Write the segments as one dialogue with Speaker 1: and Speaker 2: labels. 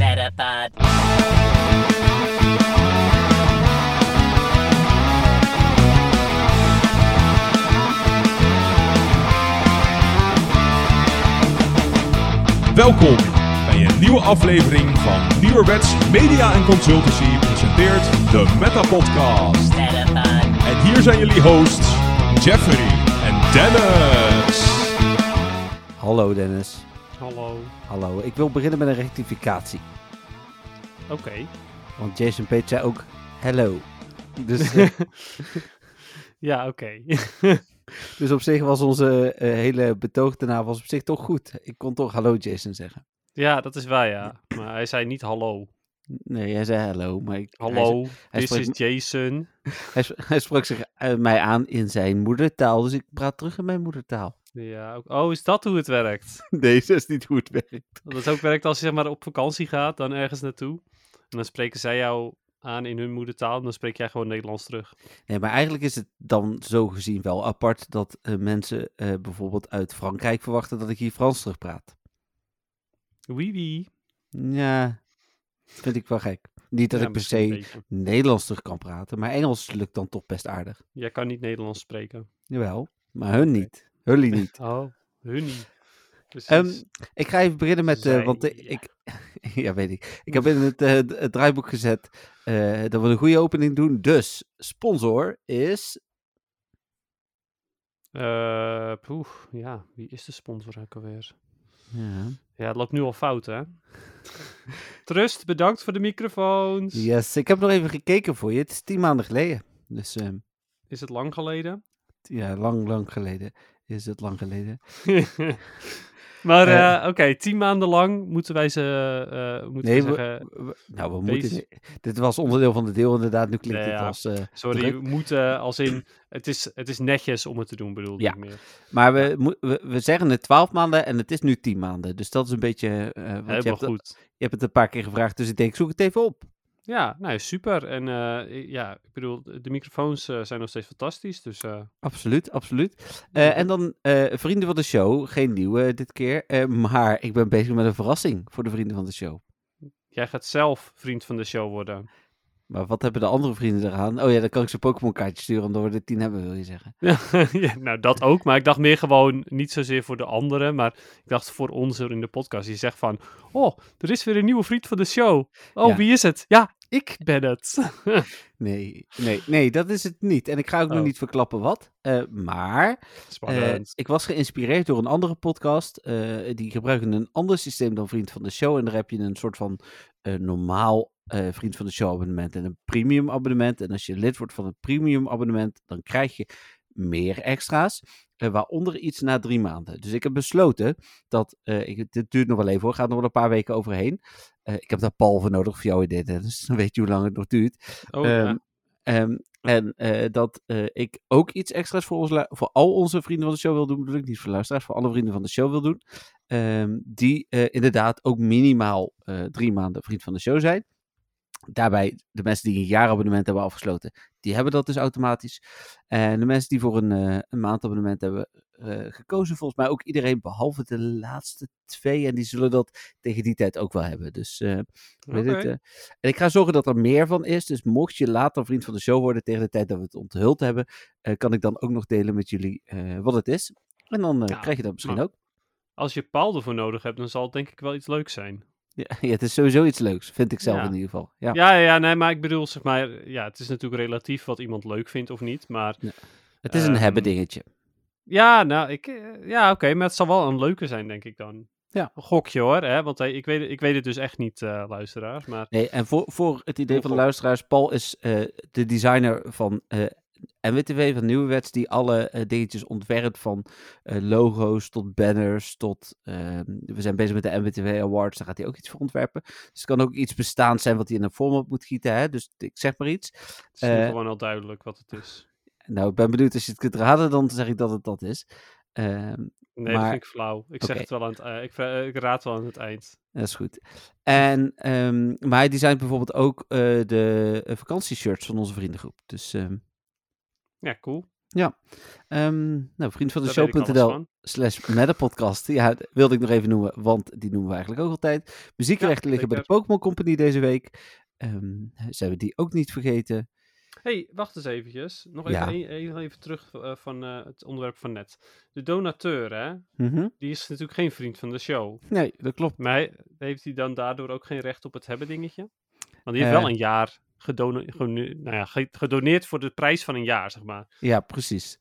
Speaker 1: Metapod.
Speaker 2: Welkom bij een nieuwe aflevering van Nieuwerwets Media en Consultancy presenteert de Meta Podcast.
Speaker 1: Metapod.
Speaker 2: En hier zijn jullie hosts Jeffrey en Dennis.
Speaker 3: Hallo Dennis.
Speaker 4: Hallo.
Speaker 3: Hallo. Ik wil beginnen met een rectificatie.
Speaker 4: Oké.
Speaker 3: Want Jason Page zei ook hello. Dus, eh,
Speaker 4: Ja, oké.
Speaker 3: dus op zich was onze eh, hele betoog daarna was op zich toch goed. Ik kon toch hallo Jason zeggen.
Speaker 4: ja, dat is waar, ja. Maar hij zei niet hallo.
Speaker 3: Nee, hij zei hello. Maar ik,
Speaker 4: Hallo,
Speaker 3: hij
Speaker 4: this
Speaker 3: spreekt-
Speaker 4: is Jason.
Speaker 3: Hij, sp- hij sprak zich eh, mij aan in zijn moedertaal. Dus ik praat terug in mijn moedertaal.
Speaker 4: Ja, ook- oh, is dat hoe het werkt?
Speaker 3: Deze is niet goed werkt.
Speaker 4: Dat is ook werkt als je zeg maar op vakantie gaat, dan ergens naartoe. En dan spreken zij jou aan in hun moedertaal en dan spreek jij gewoon Nederlands terug.
Speaker 3: Nee, maar eigenlijk is het dan zo gezien wel apart dat eh, mensen eh, bijvoorbeeld uit Frankrijk verwachten dat ik hier Frans terug praat.
Speaker 4: Wee wee.
Speaker 3: Ja, vind ik wel gek. Niet dat
Speaker 4: Ja,
Speaker 3: ik per
Speaker 4: misschien een
Speaker 3: se
Speaker 4: beetje.
Speaker 3: Nederlands terug kan praten, maar Engels lukt dan toch best aardig.
Speaker 4: Jij kan niet Nederlands spreken.
Speaker 3: Jawel, maar hun niet. Hullie niet.
Speaker 4: Oh, hun niet. Precies.
Speaker 3: Ehm, ik ga even beginnen met, eh,
Speaker 4: Zij-
Speaker 3: want eh,
Speaker 4: ja.
Speaker 3: ik, ja weet ik, ik heb in het, eh, d- het draaiboek gezet eh, dat we een goede opening doen. Dus, sponsor is,
Speaker 4: Eh, poeh, ja, wie is de sponsor ook alweer?
Speaker 3: ja.
Speaker 4: Ja, het loopt nu al fout, hè? Trust, bedankt voor de microfoons.
Speaker 3: yes, ik heb nog even gekeken voor je. Het is tien maanden geleden, dus ehm,
Speaker 4: Is het lang geleden?
Speaker 3: ja, lang, lang geleden is het lang geleden.
Speaker 4: maar
Speaker 3: Eh,
Speaker 4: eh, oké, tien maanden lang moeten wij ze eh, moeten
Speaker 3: Nee,
Speaker 4: we
Speaker 3: we-
Speaker 4: zeggen...
Speaker 3: We- Nou, we
Speaker 4: Deze-
Speaker 3: moeten. Dit was onderdeel van de deel, inderdaad. Nu klinkt
Speaker 4: Nee,
Speaker 3: het
Speaker 4: ja.
Speaker 3: als. eh,
Speaker 4: Sorry, we moeten als in... Het is, het is netjes om het te doen, bedoel
Speaker 3: Ja.
Speaker 4: ik meer.
Speaker 3: maar we, moe- we, we zeggen het 12 maanden en het is nu 10 maanden. Dus dat is een beetje. eh, want je,
Speaker 4: Helemaal
Speaker 3: hebt,
Speaker 4: goed.
Speaker 3: je hebt het een paar keer gevraagd, dus ik denk, zoek het even op.
Speaker 4: Ja, nou super. En eh, i- ja, ik bedoel, de microfoons eh, zijn nog steeds fantastisch, dus... eh,
Speaker 3: Absoluut, absoluut. Eh, en dan eh, vrienden van de show. Geen nieuwe dit keer. eh, maar ik ben bezig met een verrassing voor de vrienden van de show.
Speaker 4: Jij gaat zelf vriend van de show worden.
Speaker 3: Maar wat hebben de andere vrienden eraan? Oh ja, dan kan ik ze Pokémon kaartje sturen, omdat we er 10 hebben, wil je zeggen.
Speaker 4: ja, nou, dat ook. Maar ik dacht meer gewoon niet zozeer voor de anderen. Maar ik dacht voor ons er in de podcast. Je zegt van, oh, er is weer een nieuwe vriend van de show. Oh,
Speaker 3: Ja.
Speaker 4: wie is het? Ja, ik ben het.
Speaker 3: Nee, nee, nee, dat is het niet. En ik ga ook nog
Speaker 4: Oh.
Speaker 3: niet verklappen wat. eh, maar Eh,
Speaker 4: Spannend.
Speaker 3: ik was geïnspireerd door een andere podcast. eh, die gebruiken een ander systeem dan Vriend van de Show. En daar heb je een soort van eh, normaal eh, Vriend van de Show abonnement en een premium abonnement. En als je lid wordt van een premium abonnement, dan krijg je meer extra's. eh, waaronder iets na drie maanden. Dus ik heb besloten dat. eh, ik, dit duurt nog wel even hoor, gaat nog wel een paar weken overheen. Eh, ik heb daar Paul voor nodig voor jouw idee, Dennis. Dan weet je hoe lang het nog duurt.
Speaker 4: oh, ja.
Speaker 3: Ehm, ehm, en eh, dat eh, ik ook iets extra's voor, ons lu- voor al onze vrienden van de show wil doen. Bedoel ik niet voor luisteraars, voor alle vrienden van de show wil doen. Ehm, die eh, inderdaad ook minimaal eh, drie maanden vriend van de show zijn. Daarbij de mensen die een jaarabonnement hebben afgesloten, die hebben dat dus automatisch. En de mensen die voor een, eh, een maandabonnement hebben eh, gekozen, volgens mij ook iedereen, behalve de laatste twee. En die zullen dat tegen die tijd ook wel hebben. Dus eh, Weet
Speaker 4: Oké.
Speaker 3: het, eh. en ik ga zorgen dat er meer van is. Dus mocht je later vriend van de show worden tegen de tijd dat we het onthuld hebben, eh, kan ik dan ook nog delen met jullie eh, wat het is. En dan eh,
Speaker 4: Ja,
Speaker 3: krijg je dat misschien
Speaker 4: maar-
Speaker 3: ook.
Speaker 4: Als je Paul ervoor nodig hebt, dan zal het denk ik wel iets leuks zijn.
Speaker 3: Ja, ja, het is sowieso iets leuks, vind ik zelf
Speaker 4: Ja.
Speaker 3: in ieder geval. Ja.
Speaker 4: Ja, ja, nee, maar ik bedoel, zeg maar, ja, het is natuurlijk relatief wat iemand leuk vindt of niet. Maar
Speaker 3: het is een
Speaker 4: ehm,
Speaker 3: hebben dingetje.
Speaker 4: ja, nou, ik, eh, ja, oké, maar het zal wel een leuke zijn, denk ik dan.
Speaker 3: Ja.
Speaker 4: Een gokje hoor, hè, want eh, ik, weet, ik weet het dus echt niet, eh, luisteraars. Maar
Speaker 3: Nee, en voor, voor het idee
Speaker 4: Heel
Speaker 3: van de
Speaker 4: goed.
Speaker 3: luisteraars, Paul is eh, de designer van eh NWTV, van Nieuwewets, die alle eh, dingetjes ontwerpt van eh, logo's tot banners tot... ehm, we zijn bezig met de NWTV Awards, daar gaat hij ook iets voor ontwerpen. Dus het kan ook iets bestaand zijn wat hij in een vorm op moet gieten, hè? dus ik zeg maar iets.
Speaker 4: het is nu
Speaker 3: Eh,
Speaker 4: gewoon al duidelijk wat het is.
Speaker 3: Nou, ik ben benieuwd als je het kunt raden, dan zeg ik dat het dat is. Ehm,
Speaker 4: Nee,
Speaker 3: Maar-
Speaker 4: dat vind ik flauw. Ik zeg
Speaker 3: Oké.
Speaker 4: het wel aan het eind. Ik, vra- eh, ik raad wel aan het eind.
Speaker 3: Dat is goed. En, ehm, maar hij designt bijvoorbeeld ook eh, de eh, vakantieshirts van onze vriendengroep. Dus ehm,
Speaker 4: Ja, cool.
Speaker 3: Ehm nou, vriend van de
Speaker 4: Daar weet ik alles
Speaker 3: show.nl
Speaker 4: van.
Speaker 3: slash metapodcast. Ja, d- wilde ik nog even noemen, want die noemen we eigenlijk ook altijd. Muziekrechten liggen bij de Pokémon Company deze week. Ehm zijn we die ook niet vergeten?
Speaker 4: hey, wacht eens eventjes. Nog
Speaker 3: Ja.
Speaker 4: even, één- één- even terug eh, van eh, het onderwerp van net. De donateur, hè,
Speaker 3: Mhm.
Speaker 4: die is natuurlijk geen vriend van de show.
Speaker 3: Nee, dat klopt.
Speaker 4: Maar hij- heeft hij dan daardoor ook geen recht op het hebben dingetje? Want die heeft
Speaker 3: Eh.
Speaker 4: wel een jaar gedone- geno- nou ja, ge- gedoneerd voor de prijs van een jaar, zeg maar.
Speaker 3: Ja, precies.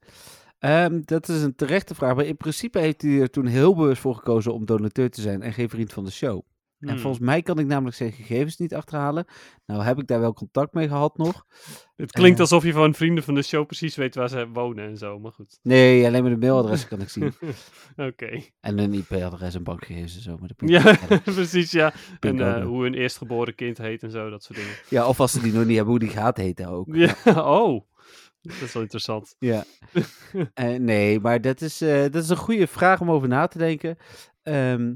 Speaker 3: Ehm, dat is een terechte vraag, maar in principe heeft hij er toen heel bewust voor gekozen om donateur te zijn en geen vriend van de show. En
Speaker 4: Hmm.
Speaker 3: volgens mij kan ik namelijk zijn gegevens niet achterhalen. Nou heb ik daar wel contact mee gehad nog.
Speaker 4: Het klinkt
Speaker 3: eh,
Speaker 4: alsof je van vrienden van de show precies weet waar ze wonen en zo, maar goed.
Speaker 3: Nee, alleen maar de mailadressen kan ik zien.
Speaker 4: Oké.
Speaker 3: En een IP-adres en bankgegevens en zo. Maar dat moet ik
Speaker 4: Ja,
Speaker 3: niet vertellen.
Speaker 4: precies, ja. En
Speaker 3: Pincode.
Speaker 4: eh, hoe hun eerstgeboren kind heet en zo, dat soort dingen.
Speaker 3: ja, of als ze die nog niet hebben, hoe die gaat heten ook.
Speaker 4: Ja, oh. Dat is wel interessant.
Speaker 3: Ja. Eh, nee, maar dat is, eh, dat is een goede vraag om over na te denken. Ehm,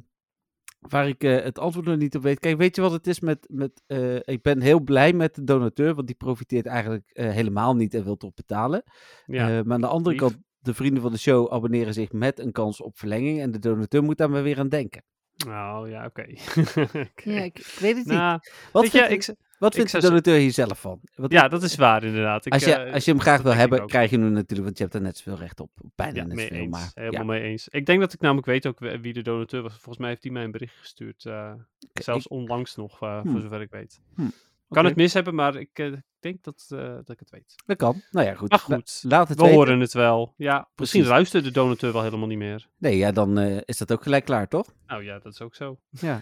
Speaker 3: waar ik eh, het antwoord nog niet op weet. Kijk, weet je wat het is met... met eh, ik ben heel blij met de donateur, want die profiteert eigenlijk eh, helemaal niet en wil toch betalen.
Speaker 4: Ja,
Speaker 3: Eh, maar aan de andere
Speaker 4: lief.
Speaker 3: kant, de vrienden van de show abonneren zich met een kans op verlenging. En de donateur moet daar maar weer aan denken.
Speaker 4: nou ja, oké. Oké.
Speaker 3: Ja, ik, ik weet het niet.
Speaker 4: Nou,
Speaker 3: Wat
Speaker 4: weet je,
Speaker 3: vindt,
Speaker 4: ik,
Speaker 3: de-
Speaker 4: z-
Speaker 3: wat
Speaker 4: ik
Speaker 3: vindt de
Speaker 4: zou ze-
Speaker 3: donateur hier zelf van? Want
Speaker 4: ja, dat is waar inderdaad. Ik,
Speaker 3: als, je,
Speaker 4: eh,
Speaker 3: als je hem graag wil
Speaker 4: denk ik
Speaker 3: hebben,
Speaker 4: ook.
Speaker 3: krijg je hem natuurlijk, want je hebt er net zoveel recht op. Bijna
Speaker 4: ja,
Speaker 3: net
Speaker 4: mee
Speaker 3: zoveel,
Speaker 4: eens.
Speaker 3: maar ja.
Speaker 4: Helemaal mee eens. Ik denk dat ik namelijk weet ook eh, wie de donateur was. Volgens mij heeft hij mij een bericht gestuurd. eh,
Speaker 3: Oké,
Speaker 4: zelfs
Speaker 3: ik-
Speaker 4: onlangs nog, eh,
Speaker 3: Hmm.
Speaker 4: voor zover ik weet.
Speaker 3: oké,
Speaker 4: Kan het mis hebben, maar ik eh, denk dat, eh, dat ik het weet.
Speaker 3: Dat kan. Nou ja, goed.
Speaker 4: Maar
Speaker 3: La-
Speaker 4: goed,
Speaker 3: laat het
Speaker 4: we
Speaker 3: weten.
Speaker 4: horen het wel. Ja, misschien
Speaker 3: Precies.
Speaker 4: luistert de donateur wel helemaal niet meer.
Speaker 3: Nee, ja, dan eh, is dat ook gelijk klaar, toch?
Speaker 4: Nou ja, dat is ook zo.
Speaker 3: Ja.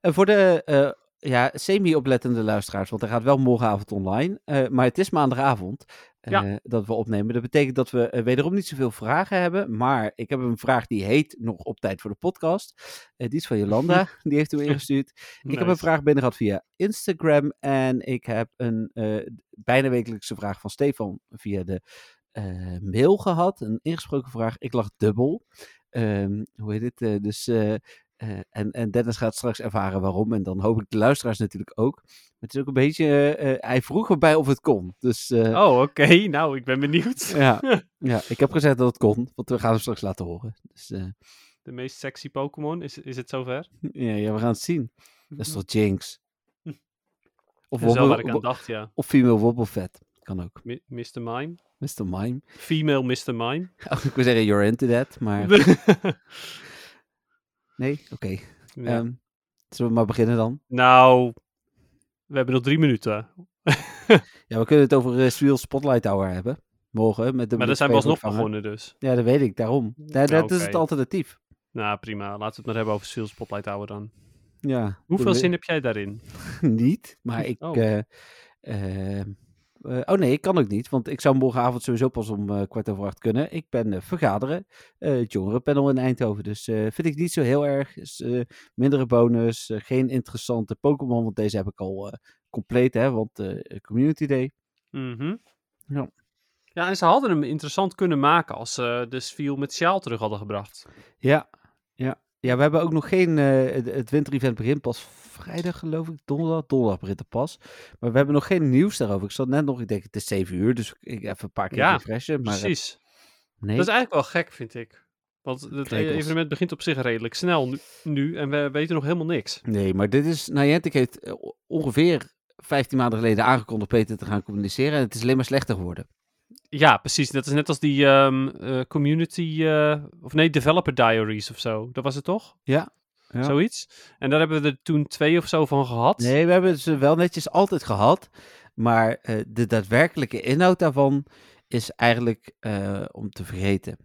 Speaker 3: en voor de eh, ja, semi-oplettende luisteraars, want hij gaat wel morgenavond online. eh, maar het is maandagavond eh,
Speaker 4: Ja.
Speaker 3: dat we opnemen. Dat betekent dat we eh, wederom niet zoveel vragen hebben. Maar ik heb een vraag die heet nog op tijd voor de podcast. Eh, die is van Jolanda. die heeft hem ingestuurd. Ik heb
Speaker 4: Nice.
Speaker 3: een vraag binnen gehad via Instagram. En ik heb een eh, bijna wekelijkse vraag van Stefan via de eh, mail gehad. Een ingesproken vraag. Ik lag dubbel. Ehm, hoe heet het? Eh, dus, eh, eh, en, en Dennis gaat straks ervaren waarom. En dan hoop ik de luisteraars natuurlijk ook. Maar het is ook een beetje. eh, eh, hij vroeg erbij of het kon. Dus eh,
Speaker 4: Oh, oké. Nou, ik ben benieuwd.
Speaker 3: ja, ja, ik heb gezegd dat het kon. Want we gaan hem straks laten horen. Dus eh,
Speaker 4: De meest sexy Pokémon, is, is het zover?
Speaker 3: ja, ja, we gaan het zien. Dat is toch Jinx? Of,
Speaker 4: Dat is wel waar ik
Speaker 3: Wobble-
Speaker 4: aan dacht, ja.
Speaker 3: Of female wobblefat. Kan ook.
Speaker 4: Mi- Mr. Mime.
Speaker 3: Mr. Mime.
Speaker 4: Female Mr. Mime.
Speaker 3: Oh, ik wil zeggen, you're into that, maar... Nee? Oké.
Speaker 4: Ja.
Speaker 3: Ehm, zullen we maar beginnen dan?
Speaker 4: Nou, we hebben nog drie minuten.
Speaker 3: Ja, we kunnen het over eh Steel Spotlight Hour hebben. Morgen. Met de
Speaker 4: Maar daar zijn we alsnog
Speaker 3: ontvangen.
Speaker 4: begonnen, dus.
Speaker 3: Ja, dat weet ik. Daarom. Da- dat is het
Speaker 4: oké.
Speaker 3: alternatief.
Speaker 4: Nou, prima. Laten we het maar hebben over Seal Spotlight Hour dan.
Speaker 3: Ja.
Speaker 4: Hoeveel
Speaker 3: Doen we-
Speaker 4: zin heb jij daarin?
Speaker 3: Niet, maar ik...
Speaker 4: Oh.
Speaker 3: eh, ehm, eh, oh nee, ik kan ook niet, want ik zou morgenavond sowieso pas om eh, kwart over acht kunnen. Ik ben eh, vergaderen, eh het jongerenpanel in Eindhoven, dus eh, vind ik niet zo heel erg. Is, eh, mindere bonus, eh, geen interessante Pokémon, want deze heb ik al eh, compleet, hè, want eh, Community Day.
Speaker 4: Mhm.
Speaker 3: Ja.
Speaker 4: Ja, en ze hadden hem interessant kunnen maken als ze de Sviel met Sjaal terug hadden gebracht.
Speaker 3: Ja, ja. ja we hebben ook nog geen. eh, het- het winterevent begint pas vrijdag, geloof ik. Donderdag. Donderdag begint het pas. Maar we hebben nog geen nieuws daarover. Ik zat net nog, ik denk het is 7 uur, dus ik even een paar keer
Speaker 4: Ja,
Speaker 3: refreshen. Maar, eh,
Speaker 4: Precies.
Speaker 3: nee.
Speaker 4: Dat is eigenlijk wel gek, vind ik. Want het
Speaker 3: Krekels.
Speaker 4: evenement begint op zich redelijk snel nu, nu en we weten nog helemaal niks.
Speaker 3: Nee, maar dit is. Niantic heeft eh, o- ongeveer 15 maanden geleden aangekondigd Peter te gaan communiceren. En het is alleen maar slechter geworden.
Speaker 4: Ja, precies. Dat is net als die ehm, eh, community, eh, of nee, developer diaries of zo. Dat was het toch?
Speaker 3: Ja, ja.
Speaker 4: Zoiets. En daar hebben we er toen twee of zo van gehad.
Speaker 3: Nee, we hebben ze wel netjes altijd gehad. Maar eh, de daadwerkelijke inhoud daarvan is eigenlijk eh, om te vergeten.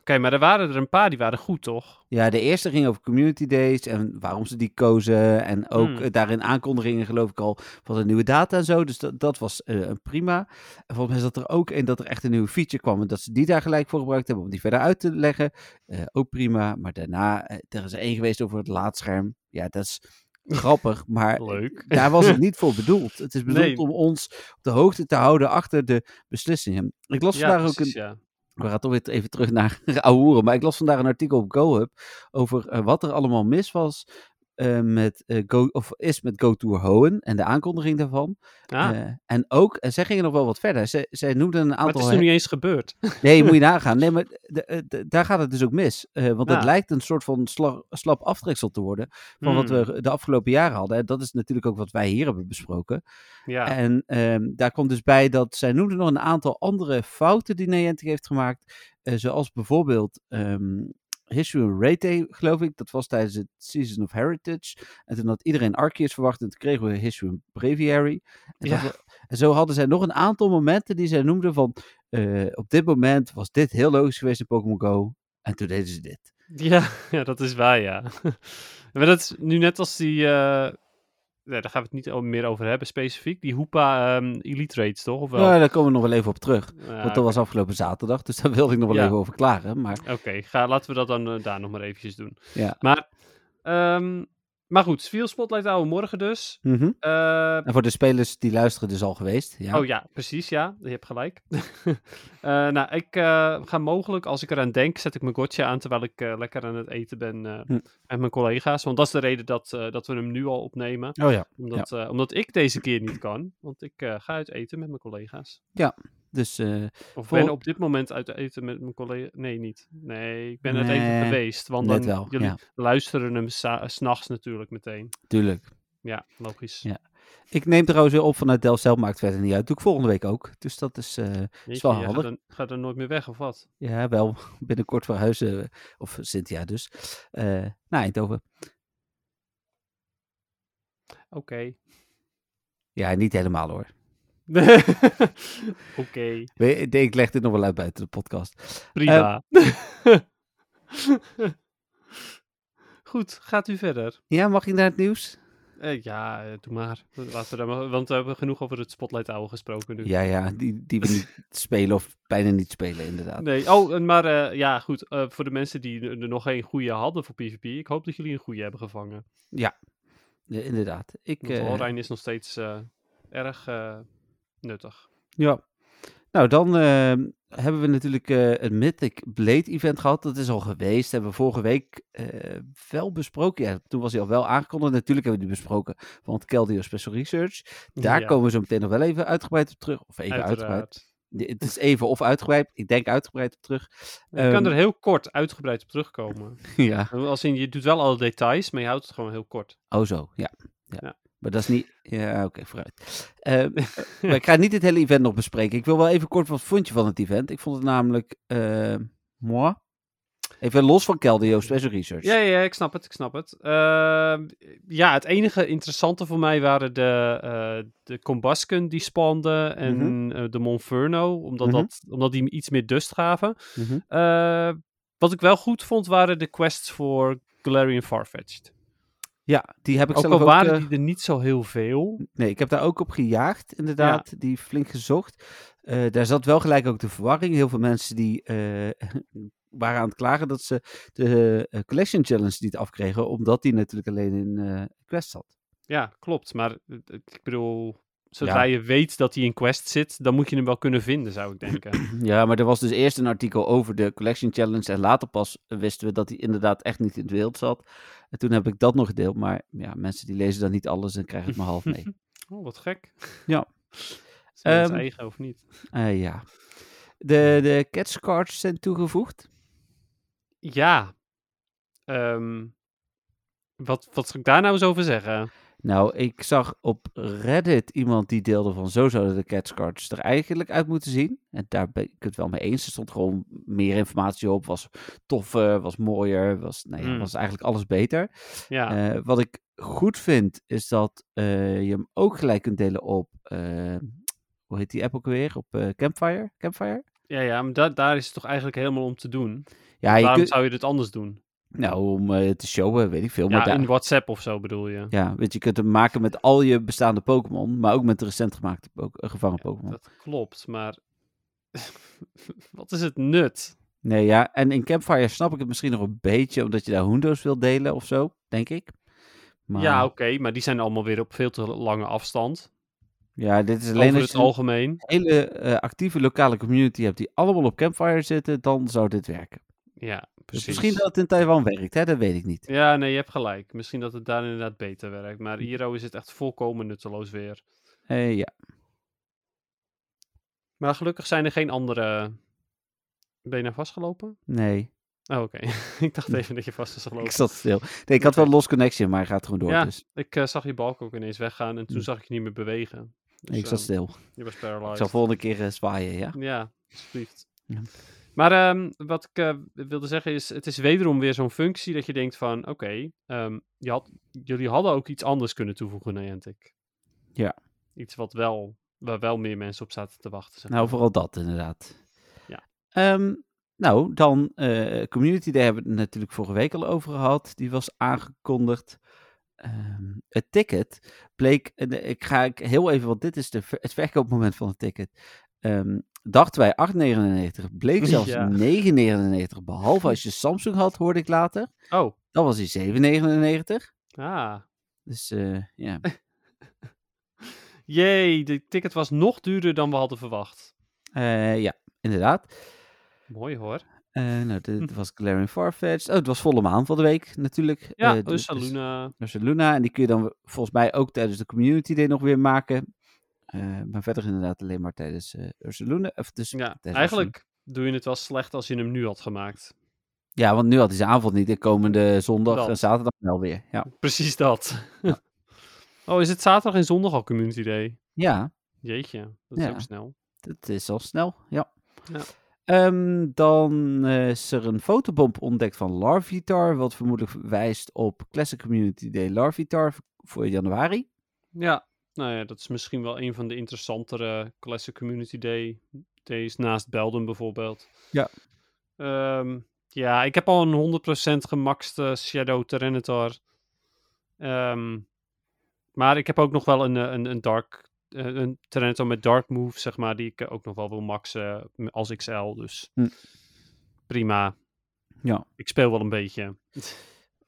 Speaker 4: Oké, maar er waren er een paar die waren goed, toch?
Speaker 3: Ja, de eerste ging over community days en waarom ze die kozen. En ook
Speaker 4: Hmm.
Speaker 3: eh, daarin aankondigingen, geloof ik al, van de nieuwe data en zo. Dus dat, dat was eh, een prima. En volgens mij zat er ook in dat er echt een nieuwe feature kwam. En dat ze die daar gelijk voor gebruikt hebben om die verder uit te leggen. Eh, ook prima. Maar daarna, eh, er is één geweest over het laadscherm. Ja, dat is grappig, maar
Speaker 4: Leuk.
Speaker 3: daar was het niet voor bedoeld. Het is bedoeld
Speaker 4: Nee.
Speaker 3: om ons op de hoogte te houden achter de beslissingen. Ik las
Speaker 4: ja,
Speaker 3: vandaag ook een
Speaker 4: precies, ja.
Speaker 3: we gaan toch weer even terug naar ouwe hoeren. Maar ik las vandaag een artikel op GoHub over eh, wat er allemaal mis was eh, met, eh, Go, of is met Go Tour Hohen en de aankondiging daarvan.
Speaker 4: Ah,
Speaker 3: Eh, en ook, en zij gingen nog wel wat verder. Ze, zij noemden een
Speaker 4: maar het
Speaker 3: aantal...
Speaker 4: is nog niet eens gebeurd.
Speaker 3: Nee, moet je nagaan. Nee, maar de- de- daar gaat het dus ook mis. Eh, want het
Speaker 4: Ja.
Speaker 3: lijkt een soort van sla- slap aftreksel te worden van wat
Speaker 4: Hmm,
Speaker 3: we de afgelopen jaren hadden. En dat is natuurlijk ook wat wij hier hebben besproken.
Speaker 4: Ja,
Speaker 3: En ehm, daar komt dus bij dat zij noemde nog een aantal andere fouten die Niantic heeft gemaakt. Eh, zoals bijvoorbeeld ehm History Rate, geloof ik. Dat was tijdens het Season of Heritage. En toen had iedereen Arceus verwacht en toen kregen we History Breviary. En,
Speaker 4: Ja.
Speaker 3: dat- en zo hadden zij nog een aantal momenten die zij noemden van... eh, op dit moment was dit heel logisch geweest in Pokémon Go. En toen deden ze dit.
Speaker 4: ja, ja, dat is waar, ja. maar dat is nu net als die... eh, Nee, daar gaan we het niet o- meer over hebben specifiek. Die Hoepa ehm, Elite Raids, toch? Of wel?
Speaker 3: Nou, daar komen we nog wel even op terug.
Speaker 4: Ja,
Speaker 3: Want dat was afgelopen zaterdag, dus daar wilde ik nog wel
Speaker 4: Ja.
Speaker 3: even over klaren. Maar
Speaker 4: Oké, ga- laten we dat dan eh, daar nog maar eventjes doen.
Speaker 3: ja.
Speaker 4: Maar, ehm, maar goed, Speel Spotlight houden we morgen dus.
Speaker 3: Mhm.
Speaker 4: Eh,
Speaker 3: En voor de spelers die luisteren dus al geweest. Ja.
Speaker 4: Oh ja, precies, ja. Je hebt gelijk. Eh, nou, ik eh, ga mogelijk, als ik eraan denk, zet ik mijn gotcha aan terwijl ik eh, lekker aan het eten ben eh,
Speaker 3: Hm.
Speaker 4: met mijn collega's. Want dat is de reden dat, eh, dat we hem nu al opnemen.
Speaker 3: Oh ja.
Speaker 4: Omdat, eh, omdat ik deze keer niet kan. Want ik eh, ga uit eten met mijn collega's.
Speaker 3: Dus eh,
Speaker 4: Of
Speaker 3: Vol-
Speaker 4: ben op dit moment uit eten met mijn collega's. Nee, niet. Nee, ik ben uit
Speaker 3: Nee,
Speaker 4: eten geweest. Want
Speaker 3: net
Speaker 4: dan,
Speaker 3: wel.
Speaker 4: jullie
Speaker 3: Ja,
Speaker 4: luisteren hem sa- s'nachts natuurlijk meteen.
Speaker 3: tuurlijk.
Speaker 4: Ja, logisch.
Speaker 3: Ja. Ik neem trouwens weer op vanuit Delft-Zelf, maakt verder niet uit. Doe ik volgende week ook. Dus dat is, eh,
Speaker 4: Jeetje,
Speaker 3: wel
Speaker 4: jij gaat
Speaker 3: handig.
Speaker 4: er, gaat er nooit meer weg of wat?
Speaker 3: ja, wel binnenkort verhuizen. eh, Of Cynthia dus. eh naar Eindhoven.
Speaker 4: Oké.
Speaker 3: Ja, niet helemaal hoor.
Speaker 4: Oké,
Speaker 3: We- Ik denk, ik leg dit nog wel uit buiten de podcast.
Speaker 4: prima.
Speaker 3: Ehm.
Speaker 4: Goed, gaat u verder.
Speaker 3: Ja, mag ik naar het nieuws?
Speaker 4: Eh, ja, eh, doe maar. Laten we daar maar. Want we hebben genoeg over het Spotlight Oude gesproken nu.
Speaker 3: Ja, ja, die, die we niet spelen of bijna niet spelen inderdaad.
Speaker 4: Nee, oh, en maar eh, ja, goed. eh, voor de mensen die er er nog geen goede hadden voor PvP, ik hoop dat jullie een goede hebben gevangen.
Speaker 3: Ja, inderdaad. Ik,
Speaker 4: Want
Speaker 3: eh,
Speaker 4: Walrein is nog steeds eh, erg eh, nuttig.
Speaker 3: Ja. Nou, dan ehm, hebben we natuurlijk eh een Mythic Blade event gehad. Dat is al geweest. Hebben we vorige week eh, wel besproken. Ja, toen was hij al wel aangekondigd. Natuurlijk hebben we die besproken. Want Keldeo Special Research. Daar
Speaker 4: Ja,
Speaker 3: komen we zo meteen nog wel even uitgebreid op terug. Of even uitgebreid.
Speaker 4: uiteraard.
Speaker 3: D- Het is even of uitgebreid. Ik denk uitgebreid op terug.
Speaker 4: Je kan
Speaker 3: Ehm,
Speaker 4: er heel kort uitgebreid op terugkomen.
Speaker 3: Ja.
Speaker 4: Als in, je doet wel alle details, maar je houdt het gewoon heel kort.
Speaker 3: Oh zo, ja. ja.
Speaker 4: Ja.
Speaker 3: Maar dat is niet... Ja, oké, vooruit. Ehm, maar ik ga niet het hele event nog bespreken. Ik wil wel even kort wat vond je van het event. Ik vond het namelijk... ehm moi. Even los van Keldeo Special Research.
Speaker 4: Ja, ja, ja, ik snap het, ik snap het. Ehm, ja, het enige interessante voor mij waren de, eh de Combusken die spawnden en eh, de Monferno, omdat,
Speaker 3: Mhm.
Speaker 4: dat, omdat die iets meer dust gaven.
Speaker 3: Mhm.
Speaker 4: Eh, wat ik wel goed vond, waren de quests voor Galarian Farfetch'd.
Speaker 3: Ja, die heb ik
Speaker 4: Ook
Speaker 3: zelf
Speaker 4: al
Speaker 3: ook...
Speaker 4: waren
Speaker 3: eh, Hm.
Speaker 4: die er niet zo heel veel.
Speaker 3: Nee, ik heb daar ook op gejaagd, inderdaad. Die flink gezocht. Eh, daar zat wel gelijk ook de verwarring. Heel veel mensen die eh, waren aan het klagen dat ze de eh, Collection Challenge niet afkregen. Omdat die natuurlijk alleen in eh, Quest zat.
Speaker 4: Ja, klopt. Maar eh, ik bedoel,
Speaker 3: Ja.
Speaker 4: zodra je weet dat hij in quest zit, dan moet je hem wel kunnen vinden, zou ik denken.
Speaker 3: Ja, maar er was dus eerst een artikel over de Collection Challenge. En later pas wisten we dat hij inderdaad echt niet in het wild zat. En toen heb ik dat nog gedeeld. Maar ja, mensen die lezen dan niet alles en krijgen het maar half mee.
Speaker 4: oh, wat gek.
Speaker 3: Ja.
Speaker 4: Is hij
Speaker 3: Ehm,
Speaker 4: eigen of niet?
Speaker 3: Eh, ja. De, de catch cards zijn toegevoegd.
Speaker 4: Ja. Ehm, wat, wat zou ik daar nou eens over zeggen?
Speaker 3: Nou, ik zag op Reddit iemand die deelde van zo zouden de catch cards er eigenlijk uit moeten zien. En daar ben ik het wel mee eens. Er stond gewoon meer informatie op. Was toffer, was mooier, was, nou ja,
Speaker 4: Mm.
Speaker 3: was eigenlijk alles beter.
Speaker 4: Ja,
Speaker 3: Eh, wat ik goed vind, is dat eh, je hem ook gelijk kunt delen op. eh, hoe heet die app ook weer? Op eh, Campfire? Campfire?
Speaker 4: ja, ja maar da daar is het toch eigenlijk helemaal om te doen?
Speaker 3: Ja, je
Speaker 4: Waarom
Speaker 3: kunt,
Speaker 4: zou je dit anders doen?
Speaker 3: nou, om eh, te showen, weet ik veel. Maar
Speaker 4: Ja,
Speaker 3: daar-
Speaker 4: in WhatsApp of zo bedoel je?
Speaker 3: ja, weet je, je kunt hem maken met al je bestaande Pokémon. Maar ook met de recent gemaakte po- eh, gevangen Pokémon.
Speaker 4: Dat klopt, maar... wat is het nut?
Speaker 3: Nee, ja. En in Campfire snap ik het misschien nog een beetje. Omdat je daar Hoendo's wil delen of zo, denk ik. Maar,
Speaker 4: Ja, oké, maar die zijn allemaal weer op veel te lange afstand.
Speaker 3: ja, dit is alleen
Speaker 4: Over
Speaker 3: als
Speaker 4: het
Speaker 3: je een
Speaker 4: algemeen.
Speaker 3: hele eh, actieve lokale community hebt die allemaal op Campfire zitten. Dan zou dit werken.
Speaker 4: Ja,
Speaker 3: Dus
Speaker 4: precies.
Speaker 3: misschien dat het in Taiwan werkt, hè? dat weet ik niet.
Speaker 4: Ja, nee, je hebt gelijk. Misschien dat het daar inderdaad beter werkt.
Speaker 3: Hm.
Speaker 4: Maar Iro is het echt volkomen nutteloos weer.
Speaker 3: Eh, ja.
Speaker 4: Maar gelukkig zijn er geen andere... Ben je nou vastgelopen?
Speaker 3: Nee,
Speaker 4: Oh, oké. ik dacht even dat je vast was gelopen.
Speaker 3: Hm. ik zat stil. Nee, ik had wel lost connection, maar hij gaat gewoon door.
Speaker 4: Ja,
Speaker 3: dus
Speaker 4: Ik eh, zag je balk ook ineens weggaan en toen
Speaker 3: Hm.
Speaker 4: zag ik je niet meer bewegen. Dus,
Speaker 3: ik zat
Speaker 4: eh,
Speaker 3: stil.
Speaker 4: je was
Speaker 3: Ik
Speaker 4: paralyzed.
Speaker 3: zal volgende keer eh, zwaaien, ja?
Speaker 4: Ja, alsjeblieft.
Speaker 3: Ja.
Speaker 4: Maar ehm, wat ik eh, wilde zeggen is, het is wederom weer zo'n functie dat je denkt van, oké, ehm, je had, jullie hadden ook iets anders kunnen toevoegen naar Niantic.
Speaker 3: Ja.
Speaker 4: Iets wat wel, waar wel meer mensen op zaten te wachten. zeg
Speaker 3: Nou,
Speaker 4: maar.
Speaker 3: vooral dat inderdaad.
Speaker 4: Ja.
Speaker 3: Ehm, nou, dan eh, Community, daar hebben we het natuurlijk vorige week al over gehad. Die was aangekondigd. Ehm, het ticket bleek, en, eh, ik ga ik heel even, want dit is de, ver- het verkoopmoment van het ticket. Ehm, dachten wij 8,99, bleek zelfs
Speaker 4: Ja.
Speaker 3: 9,99. Behalve als je Samsung had, hoorde ik later.
Speaker 4: Oh,
Speaker 3: Dan was die 7,99.
Speaker 4: ah.
Speaker 3: Dus eh, ja,
Speaker 4: Jee, de ticket was nog duurder dan we hadden verwacht.
Speaker 3: Eh, ja, inderdaad.
Speaker 4: Mooi hoor.
Speaker 3: Eh, nou, dit
Speaker 4: Hm.
Speaker 3: was Glaring Farfetch. Oh, het was volle maan van de week natuurlijk.
Speaker 4: Ja,
Speaker 3: Eh,
Speaker 4: dus
Speaker 3: dus-
Speaker 4: Saluna.
Speaker 3: dus de Luna. En die kun je dan volgens mij ook tijdens de Community Day nog weer maken. Eh, maar verder inderdaad alleen maar tijdens eh Ursula Luna. Of dus
Speaker 4: Ja,
Speaker 3: tijdens
Speaker 4: eigenlijk doe je het wel slecht als je hem nu had gemaakt.
Speaker 3: Ursula- Ja, want nu had hij zijn aanval niet. De komende zondag
Speaker 4: Dat.
Speaker 3: en zaterdag wel weer. Ja.
Speaker 4: Precies dat. oh, is het zaterdag en zondag al Community Day?
Speaker 3: ja,
Speaker 4: Jeetje, dat is
Speaker 3: Ja.
Speaker 4: ook snel.
Speaker 3: dat is al snel. Ja.
Speaker 4: Ja.
Speaker 3: Ehm, dan eh, is er een fotobomp ontdekt van Larvitar. Wat vermoedelijk wijst op Classic Community Day Larvitar voor januari.
Speaker 4: Ja, nou ja, dat is misschien wel een van de interessantere Classic Community Day days naast Belden bijvoorbeeld.
Speaker 3: Ja.
Speaker 4: Ehm, ja, ik heb al een 100% gemaxte Shadow Tyranitar. Ehm, maar ik heb ook nog wel een, eh, een, een Dark... eh, Een Tyranitar met Dark Move, zeg maar, die ik eh, ook nog wel wil maxen m- als XL. Dus
Speaker 3: Hm.
Speaker 4: prima.
Speaker 3: Ja.
Speaker 4: Ik speel wel een beetje.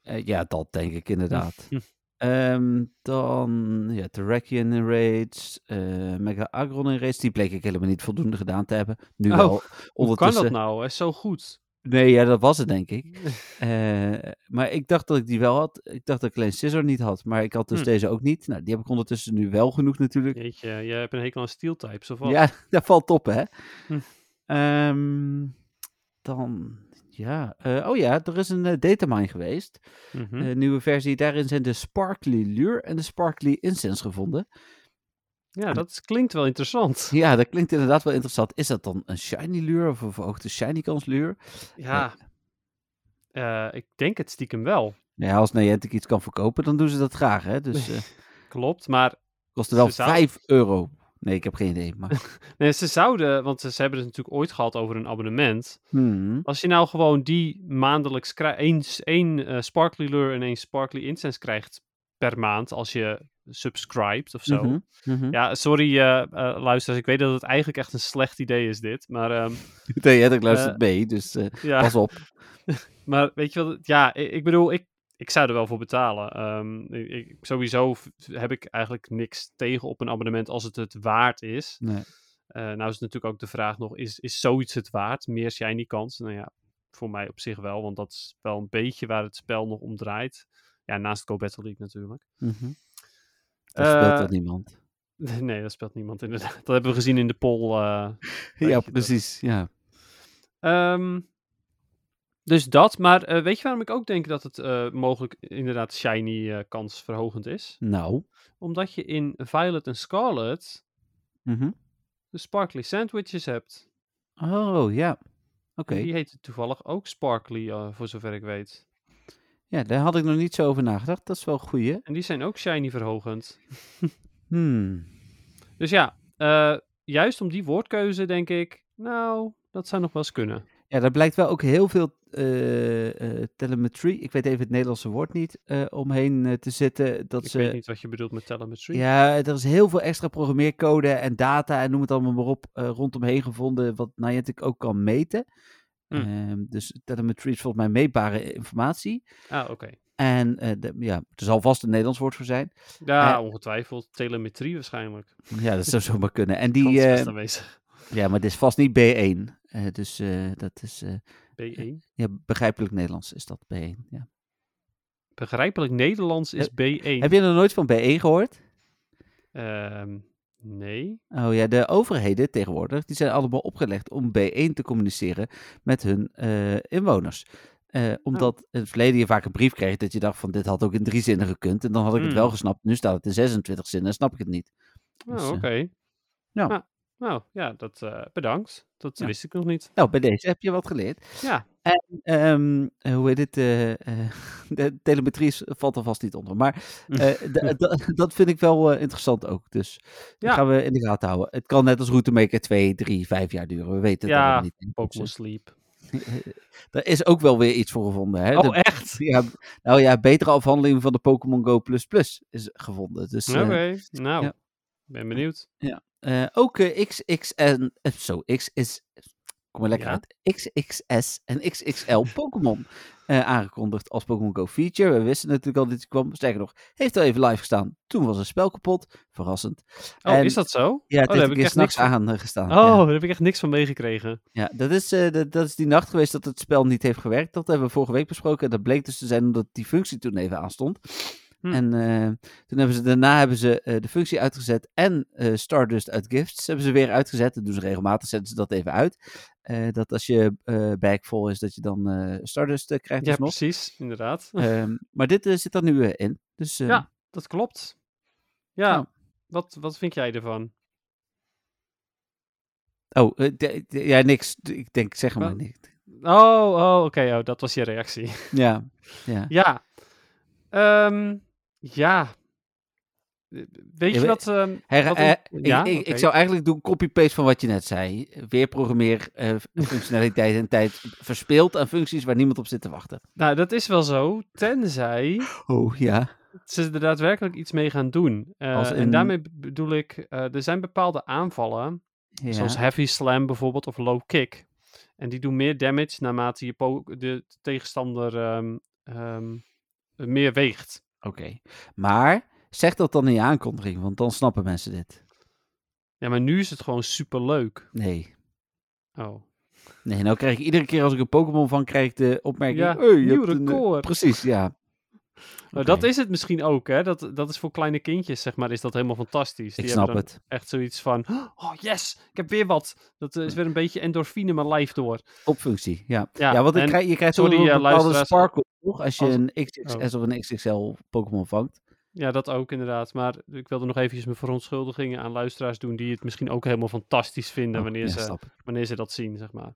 Speaker 3: Eh, ja, dat denk ik inderdaad. Ehm, dan, ja, Terrakion in raids, eh, Mega Agron in raids, die bleek ik helemaal niet voldoende gedaan te hebben. Nu
Speaker 4: Oh,
Speaker 3: wel,
Speaker 4: Hoe kan dat
Speaker 3: ondertussen.
Speaker 4: nou? Hij is zo goed.
Speaker 3: Nee, ja, dat was het denk ik. Eh, maar ik dacht dat ik die wel had. Ik dacht dat ik alleen Scissor niet had, maar ik had dus
Speaker 4: Hm.
Speaker 3: deze ook niet. Nou, die heb ik ondertussen nu wel genoeg natuurlijk.
Speaker 4: Jeetje, jij hebt een hekel aan steel types of wat?
Speaker 3: Ja, dat valt op, hè?
Speaker 4: Hm.
Speaker 3: Ehm, dan, ja. eh, oh ja, er is een eh, datamine geweest.
Speaker 4: Mhm.
Speaker 3: Eh, nieuwe versie. Daarin zijn de Sparkly Lure en de Sparkly Incense gevonden.
Speaker 4: ja, dat is- klinkt wel interessant.
Speaker 3: Ja, dat klinkt inderdaad wel interessant. Is dat dan een shiny lure of een verhoogde shiny kans lure?
Speaker 4: Ja. Eh, ik denk het stiekem wel.
Speaker 3: Nou ja, als Niantic iets kan verkopen, dan doen ze dat graag. Hè? Dus eh
Speaker 4: Klopt, maar
Speaker 3: kostte wel
Speaker 4: Ze zouden-
Speaker 3: 5 euro. Nee, ik heb geen idee. Maar...
Speaker 4: nee, ze zouden, want ze, ze hebben het natuurlijk ooit gehad over een abonnement.
Speaker 3: Hmm,
Speaker 4: Als je nou gewoon die maandelijks krijgt, één, één eh, Sparkly Lure en één Sparkly Incense krijgt per maand als je subscribed of zo.
Speaker 3: mhm, mhm.
Speaker 4: Ja, sorry eh eh, luisteraars, ik weet dat het eigenlijk echt een slecht idee is dit, maar ehm,
Speaker 3: Niantic luistert
Speaker 4: Eh,
Speaker 3: mee, dus eh,
Speaker 4: ja.
Speaker 3: pas op.
Speaker 4: Maar weet je wat? het- Ja, i- ik, bedoel, ik, ik zou er wel voor betalen. Ehm, ik, ik- sowieso v- heb ik eigenlijk niks tegen op een abonnement als het het waard is.
Speaker 3: Nee.
Speaker 4: Eh, nou is het natuurlijk ook de vraag nog, is, is zoiets het waard? Meer shiny kans? Nou ja, voor mij op zich wel, want dat is wel een beetje waar het spel nog om draait. Ja, naast Go Battle League natuurlijk.
Speaker 3: Mhm. Dat
Speaker 4: Eh,
Speaker 3: speelt dat niemand.
Speaker 4: Nee, dat speelt niemand inderdaad. Dat hebben we gezien in de poll. eh, weet
Speaker 3: Ja,
Speaker 4: je, dat-
Speaker 3: precies. Ja.
Speaker 4: Ehm, dus dat, maar eh, weet je waarom ik ook denk dat het eh, mogelijk inderdaad shiny eh, kans verhogend is?
Speaker 3: Nou.
Speaker 4: Omdat je in Violet en Scarlet
Speaker 3: mhm.
Speaker 4: de sparkly sandwiches hebt.
Speaker 3: Oh, ja. Oké.
Speaker 4: En Die heten toevallig ook sparkly, eh, voor zover ik weet.
Speaker 3: Ja, daar had ik nog niet zo over nagedacht. Dat is wel een goeie.
Speaker 4: En die zijn ook shiny verhogend.
Speaker 3: Hmm.
Speaker 4: Dus ja, eh, juist om die woordkeuze denk ik, nou, dat zou nog wel eens kunnen.
Speaker 3: Ja, daar blijkt wel ook heel veel eh, eh, telemetrie, ik weet even het Nederlandse woord niet, eh, omheen eh, te zitten. Dat
Speaker 4: ik
Speaker 3: ze,
Speaker 4: weet niet wat je bedoelt met telemetry.
Speaker 3: Ja, er is heel veel extra programmeercode en data en noem het allemaal maar op eh, rondomheen gevonden, wat Niantic ook kan meten.
Speaker 4: Hm.
Speaker 3: Ehm, dus telemetrie is volgens mij meetbare informatie.
Speaker 4: Ah, oké.
Speaker 3: En eh, de- ja, er zal vast een Nederlands woord voor zijn.
Speaker 4: Ja,
Speaker 3: Eh,
Speaker 4: ongetwijfeld. Telemetrie waarschijnlijk.
Speaker 3: Ja, dat zou zomaar kunnen. En
Speaker 4: Die
Speaker 3: die, eh,
Speaker 4: aanwezig.
Speaker 3: Ja, maar dit is vast niet B1. Eh, dus eh, dat is eh,
Speaker 4: B1.
Speaker 3: ja, begrijpelijk Nederlands is dat B1. Ja.
Speaker 4: Begrijpelijk Nederlands is B1.
Speaker 3: Heb je nog nooit van B1 gehoord?
Speaker 4: Ehm, nee.
Speaker 3: Oh ja, de overheden tegenwoordig, die zijn allemaal opgelegd om B1 te communiceren met hun eh, inwoners.
Speaker 4: Oh.
Speaker 3: Eh, omdat in het verleden je vaak een brief kreeg dat je dacht van dit had ook in drie zinnen gekund. En dan had ik het
Speaker 4: Hmm.
Speaker 3: wel gesnapt. Nu staat het in 26 zinnen en snap ik het niet.
Speaker 4: Oh,
Speaker 3: Dus, eh,
Speaker 4: oké.
Speaker 3: ja.
Speaker 4: Ah, nou, ja, dat eh, bedankt. Dat
Speaker 3: Ja.
Speaker 4: wist ik nog niet.
Speaker 3: Nou, bij deze heb je wat geleerd.
Speaker 4: Ja.
Speaker 3: En, ehm, eh, hoe heet het? eh, eh, de telemetrie is- valt er vast niet onder. Maar
Speaker 4: Hmm.
Speaker 3: eh, d- d- dat vind ik wel eh, interessant ook. Dus dat
Speaker 4: Ja.
Speaker 3: gaan we in de gaten houden. Het kan net als Routemaker 2, 3, 5 jaar duren. We weten
Speaker 4: Ja,
Speaker 3: dat niet. Dus, eh,
Speaker 4: Pokémon Sleep.
Speaker 3: Daar is ook wel weer iets voor gevonden. Hè? De-
Speaker 4: Oh, echt?
Speaker 3: ja, nou ja, betere afhandeling van de Pokémon Go Plus Plus is gevonden. Dus
Speaker 4: Oké,
Speaker 3: eh,
Speaker 4: nou.
Speaker 3: ja.
Speaker 4: Ben benieuwd.
Speaker 3: eh, ook eh, XX en eh, zo, X is. Kom maar lekker
Speaker 4: Ja.
Speaker 3: uit. XXS en XXL Pokémon eh, aangekondigd als Pokémon Go feature. We wisten natuurlijk al dat dit kwam. Sterker nog, heeft al even live gestaan. Toen was een spel kapot. Verrassend.
Speaker 4: Oh,
Speaker 3: En-
Speaker 4: is dat zo?
Speaker 3: Ja,
Speaker 4: oh,
Speaker 3: het
Speaker 4: daar
Speaker 3: heeft
Speaker 4: heb
Speaker 3: een
Speaker 4: ik
Speaker 3: keer
Speaker 4: echt niks
Speaker 3: s'nachts
Speaker 4: van.
Speaker 3: aan eh, gestaan.
Speaker 4: Oh,
Speaker 3: Ja.
Speaker 4: daar heb ik echt niks van meegekregen.
Speaker 3: Ja, dat is, eh, dat, dat is die nacht geweest dat het spel niet heeft gewerkt. Dat hebben we vorige week besproken. En dat bleek dus te zijn omdat die functie toen even aanstond.
Speaker 4: Hm.
Speaker 3: En eh, toen hebben ze, daarna hebben ze eh, de functie uitgezet en eh, Stardust uit Gifts hebben ze weer uitgezet. Dat doen ze regelmatig, zetten ze dat even uit. Eh, dat als je eh bag vol is, dat je dan eh, Stardust eh, krijgt
Speaker 4: Ja,
Speaker 3: alsnog.
Speaker 4: precies, inderdaad.
Speaker 3: Ehm, maar dit eh, zit er nu eh, in. Dus eh,
Speaker 4: Ja. Dat klopt. Ja,
Speaker 3: Nou.
Speaker 4: wat, wat vind jij ervan?
Speaker 3: oh, eh, de- de- ja, niks. D- Ik denk, zeg maar
Speaker 4: Wel-
Speaker 3: niks.
Speaker 4: Oh, oh oké, oh, dat was je reactie.
Speaker 3: Ja, ja.
Speaker 4: ja. Ehm, ja. Weet
Speaker 3: Ja,
Speaker 4: je
Speaker 3: we-
Speaker 4: wat... ehm,
Speaker 3: Her-
Speaker 4: wat
Speaker 3: eh,
Speaker 4: een-
Speaker 3: ik,
Speaker 4: ja,
Speaker 3: ik,
Speaker 4: oké.
Speaker 3: ik zou eigenlijk doen copy-paste van wat je net zei. Weer programmeer eh, functionaliteit en tijd verspeeld aan functies waar niemand op zit te wachten.
Speaker 4: Nou, dat is wel zo, tenzij
Speaker 3: Oh ja.
Speaker 4: ze er daadwerkelijk iets mee gaan doen. Eh,
Speaker 3: Als in-
Speaker 4: En daarmee b- bedoel ik, eh, er zijn bepaalde aanvallen,
Speaker 3: ja.
Speaker 4: zoals heavy slam bijvoorbeeld of low kick. En die doen meer damage naarmate je po- de tegenstander ehm, ehm, meer weegt.
Speaker 3: Oké. Maar zeg dat dan in je aankondiging, want dan snappen mensen dit.
Speaker 4: Ja, maar nu is het gewoon superleuk.
Speaker 3: Nee.
Speaker 4: Oh.
Speaker 3: Nee, nou krijg ik iedere keer als ik een Pokémon van krijg de opmerking.
Speaker 4: Ja,
Speaker 3: "Hey, je
Speaker 4: nieuw
Speaker 3: hebt een, eh,"
Speaker 4: record. Dus
Speaker 3: precies, ja.
Speaker 4: Maar
Speaker 3: Oké,
Speaker 4: Dat is het misschien ook, hè? Dat, dat is voor kleine kindjes, zeg maar, is dat helemaal fantastisch.
Speaker 3: Ik
Speaker 4: Die
Speaker 3: snap
Speaker 4: hebben dan
Speaker 3: het.
Speaker 4: Echt zoiets van, oh yes, ik heb weer wat. Dat eh, is weer een beetje endorfine mijn lijf door.
Speaker 3: Opfunctie, ja.
Speaker 4: Ja,
Speaker 3: ja, want ik
Speaker 4: en-
Speaker 3: krijg, je krijgt
Speaker 4: sorry,
Speaker 3: zo'n
Speaker 4: eh,
Speaker 3: bepaalde
Speaker 4: luisteraars.
Speaker 3: sparkle, toch? Als je
Speaker 4: Als- oh.
Speaker 3: een XXS of een XXL Pokémon vangt.
Speaker 4: Ja, dat ook inderdaad. Maar ik wilde nog eventjes mijn verontschuldigingen aan luisteraars doen die het misschien ook helemaal fantastisch vinden
Speaker 3: Oh,
Speaker 4: wanneer,
Speaker 3: ja,
Speaker 4: ze,
Speaker 3: snap ik.
Speaker 4: wanneer ze dat zien, zeg maar.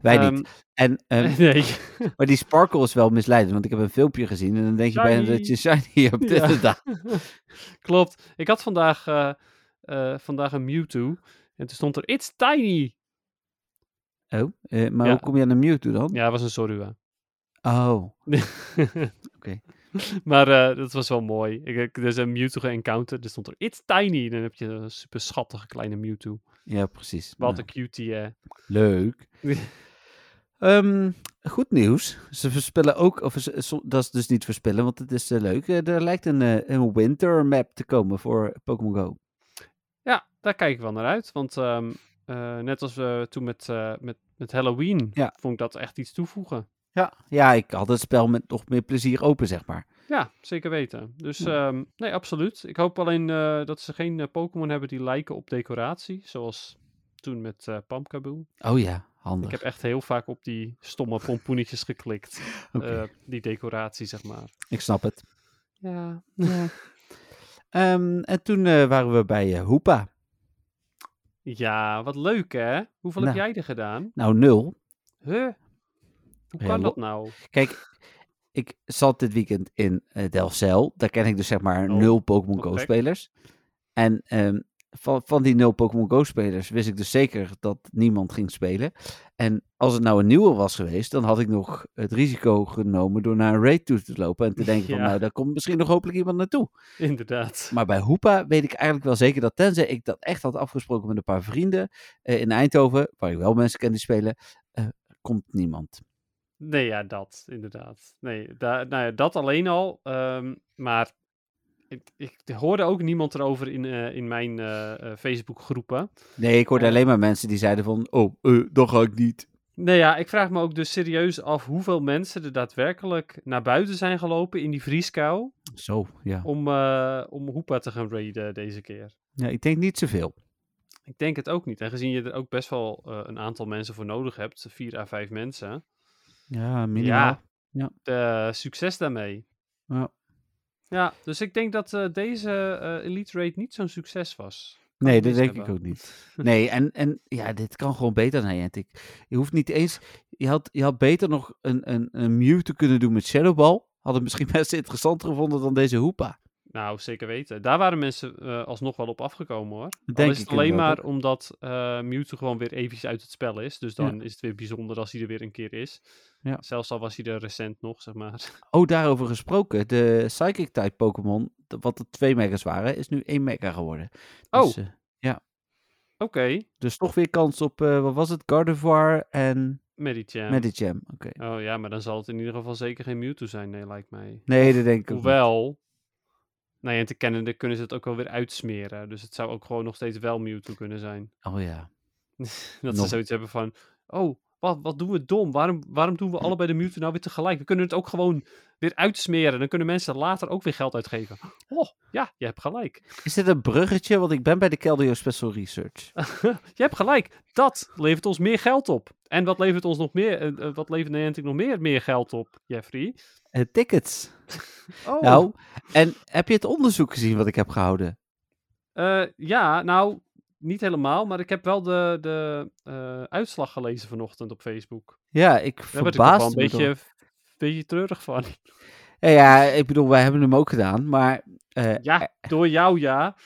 Speaker 3: Wij
Speaker 4: Ehm,
Speaker 3: niet. En ehm,
Speaker 4: nee.
Speaker 3: Maar die sparkle is wel misleidend, want ik heb een filmpje gezien en dan denk je bijna
Speaker 4: Shiny.
Speaker 3: dat je shiny hebt
Speaker 4: Ja.
Speaker 3: inderdaad.
Speaker 4: Klopt. Ik had vandaag, eh, eh, vandaag een Mewtwo. En toen stond er It's Tiny.
Speaker 3: Oh, eh, maar
Speaker 4: Ja.
Speaker 3: hoe kom je aan een Mewtwo dan?
Speaker 4: Ja, dat was een Sorua.
Speaker 3: Oh, Oké.
Speaker 4: Maar eh, dat was wel mooi. Ik, ik, er is een Mewtwo encounter. Er stond er It's Tiny. En dan heb je een super schattige kleine Mewtwo.
Speaker 3: ja precies.
Speaker 4: Wat
Speaker 3: Nou,
Speaker 4: een cutie, hè.
Speaker 3: Leuk. Ehm, goed nieuws. Ze verspillen ook, of ze- so- dat is dus niet verspillen, want het is eh, leuk. Eh, er lijkt een, eh, een winter map te komen voor Pokémon Go.
Speaker 4: Ja, daar kijk ik wel naar uit. Want ehm, eh, net als we toen met, eh, met, met Halloween,
Speaker 3: Ja.
Speaker 4: vond ik dat echt iets toevoegen.
Speaker 3: Ja. Ja, ik had het spel met nog meer plezier open, zeg maar.
Speaker 4: Ja, zeker weten. Dus
Speaker 3: Ja.
Speaker 4: ehm, nee, absoluut. Ik hoop alleen eh, dat ze geen eh, Pokémon hebben die lijken op decoratie. Zoals toen met eh Pamkaboe.
Speaker 3: Oh ja, handig.
Speaker 4: Ik heb echt heel vaak op die stomme pompoenetjes geklikt.
Speaker 3: Oké,
Speaker 4: Eh, die decoratie, zeg maar.
Speaker 3: ik snap het.
Speaker 4: Ja.
Speaker 3: Ehm, en toen eh, waren we bij eh, Hoepa.
Speaker 4: Ja, wat leuk hè? Hoeveel
Speaker 3: Nou.
Speaker 4: heb jij er gedaan?
Speaker 3: Nou, nul.
Speaker 4: Huh? Hoe
Speaker 3: Ja,
Speaker 4: kan
Speaker 3: lo-
Speaker 4: dat nou?
Speaker 3: Kijk, ik zat dit weekend in eh, Delfzijl. Daar ken ik dus zeg maar
Speaker 4: Oh,
Speaker 3: nul Pokémon
Speaker 4: wat
Speaker 3: Go
Speaker 4: gek.
Speaker 3: spelers. En ehm, van, van die nul Pokémon Go spelers wist ik dus zeker dat niemand ging spelen. En als het nou een nieuwe was geweest, dan had ik nog het risico genomen door naar een raid toe te lopen. En te denken van
Speaker 4: Ja.
Speaker 3: nou, daar komt misschien nog hopelijk iemand naartoe.
Speaker 4: Inderdaad.
Speaker 3: Maar bij Hoepa weet ik eigenlijk wel zeker dat, tenzij ik dat echt had afgesproken met een paar vrienden eh, in Eindhoven, waar ik wel mensen ken die spelen, eh, komt niemand.
Speaker 4: Nee, ja, dat inderdaad. Nee, da- nou ja, dat alleen al. ehm, maar Ik, ik hoorde ook niemand erover in, eh, in mijn eh Facebook groepen.
Speaker 3: Nee, ik hoorde
Speaker 4: Eh.
Speaker 3: alleen maar mensen die zeiden van, oh, eh, dat ga ik niet.
Speaker 4: Nee Nou ja, ik vraag me ook dus serieus af hoeveel mensen er daadwerkelijk naar buiten zijn gelopen in die vrieskou
Speaker 3: Zo, ja.
Speaker 4: om, eh om hoepa te gaan raiden deze keer.
Speaker 3: ja ik denk niet zoveel.
Speaker 4: Ik denk het ook niet. En gezien je er ook best wel eh, een aantal mensen voor nodig hebt, vier à vijf mensen.
Speaker 3: Ja,
Speaker 4: Ja,
Speaker 3: minimaal. Ja.
Speaker 4: eh, succes daarmee.
Speaker 3: Ja.
Speaker 4: Ja, dus ik denk dat eh, deze eh, Elite Raid niet zo'n succes was.
Speaker 3: Nee, dat
Speaker 4: gemist
Speaker 3: denk ik
Speaker 4: hebben.
Speaker 3: ook niet. Nee, en, en ja, dit kan gewoon beter naar Niantic. Je hoeft niet eens... Je had, je had beter nog een, een, een mute kunnen doen met Shadow Ball. Had het misschien best interessanter gevonden dan deze hoepa.
Speaker 4: Nou, zeker weten. Daar waren mensen eh, alsnog wel op afgekomen hoor. Al
Speaker 3: denk
Speaker 4: is het
Speaker 3: ik
Speaker 4: alleen
Speaker 3: inderdaad
Speaker 4: maar omdat eh Mewtwo gewoon weer eventjes uit het spel is. Dus dan is het weer bijzonder als hij er weer een keer is.
Speaker 3: Ja.
Speaker 4: Zelfs al was hij er recent nog, zeg maar.
Speaker 3: Oh, daarover gesproken. De Psychic-type Pokémon, de- wat er twee megas waren, is nu één mega geworden. Dus,
Speaker 4: Oh.
Speaker 3: eh,
Speaker 4: Oké,
Speaker 3: dus toch weer kans op, eh, wat was het? Gardevoir en
Speaker 4: Medicham.
Speaker 3: Medicham. Oké.
Speaker 4: oh ja, maar dan zal het in ieder geval zeker geen Mewtwo zijn, nee, lijkt mij.
Speaker 3: Nee, dat denk ik ook niet.
Speaker 4: Hoewel, nou ja, te kennende kunnen ze het ook wel weer uitsmeren. Dus het zou ook gewoon nog steeds wel Mewtwo kunnen zijn.
Speaker 3: Oh ja.
Speaker 4: Dat
Speaker 3: Nog.
Speaker 4: ze zoiets hebben van, oh, wat, wat doen we dom? Waarom, waarom doen we
Speaker 3: Hm.
Speaker 4: allebei de Mewtwo nou weer tegelijk? We kunnen het ook gewoon weer uitsmeren. Dan kunnen mensen later ook weer geld uitgeven. Oh, ja, je hebt gelijk.
Speaker 3: Is dit een bruggetje? Want ik ben bij de Keldeo Special Research.
Speaker 4: je hebt gelijk. Dat levert ons meer geld op. En wat levert ons nog meer, eh, eh, wat levert Niantic nog meer meer geld op, Jeffrey?
Speaker 3: Eh, tickets.
Speaker 4: Oh.
Speaker 3: Nou, en heb je het onderzoek gezien wat ik heb gehouden?
Speaker 4: Eh, ja, nou, niet helemaal, maar ik heb wel de, de eh, uitslag gelezen vanochtend op Facebook.
Speaker 3: Ja, ik
Speaker 4: Daar werd ik toch wel
Speaker 3: verbaasde
Speaker 4: een
Speaker 3: me door-
Speaker 4: beetje, een beetje treurig van.
Speaker 3: Ja, ja, ik bedoel, wij hebben hem ook gedaan, maar... eh,
Speaker 4: Ja, door jou ja.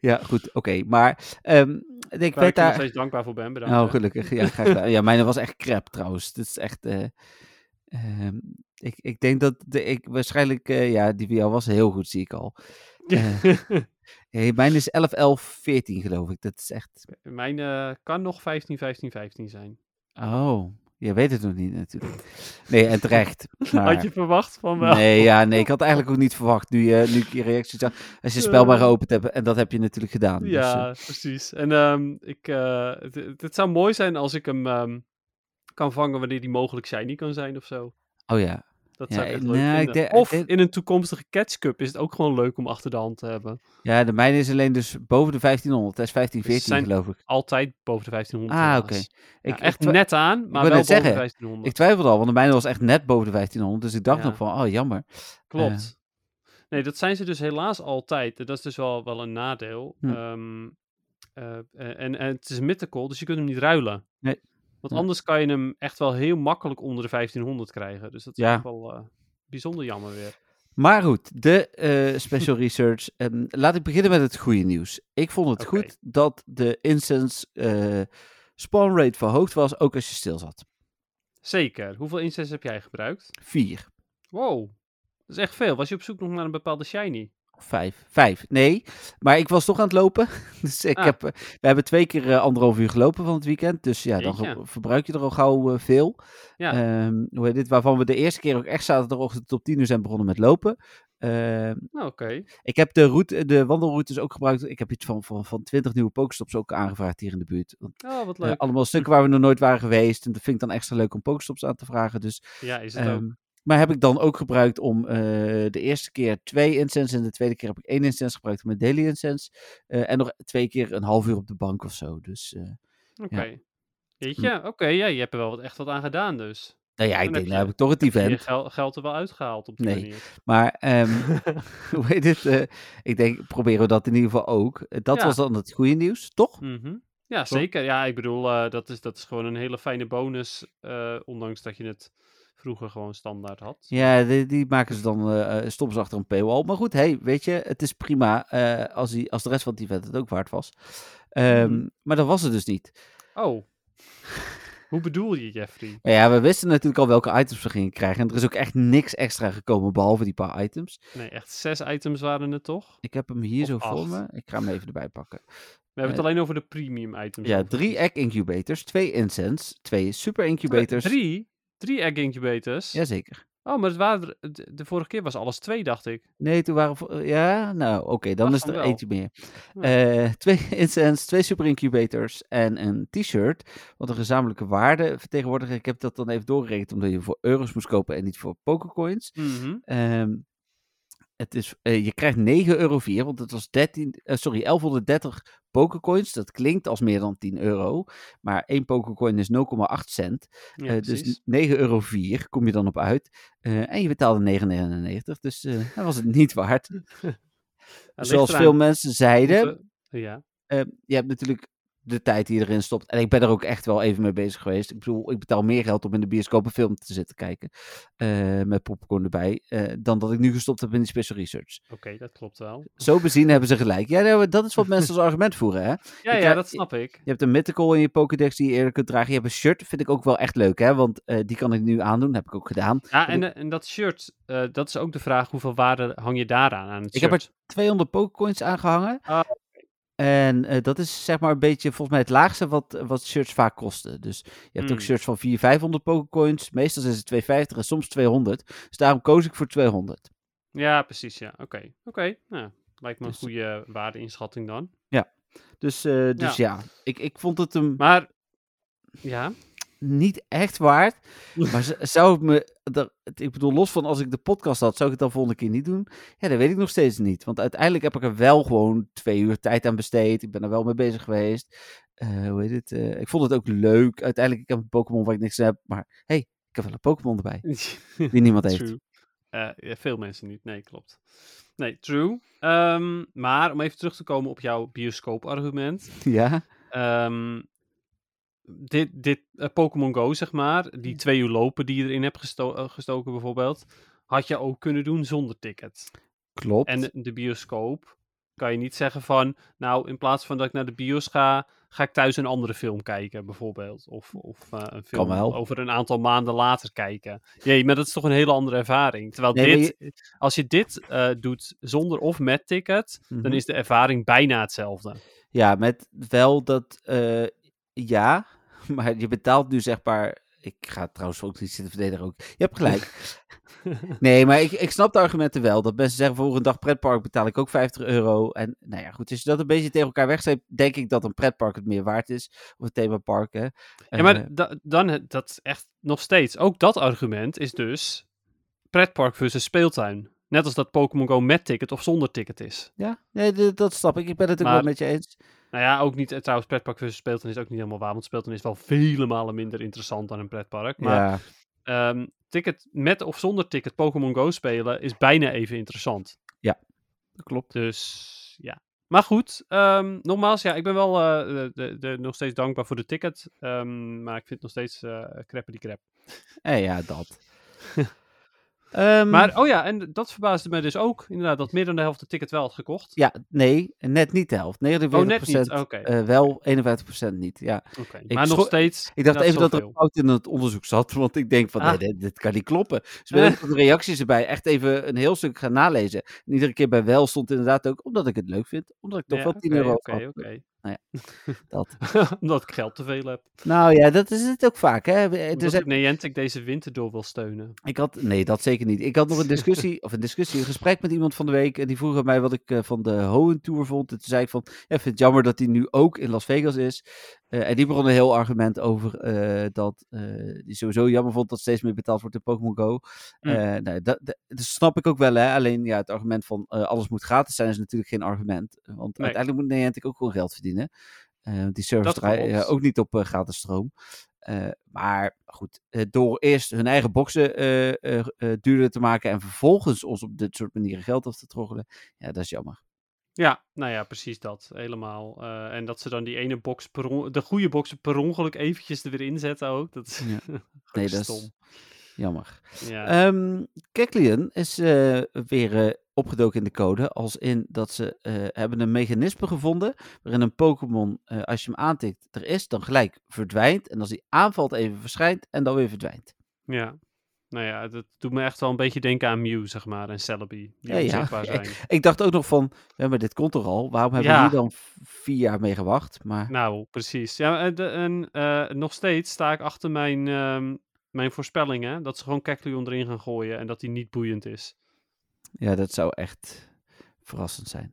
Speaker 3: ja, goed, oké. maar ehm, ik
Speaker 4: Waar
Speaker 3: werd
Speaker 4: ik je nog
Speaker 3: daar...
Speaker 4: steeds dankbaar voor ben, bedankt.
Speaker 3: Nou,
Speaker 4: hè.
Speaker 3: gelukkig. Ja, graag gedaan. ja, mijn was echt crap trouwens. Dit is echt... eh, ehm, ik, ik denk dat de, ik waarschijnlijk... eh, ja, die van jou was heel goed, zie ik al. Eh, Hey, mijn is 11, 11, 14 geloof ik. Dat is echt...
Speaker 4: Mijn eh, kan nog 15, 15, 15 zijn.
Speaker 3: Oh, je weet het nog niet natuurlijk. Nee, en terecht. Maar...
Speaker 4: Had je verwacht van wel?
Speaker 3: Nou Nee, ja, nee, ik had eigenlijk ook niet verwacht nu, je nu ik je reacties zag. Als je spel maar geopend hebt, en dat heb je natuurlijk gedaan. dus,
Speaker 4: Eh. ja,
Speaker 3: eh,
Speaker 4: precies. En ehm, ik, eh, het, het- het zou mooi zijn als ik hem ehm, kan vangen wanneer die mogelijk shiny kan zijn of zo.
Speaker 3: oh ja.
Speaker 4: Dat
Speaker 3: Ja,
Speaker 4: zou ik echt
Speaker 3: ik-
Speaker 4: leuk
Speaker 3: nou, ik
Speaker 4: vinden.
Speaker 3: denk- ik
Speaker 4: of
Speaker 3: denk-
Speaker 4: in een toekomstige Catch Cup is het ook gewoon leuk om achter de hand te hebben.
Speaker 3: Ja, de mijne is alleen dus boven de 1500. Dat is 15,
Speaker 4: Dus
Speaker 3: 14
Speaker 4: zijn-
Speaker 3: geloof ik.
Speaker 4: Altijd boven de 1500.
Speaker 3: Ah,
Speaker 4: helaas.
Speaker 3: oké.
Speaker 4: Ja,
Speaker 3: Ik,
Speaker 4: echt
Speaker 3: ik, twi-
Speaker 4: net aan, maar
Speaker 3: net
Speaker 4: wel boven
Speaker 3: zeggen,
Speaker 4: de 1500.
Speaker 3: ik twijfelde al, want de mijne was echt net boven de 1500. Dus ik dacht
Speaker 4: Ja.
Speaker 3: nog van, oh jammer.
Speaker 4: Klopt. Nee, dat zijn ze dus helaas altijd. Dat is dus wel, wel een nadeel.
Speaker 3: Hm.
Speaker 4: Ehm, eh, en, en het is mythical, dus je kunt hem niet ruilen.
Speaker 3: Nee.
Speaker 4: Want
Speaker 3: Ja.
Speaker 4: anders kan je hem echt wel heel makkelijk onder de 1500 krijgen. Dus dat is
Speaker 3: Ja.
Speaker 4: echt wel eh, bijzonder jammer weer.
Speaker 3: Maar goed, de eh, special research. Ehm, laat ik beginnen met het goede nieuws. Ik vond het
Speaker 4: Oké.
Speaker 3: goed dat de incense eh, spawn rate verhoogd was, ook als je stil zat.
Speaker 4: Zeker. Hoeveel incense heb jij gebruikt?
Speaker 3: 4.
Speaker 4: Wow. Dat is echt veel. Was je op zoek nog naar een bepaalde shiny?
Speaker 3: Vijf. Vijf. Nee, maar ik was toch aan het lopen. Dus ik
Speaker 4: Ah.
Speaker 3: heb, eh, we hebben twee keer eh, anderhalf uur gelopen van het weekend. Dus ja, dan
Speaker 4: Jeetje.
Speaker 3: ge- verbruik je er al gauw eh, veel.
Speaker 4: Ja.
Speaker 3: Ehm, hoe heet dit? Waarvan we de eerste keer ook echt zaterdagochtend tot tien uur zijn begonnen met lopen. Ehm,
Speaker 4: Nou, oké.
Speaker 3: ik heb de, route, de wandelroutes ook gebruikt. Ik heb iets van, van, van 20 nieuwe pokestops ook aangevraagd hier in de buurt. Want,
Speaker 4: Oh, wat
Speaker 3: eh,
Speaker 4: leuk.
Speaker 3: allemaal stukken waar we nog nooit waren geweest. En dat vind ik dan extra leuk om pokestops aan te vragen. Dus
Speaker 4: ja, is het ook.
Speaker 3: Ehm, maar heb ik dan ook gebruikt om eh, de eerste keer twee incense en de tweede keer heb ik één incense gebruikt om mijn daily incense. Eh, en nog twee keer een half uur op de bank of zo. Dus eh,
Speaker 4: Oké.
Speaker 3: Hm.
Speaker 4: Weet je? Oké, ja, je hebt er wel wat, echt wat aan gedaan dus.
Speaker 3: nou ja, ik
Speaker 4: Dan
Speaker 3: denk,
Speaker 4: heb
Speaker 3: nou
Speaker 4: je-
Speaker 3: heb ik toch het
Speaker 4: Je hebt
Speaker 3: event.
Speaker 4: gel- geld er wel uitgehaald op die
Speaker 3: Nee.
Speaker 4: manier.
Speaker 3: Maar ehm, hoe heet het? eh, ik denk, proberen we dat in ieder geval ook. Eh, dat
Speaker 4: Ja.
Speaker 3: was dan het goede nieuws, toch?
Speaker 4: Mhm. Ja, zeker. Ja, ik bedoel, eh, dat, is, dat is gewoon een hele fijne bonus. eh, ondanks dat je het vroeger gewoon standaard had.
Speaker 3: Ja, die, die maken ze dan eh eh, soms achter een paywall. Maar goed, hey, weet je, het is prima eh, als, die, als de rest van het event het ook waard was. Ehm,
Speaker 4: Mhm.
Speaker 3: Maar dat was het dus niet.
Speaker 4: Oh. Hoe bedoel je, Jeffrey?
Speaker 3: Nou ja, we wisten natuurlijk al welke items we gingen krijgen. En er is ook echt niks extra gekomen, behalve die paar items.
Speaker 4: Nee, echt zes items waren het toch?
Speaker 3: Ik heb hem hier
Speaker 4: Of
Speaker 3: zo voor
Speaker 4: acht.
Speaker 3: me. Ik ga hem even erbij pakken.
Speaker 4: We hebben het alleen over de premium items.
Speaker 3: Eh, Ja,
Speaker 4: overigens.
Speaker 3: drie egg incubators, twee incense, twee super
Speaker 4: Twee-
Speaker 3: incubators.
Speaker 4: Drie? Drie egg incubators?
Speaker 3: Jazeker.
Speaker 4: Oh, maar het waren er- de, de vorige keer was alles twee, dacht ik.
Speaker 3: Nee, toen waren vo- Ja, nou, oké, dan
Speaker 4: Dacht
Speaker 3: is
Speaker 4: van
Speaker 3: er
Speaker 4: wel.
Speaker 3: eentje meer.
Speaker 4: Ja.
Speaker 3: Eh, twee incense, twee super incubators en een t-shirt. Wat een gezamenlijke waarde vertegenwoordigt. Ik heb dat dan even doorgerekend, omdat je voor euro's moest kopen en niet voor pokercoins.
Speaker 4: Mhm.
Speaker 3: Ehm, het is, eh, je krijgt 9,04 euro, want het was 13, eh, sorry, 1130 pokercoins. Dat klinkt als meer dan 10 euro, maar één pokercoin is 0,8 cent.
Speaker 4: Ja,
Speaker 3: Eh,
Speaker 4: precies.
Speaker 3: dus 9,04 euro kom je dan op uit. Eh, en je betaalde 9,99, dus eh dat was het niet waard.
Speaker 4: Het
Speaker 3: Zoals
Speaker 4: ligt
Speaker 3: veel
Speaker 4: eraan
Speaker 3: mensen zeiden,
Speaker 4: hoeveel- Ja.
Speaker 3: eh, je hebt natuurlijk de tijd die je erin stopt. En ik ben er ook echt wel even mee bezig geweest. Ik bedoel, ik betaal meer geld om in de bioscoop een film te zitten kijken. eh, met popcorn erbij. eh, dan dat ik nu gestopt heb in die special research.
Speaker 4: Oké, dat klopt wel.
Speaker 3: Zo bezien hebben ze gelijk. Ja, nou, dat is wat mensen als argument voeren. Hè?
Speaker 4: Ja,
Speaker 3: Ik
Speaker 4: ja,
Speaker 3: ga-
Speaker 4: dat snap ik.
Speaker 3: Je hebt een mythical in je Pokédex die je eerder kunt dragen. Je hebt een shirt, vind ik ook wel echt leuk. Hè? Want eh, die kan ik nu aandoen, heb ik ook gedaan.
Speaker 4: Ja, en, eh, en dat shirt, eh, dat is ook de vraag, hoeveel waarde hang je daaraan aan het
Speaker 3: Ik heb er
Speaker 4: shirt?
Speaker 3: 200 Pokécoins aangehangen.
Speaker 4: Ah,
Speaker 3: En eh, dat is zeg maar een beetje volgens mij het laagste wat, wat shirts vaak kosten. Dus je hebt ook
Speaker 4: Hmm.
Speaker 3: shirts van 400, 500 Pokécoins. Meestal zijn ze 250 en soms 200. Dus daarom koos ik voor 200.
Speaker 4: Ja, precies, ja. Oké, oké. Nou, lijkt me een
Speaker 3: Dus-
Speaker 4: goede waardeinschatting dan.
Speaker 3: Dus, eh, dus ja, Ik, ik vond het hem
Speaker 4: Maar, ja,
Speaker 3: niet echt waard. Maar z- zou het me... dat- het- ik bedoel, los van als ik de podcast had, zou ik het dan volgende keer niet doen? Ja, dat weet ik nog steeds niet. Want uiteindelijk heb ik er wel gewoon twee uur tijd aan besteed. Ik ben er wel mee bezig geweest. Eh, hoe heet het? Eh, ik vond het ook leuk. Uiteindelijk, ik heb een Pokémon waar ik niks aan heb. Maar hey, ik heb wel een Pokémon erbij. Die niemand heeft.
Speaker 4: true. Eh, ja, veel mensen niet, nee, klopt. Nee, true. Ehm, maar om even terug te komen op jouw bioscoop-argument.
Speaker 3: Ja,
Speaker 4: Ehm, dit dit eh, Pokémon Go, zeg maar, die twee uur lopen die je erin hebt gesto- eh, gestoken bijvoorbeeld, had je ook kunnen doen zonder ticket.
Speaker 3: klopt.
Speaker 4: En eh, de- de bioscoop kan je niet zeggen van, nou, in plaats van dat ik naar de bios ga, ga ik thuis een andere film kijken, bijvoorbeeld. Of, of eh, een film
Speaker 3: wel.
Speaker 4: over een aantal maanden later kijken. Nee, maar dat is toch een hele andere ervaring. Terwijl
Speaker 3: Nee, maar
Speaker 4: dit, als je dit eh, doet zonder of met ticket,
Speaker 3: Mhm.
Speaker 4: dan is de ervaring bijna hetzelfde.
Speaker 3: Ja, met wel dat... eh, ja, maar je betaalt nu zeg maar... Ik ga het trouwens ook niet zitten verdedigen ook. Je hebt gelijk. nee, maar ik, ik snap de argumenten wel. Dat mensen zeggen voor een dag pretpark betaal ik ook 50 euro. En nou ja, goed. Als je dat een beetje tegen elkaar wegstreept, denk ik dat een pretpark het meer waard is. Of een themapark, hè.
Speaker 4: Ja, maar
Speaker 3: Eh,
Speaker 4: da- dan, he- dat is echt nog steeds. Ook dat argument is dus pretpark versus speeltuin. Net als dat Pokémon Go met ticket of zonder ticket is.
Speaker 3: ja, nee, d- dat snap ik. Ik ben het ook
Speaker 4: Maar-
Speaker 3: wel met je eens.
Speaker 4: Nou ja, ook niet, eh, trouwens, pretpark versus speeltuin is ook niet helemaal waar. Want speeltuin is wel vele malen minder interessant dan een pretpark. Maar
Speaker 3: ja.
Speaker 4: ehm, ticket met of zonder ticket Pokémon Go spelen is bijna even interessant.
Speaker 3: klopt.
Speaker 4: Dus ja. Maar goed, ehm, nogmaals, ja, ik ben wel eh, de, de, de- nog steeds dankbaar voor de ticket. ehm, maar ik vind het nog steeds eh creppen die crap.
Speaker 3: Eh, ja, dat. Ehm,
Speaker 4: Maar, oh ja, en dat verbaasde mij dus ook. Inderdaad, dat meer dan de helft het ticket wel had gekocht.
Speaker 3: Ja, nee, net niet de helft. 49%
Speaker 4: Oh, net niet. Oké.
Speaker 3: eh, wel, 51% niet. Ja.
Speaker 4: Oké. Maar
Speaker 3: schro-
Speaker 4: nog steeds.
Speaker 3: Ik dacht
Speaker 4: net
Speaker 3: even dat er een
Speaker 4: zoveel.
Speaker 3: fout in het onderzoek zat, want ik denk van,
Speaker 4: Ah.
Speaker 3: nee, dit, dit kan niet kloppen. Dus ik ben
Speaker 4: Eh.
Speaker 3: ook de reacties erbij echt even een heel stuk gaan nalezen. En iedere keer bij wel stond inderdaad ook, omdat ik het leuk vind, omdat ik toch
Speaker 4: Ja,
Speaker 3: wel 10
Speaker 4: oké,
Speaker 3: euro
Speaker 4: Oké,
Speaker 3: had.
Speaker 4: oké.
Speaker 3: Nou dat.
Speaker 4: Omdat ik geld te veel heb.
Speaker 3: Nou ja, dat is het ook vaak. Hè. Er
Speaker 4: Omdat
Speaker 3: zijn-
Speaker 4: ik Niantic deze winter door wil steunen.
Speaker 3: Ik had, nee, dat zeker niet. Ik had nog een discussie, of een discussie, een gesprek met iemand van de week. En die vroeg aan mij wat ik eh, van de Hohen Tour vond. En toen zei ik van, ja, ik vind het jammer dat die nu ook in Las Vegas is. Eh, en die begon een heel argument over eh, dat eh, die sowieso jammer vond dat steeds meer betaald wordt in Pokémon Go.
Speaker 4: Mm.
Speaker 3: Eh, nou, dat, dat, dat snap ik ook wel, hè. Alleen ja, het argument van eh, alles moet gratis zijn is natuurlijk geen argument. Want
Speaker 4: Nee.
Speaker 3: uiteindelijk moet Niantic ook gewoon geld verdienen. Eh, want die service
Speaker 4: Dat
Speaker 3: draait
Speaker 4: klopt.
Speaker 3: eh, ook niet op eh, gratis stroom. Eh, maar goed, eh, door eerst hun eigen boxen eh, eh, eh, duurder te maken en vervolgens ons op dit soort manieren geld af te troggelen, ja, dat is jammer.
Speaker 4: Ja, nou ja, precies dat. Helemaal. Eh, en dat ze dan die ene box, per on- de goede box per ongeluk eventjes er weer inzetten ook. Dat is
Speaker 3: Ja.
Speaker 4: gewoon
Speaker 3: Nee, dat
Speaker 4: stom.
Speaker 3: is jammer.
Speaker 4: Ja.
Speaker 3: Ehm Keklian is eh, weer eh, opgedoken in de code, als in dat ze eh, hebben een mechanisme gevonden waarin een Pokémon, eh, als je hem aantikt, er is, dan gelijk verdwijnt. En als hij aanvalt, even verschijnt en dan weer verdwijnt.
Speaker 4: ja. Nou ja, dat doet me echt wel een beetje denken aan Mew, zeg maar, en Celebi. Die
Speaker 3: Ja, ja.
Speaker 4: onzichtbaar zijn.
Speaker 3: Ik dacht ook nog van, ja, maar dit komt er al, waarom hebben
Speaker 4: Ja.
Speaker 3: we hier dan v- vier jaar mee gewacht? Maar...
Speaker 4: Nou, precies. Ja, en, de- en eh, nog steeds sta ik achter mijn, ehm, mijn voorspellingen, dat ze gewoon Kecleon erin gaan gooien en dat die niet boeiend is.
Speaker 3: Ja, dat zou echt verrassend zijn.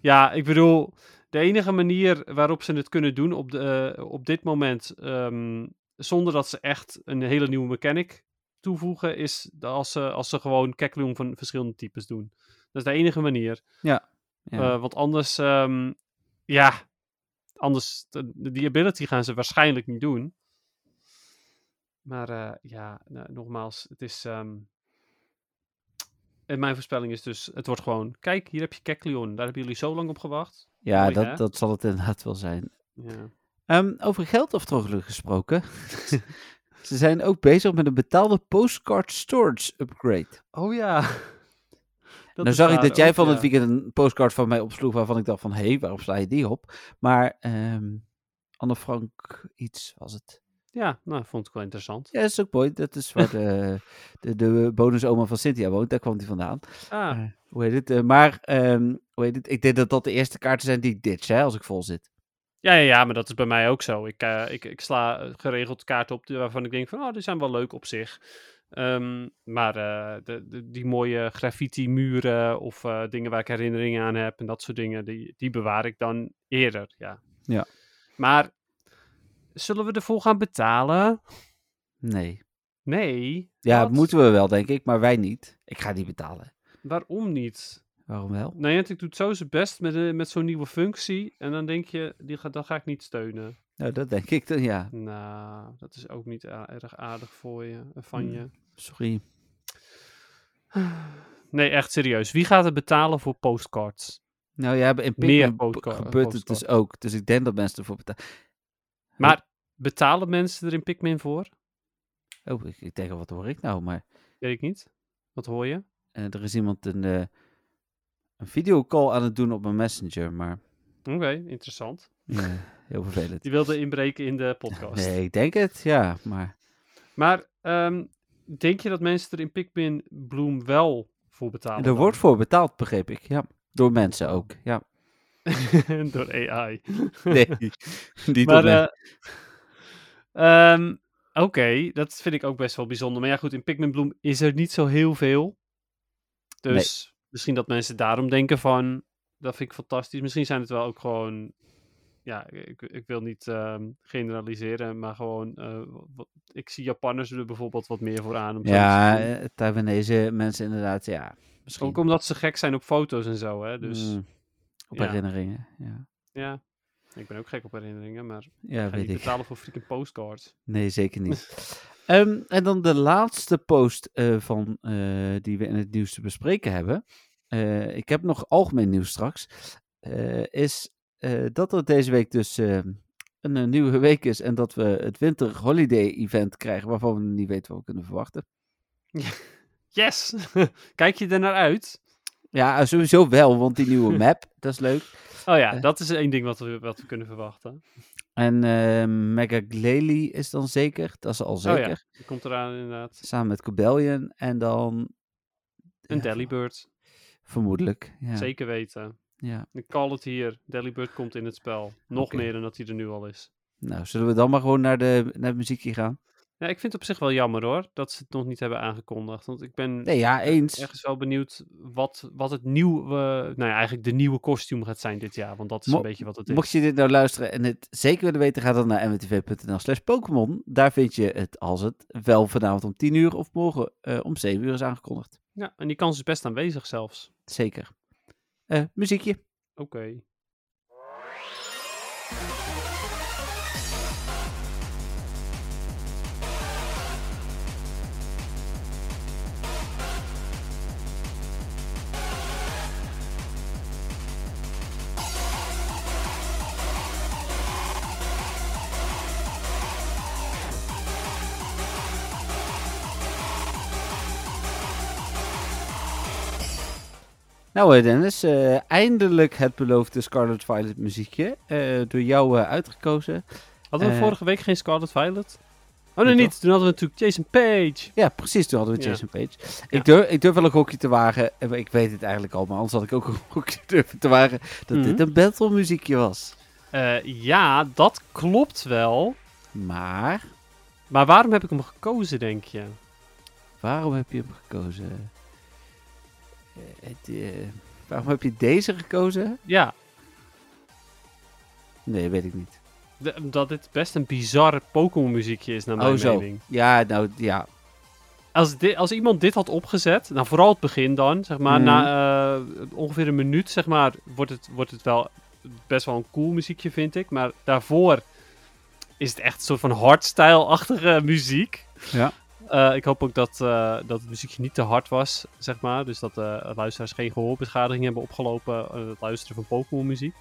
Speaker 4: ja, ik bedoel, de enige manier waarop ze het kunnen doen op, de, eh, op dit moment, ehm, zonder dat ze echt een hele nieuwe mechanic toevoegen, is de- als ze, als ze gewoon Kecleon van verschillende types doen. Dat is de enige manier.
Speaker 3: Ja.
Speaker 4: Eh, want anders, ehm, ja, anders, de- die ability gaan ze waarschijnlijk niet doen. Maar eh, ja, nou, nogmaals, het is. ehm, en mijn voorspelling is dus: het wordt gewoon. Kijk, hier heb je Keklion. Daar hebben jullie zo lang op gewacht.
Speaker 3: ja,
Speaker 4: mooi, hè?
Speaker 3: dat, dat zal het inderdaad wel zijn.
Speaker 4: Ja.
Speaker 3: Ehm, over geldaftrogelen gesproken. Ze zijn ook bezig met een betaalde postcard storage upgrade.
Speaker 4: Oh ja. Dat
Speaker 3: nou
Speaker 4: is
Speaker 3: zag ik
Speaker 4: waar
Speaker 3: dat jij
Speaker 4: ook,
Speaker 3: van
Speaker 4: ja.
Speaker 3: het weekend een postcard van mij opsloeg waarvan ik dacht van, hé, waarop sla je die op? Maar ehm Anne Frank iets was het.
Speaker 4: Ja, nou, vond ik wel interessant.
Speaker 3: Ja, dat is ook mooi. Dat is waar de, de, de bonusoma van Cynthia woont. Daar kwam die vandaan.
Speaker 4: Ah,
Speaker 3: Eh, hoe heet het? Eh, maar, ehm, hoe heet het? Ik denk dat dat de eerste kaarten zijn die ik ditch, hè, als ik vol zit.
Speaker 4: ja, ja, ja, maar dat is bij mij ook zo. Ik, eh, ik, ik sla eh, geregeld kaarten op die- waarvan ik denk van, oh, die zijn wel leuk op zich. Ehm, maar eh, de, de- die mooie graffiti-muren of eh, dingen waar ik herinneringen aan heb en dat soort dingen, die, die bewaar ik dan eerder, ja.
Speaker 3: Ja.
Speaker 4: Maar zullen we ervoor gaan betalen?
Speaker 3: Nee.
Speaker 4: Nee.
Speaker 3: Ja,
Speaker 4: Wat?
Speaker 3: moeten we wel, denk ik, maar wij niet. Ik ga die betalen.
Speaker 4: Waarom niet?
Speaker 3: Waarom wel?
Speaker 4: Niantic doet zo zijn best met, eh, met zo'n nieuwe functie. En dan denk je, die ga, dat ga ik niet steunen.
Speaker 3: Nou, dat denk ik dan, ja.
Speaker 4: Nou, dat is ook niet a- erg aardig voor je, eh, van
Speaker 3: Hmm.
Speaker 4: je.
Speaker 3: Sorry.
Speaker 4: Nee, echt serieus. Wie gaat het betalen voor postcards?
Speaker 3: Nou ja, in
Speaker 4: Meer
Speaker 3: Pikmin
Speaker 4: postca-
Speaker 3: gebeurt het dus
Speaker 4: postcards.
Speaker 3: ook. Dus ik denk dat mensen ervoor betalen.
Speaker 4: Maar betalen mensen er in Pikmin voor?
Speaker 3: Oh, ik, ik denk al, wat hoor ik nou? Maar
Speaker 4: Weet ik niet. Wat hoor je?
Speaker 3: eh, er is iemand een, eh een videocall aan het doen op mijn messenger, maar
Speaker 4: Oké, interessant.
Speaker 3: eh, heel vervelend.
Speaker 4: Die wilde inbreken in de podcast.
Speaker 3: Nee, ik denk het, ja, maar
Speaker 4: Maar ehm, denk je dat mensen er in Pikmin Bloom wel voor betalen?
Speaker 3: er
Speaker 4: dan?
Speaker 3: wordt voor betaald, begreep ik, ja. Door mensen ook, ja.
Speaker 4: Door AI.
Speaker 3: Nee, die door
Speaker 4: maar,
Speaker 3: mensen.
Speaker 4: eh, ehm, Oké, dat vind ik ook best wel bijzonder. Maar ja, goed, in Pikmin Bloom is er niet zo heel veel. Dus misschien dat mensen daarom denken van... Dat vind ik fantastisch. Misschien zijn het wel ook gewoon... Ja, ik, ik wil niet ehm, generaliseren, maar gewoon... eh, wat- ik zie Japanners er bijvoorbeeld wat meer voor aan. Om zoiets
Speaker 3: Ja,
Speaker 4: te doen.
Speaker 3: eh, Taiwanese mensen inderdaad, ja. Misschien.
Speaker 4: Ook omdat ze gek zijn op foto's en zo, hè. Dus
Speaker 3: Mm, op
Speaker 4: ja.
Speaker 3: herinneringen, ja.
Speaker 4: ja, ik ben ook gek op herinneringen, maar...
Speaker 3: Ja,
Speaker 4: Ik ga niet
Speaker 3: weet ik.
Speaker 4: betalen voor freaking postcards.
Speaker 3: Nee, zeker niet. Ehm, en dan de laatste post eh, van, eh, die we in het nieuws te bespreken hebben. Eh, ik heb nog algemeen nieuws straks. Eh, is eh, dat er deze week dus eh, een, eh, nieuwe week is. En dat we het winter holiday event krijgen. Waarvan we niet weten wat we kunnen verwachten.
Speaker 4: Yes! Kijk je er naar uit?
Speaker 3: Ja, eh, sowieso wel. Want die nieuwe map, dat is leuk.
Speaker 4: Oh ja,
Speaker 3: Eh.
Speaker 4: dat is één ding wat we, wat we kunnen verwachten.
Speaker 3: En eh Megaglely is dan zeker. Dat is al
Speaker 4: Oh ja.
Speaker 3: zeker.
Speaker 4: Die komt eraan inderdaad.
Speaker 3: Samen met Cobellion. En dan...
Speaker 4: Een
Speaker 3: ja,
Speaker 4: Delibird,
Speaker 3: Vermoedelijk, ja.
Speaker 4: zeker weten.
Speaker 3: ja.
Speaker 4: Ik call het hier. Delibird komt in het spel. Nog
Speaker 3: Oké.
Speaker 4: meer dan dat hij er nu al is.
Speaker 3: Nou, zullen we dan maar gewoon naar, de, naar het muziekje gaan?
Speaker 4: Ja, ik vind het op zich wel jammer hoor, dat ze het nog niet hebben aangekondigd. Want ik ben
Speaker 3: Nee, ja, eens.
Speaker 4: ergens wel benieuwd wat, wat het nieuwe, nou ja, eigenlijk de nieuwe kostuum gaat zijn dit jaar. Want dat is
Speaker 3: Mo-
Speaker 4: een beetje wat het is.
Speaker 3: Mocht je dit nou luisteren en het zeker willen weten, ga dan naar mwtv.nl slash Pokémon. Daar vind je het, als het wel vanavond om 10 uur of morgen eh, om 7 uur is aangekondigd.
Speaker 4: Ja, en die kans is best aanwezig zelfs.
Speaker 3: Zeker. Eh, muziekje.
Speaker 4: Oké.
Speaker 3: Nou eh, Dennis, eh, eindelijk het beloofde Scarlet Violet muziekje. eh, door jou eh, uitgekozen.
Speaker 4: Hadden we
Speaker 3: Eh.
Speaker 4: vorige week geen Scarlet Violet? Oh nee,
Speaker 3: Nee,
Speaker 4: niet. Toen hadden we natuurlijk Jason Page.
Speaker 3: Ja, precies, toen hadden we
Speaker 4: Ja.
Speaker 3: Jason Page. Ik, durf, ik durf wel een gokje te wagen. eh, maar Ik weet het eigenlijk al, maar anders had ik ook een gokje durven te wagen. Dat
Speaker 4: Mhm.
Speaker 3: dit een battle muziekje was.
Speaker 4: Eh, ja, dat klopt wel.
Speaker 3: Maar...
Speaker 4: Maar waarom heb ik hem gekozen, denk je?
Speaker 3: Waarom heb je hem gekozen? Eh, het, eh, waarom heb je deze gekozen?
Speaker 4: Ja,
Speaker 3: Nee, weet ik niet.
Speaker 4: de- omdat dit best een bizar Pokémon muziekje is, naar mijn
Speaker 3: oh, zo.
Speaker 4: mening.
Speaker 3: Ja, nou ja.
Speaker 4: Als, di- als iemand dit had opgezet, nou vooral het begin dan, zeg maar,
Speaker 3: Mhm.
Speaker 4: na eh, ongeveer een minuut, zeg maar, wordt het, wordt het wel best wel een cool muziekje, vind ik. Maar daarvoor is het echt een soort van hardstyle-achtige muziek.
Speaker 3: Ja.
Speaker 4: Eh, ik hoop ook dat, eh, dat het muziekje niet te hard was, zeg maar. Dus dat de luisteraars geen gehoorbeschadiging hebben opgelopen aan het luisteren van Pokémon-muziek.